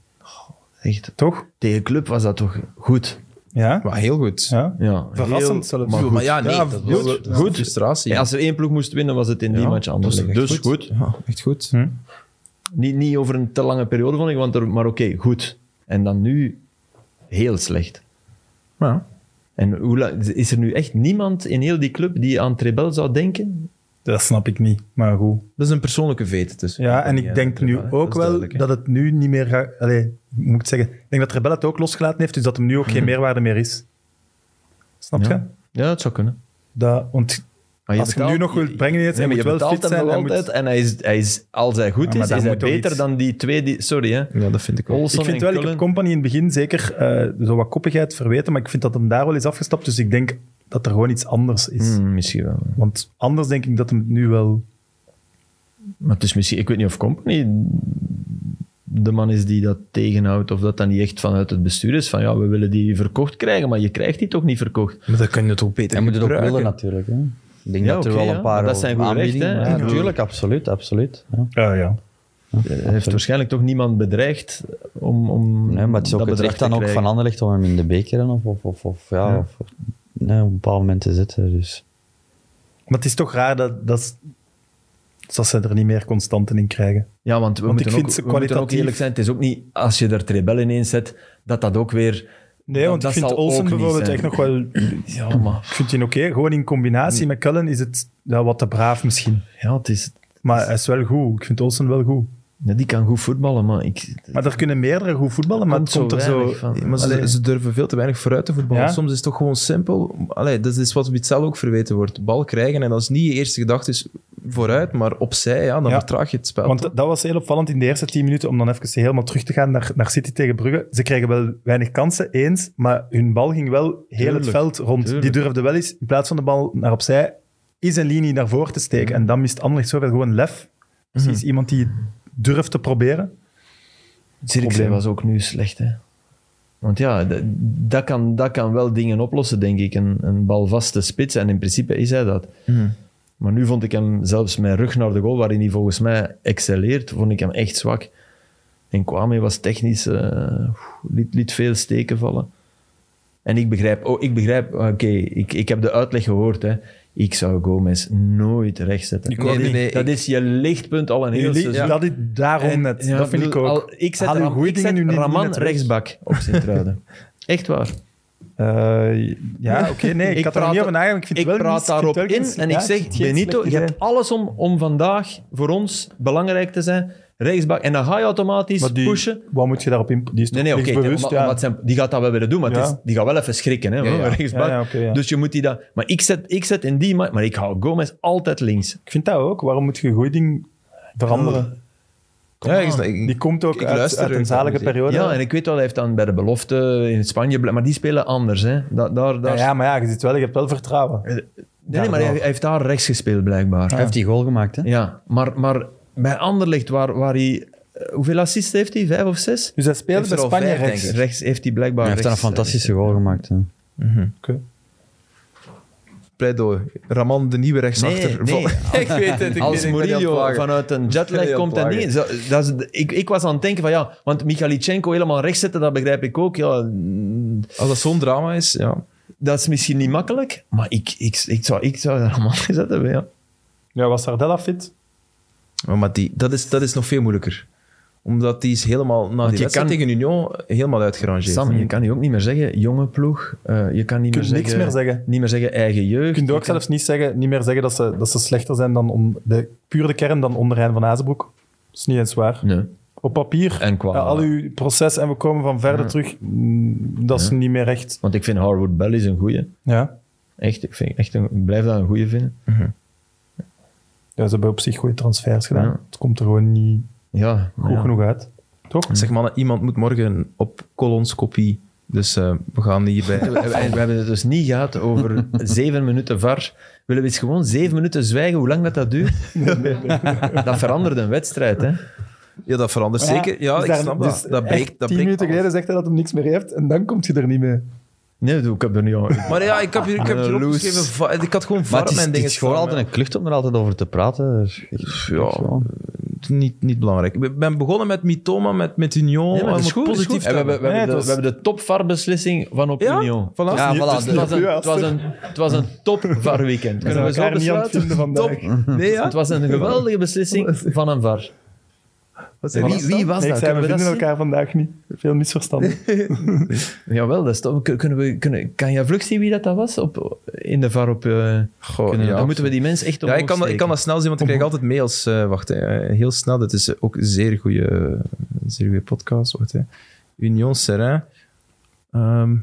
S2: Echt,
S4: Toch?
S2: tegen club was dat toch goed.
S4: Ja?
S1: maar heel goed.
S4: ja?
S2: Ja, heel-
S4: Verrassend zelfs.
S1: Maar, goed. maar ja, nee,
S4: Ja,
S1: dat
S4: goed.
S1: was
S4: Ja.
S1: goed. frustratie.
S2: Ja, als er één ploeg moest winnen, was het in die
S1: Ja,
S2: match
S1: dat
S2: anders.
S1: was echt
S2: Dus goed.
S1: Ja, echt goed.
S4: Hm?
S2: Niet, niet over een te lange periode, vond ik, want er, maar oké, goed. En dan nu heel slecht.
S1: Ja.
S2: En hoe, la- is er nu echt niemand in heel die club die aan Trebel zou denken?
S4: Dat snap ik niet, maar goed.
S1: Dat is een persoonlijke vete dus.
S4: Ja, en ik denk nu
S1: dat is
S4: ook wel
S1: duidelijk, hè.
S4: dat het nu niet meer gaat... Allee, ik moet het zeggen, ik denk dat Rebel het ook losgelaten heeft, dus dat hem nu ook geen meerwaarde meer is. Snap je?
S2: Hmm. Ja, dat zou kunnen.
S4: Dat, want
S2: Maar
S4: Als je hem nu nog wilt brengen in het-
S2: maar
S4: hij
S2: je
S4: moet wel
S2: betaalt
S4: fit
S2: hem
S4: zijn,
S2: nog
S4: hij moet-
S2: altijd. En hij is, hij is, als hij goed
S4: Ja, maar
S2: is,
S4: daar
S2: is hij
S4: moet toch
S2: beter
S4: iets-
S2: dan die twee... Die, sorry, hè.
S1: Ja, dat vind ik ook.
S2: Olsen
S4: ik vind
S2: en
S4: wel, ik heb
S2: Kullen.
S4: Company in het begin zeker eh, zo wat koppigheid verweten, maar ik vind dat hem daar wel is afgestapt, dus ik denk dat er gewoon iets anders is.
S2: Hmm, misschien wel.
S4: Want anders denk ik dat hem het nu wel...
S2: Maar het is misschien... Ik weet niet of Company de man is die dat tegenhoudt. Of dat dan niet echt vanuit het bestuur is. Van ja, we willen die verkocht krijgen. Maar je krijgt die toch niet verkocht.
S1: Maar dat kun je toch beter
S3: Hij moet het ook
S1: gebruiken.
S3: willen natuurlijk. Hè. Ik denk
S2: Ja,
S3: dat er
S2: oké,
S3: wel
S2: ja.
S3: een paar
S2: Maar dat zijn goede
S3: aanbiedingen-
S2: rechten, hè.
S3: Ja,
S2: Ja.
S3: natuurlijk, absoluut. absoluut ja.
S4: Ja, ja.
S2: Hij heeft waarschijnlijk toch niemand bedreigd om, om
S3: Nee, maar het is ook
S2: dat
S3: het
S2: bedrag
S3: recht
S2: te
S3: dan ook
S2: krijgen.
S3: van Anderlecht om hem in de bekeren of, of, of, of, ja, of nee, op een bepaald moment te zetten. Dus.
S4: Maar het is toch raar dat, dat, dat ze er niet meer constanten in krijgen.
S2: Ja, want we,
S4: Want ik
S2: moeten,
S4: vind
S2: ook,
S4: ze
S2: we moeten ook
S4: kwalitatief-
S2: eerlijk zijn. Het is ook niet, als je er Trebel ineens zet, dat dat ook weer...
S4: Nee,
S2: dat-
S4: want
S2: dat
S4: ik vind
S2: zal ook
S4: Olsen
S2: niet
S4: bijvoorbeeld
S2: zijn.
S4: echt nog wel...
S2: (clears throat) Ja, maar...
S4: Ik vind die oké. Gewoon in combinatie met Cullen is het ja, wat te braaf misschien.
S2: Ja, het is...
S4: Maar hij is wel goed. Ik vind Olsen wel goed.
S2: Ja, die kan goed voetballen, maar ik...
S4: Maar er kunnen meerdere goed voetballen, maar het komt er zo...
S2: weinig van.
S1: Maar ze,
S4: Allee.
S1: ze durven veel te weinig vooruit te voetballen.
S4: Ja.
S1: Soms is het toch gewoon simpel. Allee, dat is wat Witzel ook verweten wordt. Bal krijgen en als niet je eerste gedachte is, vooruit, maar opzij, ja, dan
S4: Ja.
S1: vertraag je het spel.
S4: Want
S1: toch?
S4: dat was heel opvallend in de eerste 10 minuten, om dan even helemaal terug te gaan naar, naar City tegen Brugge. Ze kregen wel weinig kansen, eens, maar hun bal ging wel heel het
S2: Tuurlijk,
S4: veld rond. Die durfde wel eens, in plaats van de bal naar opzij, is een linie naar voren te steken.
S2: Mhm.
S4: En dan mist Anderlecht zoveel gewoon lef. Precies iemand die durft te proberen.
S2: Zirkzee
S4: Probleem.
S2: was ook nu slecht, hè. Want ja, d- dat kan, dat kan wel dingen oplossen, denk ik. Een, een balvaste spits, en in principe is hij dat.
S1: Mhm.
S2: Maar nu vond ik hem zelfs mijn rug naar de goal, waarin hij volgens mij excelleert, vond ik hem echt zwak. En Kwame was technisch, eh, liet, liet veel steken vallen. En ik begrijp, oh, ik begrijp, oké, ik, ik heb de uitleg gehoord, hè. Ik zou Gomez nooit rechts zetten.
S1: Ik ook Nee, nee, niet. nee,
S2: dat
S1: ik-
S2: is je lichtpunt al een heel
S4: Jullie-
S2: seizoen.
S4: Dat is daarom
S2: dus- En,
S4: net.
S2: ja,
S4: dat vind ik
S2: bedoel,
S4: ook.
S2: al- ik zet,
S4: Haal uw
S2: Ram-
S4: goede
S2: ik
S4: dingen
S2: zet
S4: nu niet-
S2: Raman
S4: niet naar rechts.
S2: rechtsbak op Sint-Truiden. (laughs) Echt waar.
S4: Eh, ja, oké, nee, ik,
S2: (laughs) Ik
S4: had er
S2: praat-
S4: niet over nagedacht. Ik, vind
S2: Ik
S4: het wel
S2: praat
S4: mis- ik
S2: daarop
S4: vind het wel
S2: in
S4: mis-
S2: en
S4: ja,
S2: ik
S4: ik
S2: zeg,
S4: vind het geen
S2: Benito,
S4: slecht
S2: je
S4: idee.
S2: hebt alles om, om vandaag voor ons belangrijk te zijn. Rechtsbak. En dan ga je automatisch
S4: Maar die-
S2: pushen.
S4: Wat moet je daarop in? Die is toch
S2: Nee, nee, oké.
S4: bewust,
S2: omdat-
S4: ja.
S2: omdat zijn- die gaat dat wel willen doen, maar het
S4: Ja.
S2: is- die gaat wel even schrikken. Hè,
S1: ja.
S2: rechtsbak.
S4: Ja, ja, oké, ja.
S2: Dus je moet die dat... Maar ik zet, ik zet in die... ma- Maar ik hou Gomez altijd links.
S4: Ik vind dat ook. Waarom moet je goed ding veranderen?
S1: Ja, ik- ik-
S4: Die komt ook
S1: ik
S4: uit,
S1: luister
S4: uit
S1: ook
S4: een zalige
S1: naar muziek.
S4: periode.
S2: Ja, en ik weet wel, hij heeft dan bij de belofte in Spanje... ble- Maar die spelen anders, hè. Da- daar, daar,
S4: Ja, ja, maar ja, je, zit wel, je hebt wel vertrouwen.
S2: Eh, Nee, nee, maar hij, hij heeft daar rechts gespeeld, blijkbaar.
S3: Hij heeft die goal gemaakt, hè?
S2: Ja, maar, maar bij Anderlecht, waar, waar hij... eh, Hoeveel assists heeft hij? Vijf of zes?
S4: Dus hij speelt
S1: Heeft
S4: bij
S1: er al
S4: Spanje
S1: vijf,
S4: rechts.
S1: denk ik.
S2: Rechts heeft hij blijkbaar...
S3: Hij heeft daar een
S2: rechts,
S3: fantastische
S2: eh,
S3: goal gemaakt. hè.
S4: Oké.
S1: Pleidooi. Raman, de nieuwe rechtsachter.
S2: Nee, nee.
S1: Van- ik weet het. Ik
S2: Als
S1: ben- ik ben niet aan het
S2: Murillo
S1: plagen.
S2: vanuit een
S1: Ik ben
S2: jetlag
S1: niet
S2: komt,
S1: aan
S2: en
S1: het
S2: niet. Zo, dat is, de- ik, ik was aan het denken van ja, want Michalichenko helemaal rechts zetten, dat begrijp ik ook. Ja, mm,
S1: Als dat zo'n drama is, ja.
S2: dat is misschien niet makkelijk, maar ik, ik, ik, zou, ik zou er allemaal gezet hebben, ja.
S4: Ja, was Sardella fit?
S1: Maar, maar die, dat, is, dat is nog veel moeilijker. Omdat die is helemaal, na die
S2: je
S1: wedstrijd
S2: kan-
S1: tegen Union, helemaal uitgerangeerd.
S2: Sam, je kan nu ook niet meer zeggen, jonge ploeg. eh, je kan niet
S4: Je
S2: meer
S4: kunt niks
S2: zeggen,
S4: meer zeggen.
S2: niet meer zeggen eigen jeugd.
S4: Je kunt ook zelfs niet, zeggen, niet meer zeggen dat ze, dat ze slechter zijn dan on, de, puur de kern dan onder Rijn van Azenbroek. Dat is niet eens waar.
S2: Nee.
S4: Op papier,
S2: En qua-
S4: ja, al uw proces en we komen van verder terug, mm, dat is niet meer recht.
S2: Want ik vind Harwood Bell is een goeie.
S4: Ja.
S2: Echt, ik, vind, echt een, ik blijf dat een goeie vinden.
S4: ja, ze hebben op zich goede transfers gedaan.
S2: Ja.
S4: Het komt er gewoon niet
S2: Ja, maar
S4: goed
S2: ja.
S4: genoeg uit. Toch?
S1: Zeg mannen, iemand moet morgen op kolonskopie. Dus eh, we gaan hierbij...
S2: We, we- we hebben het dus niet gehad (laughs) over zeven minuten var. Willen we eens gewoon zeven minuten zwijgen, hoe lang dat, dat (laughs) duurt? Dat verandert een wedstrijd, hè?
S1: Ja, dat verandert
S4: Ja,
S1: zeker. Ja,
S4: dus
S1: ik
S4: daar-
S1: snap
S4: dus
S1: dat. Dat
S4: echt
S1: breekt, dat
S4: tien
S1: breekt
S4: minuten geleden zegt hij dat hij niks meer heeft en dan komt je er niet mee.
S2: Nee, ik heb er niet aan.
S1: Maar ja, ik heb hier, ik heb
S2: Eh,
S1: hier
S2: loose.
S1: opgeschreven... va- Ik had gewoon
S3: Maar
S1: var
S3: het is,
S1: mijn
S3: het
S1: dingen
S3: is gewoon
S1: staan,
S3: altijd een klucht om er altijd over te praten.
S1: Ja.
S3: (laughs)
S1: hè. Niet, niet belangrijk. Ik ben begonnen met Mitoma, met, met Union.
S2: Nee, maar
S1: om
S2: het
S1: het
S2: is goed, het is
S1: positief
S2: goed. En we, hebben- we,
S4: Nee,
S2: hebben
S4: het
S2: de,
S4: was-
S2: we hebben de top VAR-beslissing van op
S1: Ja?
S2: Union.
S1: Voilà.
S3: Ja,
S4: niet-
S3: voilà.
S4: het is
S3: de-
S2: dus Het was een,
S4: Ja,
S2: het was een, het was een top VAR-weekend. Kunnen we zo
S4: elkaar niet aan het
S2: besluiten?
S4: vinden vandaag.
S1: Top. Nee, ja.
S2: Het was een geweldige beslissing van een VAR. Wie, wie was
S4: Nee, ik
S2: dat? Kunnen
S4: zei, we
S2: we dat
S4: vinden
S2: zien?
S4: elkaar vandaag niet. Veel
S2: (laughs)
S4: misverstanden.
S2: Jawel, dat is toch, kun- kunnen we, kunnen, kan jij vlug zien wie dat, dat was op, in de VAR op... eh,
S1: Goh,
S2: kunnen-
S1: Oh, ja.
S2: dan moeten we die mensen echt om
S1: Ja, ik kan,
S2: ons
S1: dat- ik kan dat snel zien, want ik krijg altijd mails. eh, wacht, hè, heel snel. Dit is ook een zeer goede, zeer goede podcast. Wacht, hè. Union Serrain. Ehm,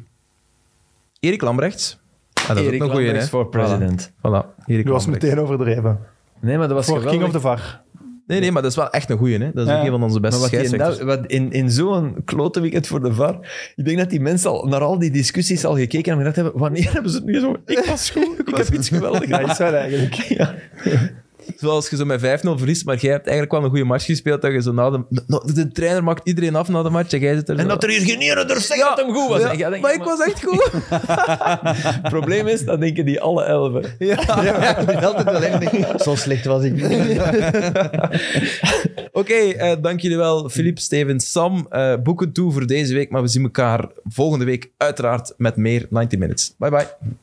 S1: Erik Lambrechts. Ah, dat is
S2: Erik
S1: ook een goeie, hè.
S2: Lambrechts voor president.
S1: Voilà, Erik
S4: Je was
S1: Lambrechts.
S4: meteen overdreven.
S2: Nee, maar dat was
S4: Voor
S2: geweldig.
S4: King of the VAR.
S1: Nee, nee, maar dat is wel echt een goeie, hè. Dat is
S4: Ja.
S1: ook een van onze
S2: Maar
S1: beste
S2: wat die in,
S1: scheidsrechters.
S2: dat- wat in, in zo'n klote weekend voor de VAR, ik denk dat die mensen al naar al die discussies al gekeken hebben en gedacht hebben, wanneer hebben ze het
S1: (laughs)
S2: nu zo? Ik was goed, ik heb iets geweldigs.
S4: Ja, is wel eigenlijk.
S2: (laughs) Ja.
S1: Zoals je zo met 5-0 verliest, maar jij hebt eigenlijk wel een goede match gespeeld. Dat je zo na de, na- de trainer maakt iedereen af na de match en jij zit er
S2: En
S1: zo-
S2: dat er hier geen ene durft zeggen dat hem goed was.
S1: Ja,
S2: En jij denkt,
S1: maar
S2: ja,
S1: ik was echt
S2: (laughs)
S1: goed.
S2: Het probleem is, dat denken die alle elven.
S3: Altijd wel echt niet. Zo slecht was ik.
S1: Oké, eh, dank jullie wel, Filip, Steven, Sam. Eh, boeken toe voor deze week, maar we zien elkaar volgende week uiteraard met meer 90 Minutes. Bye bye.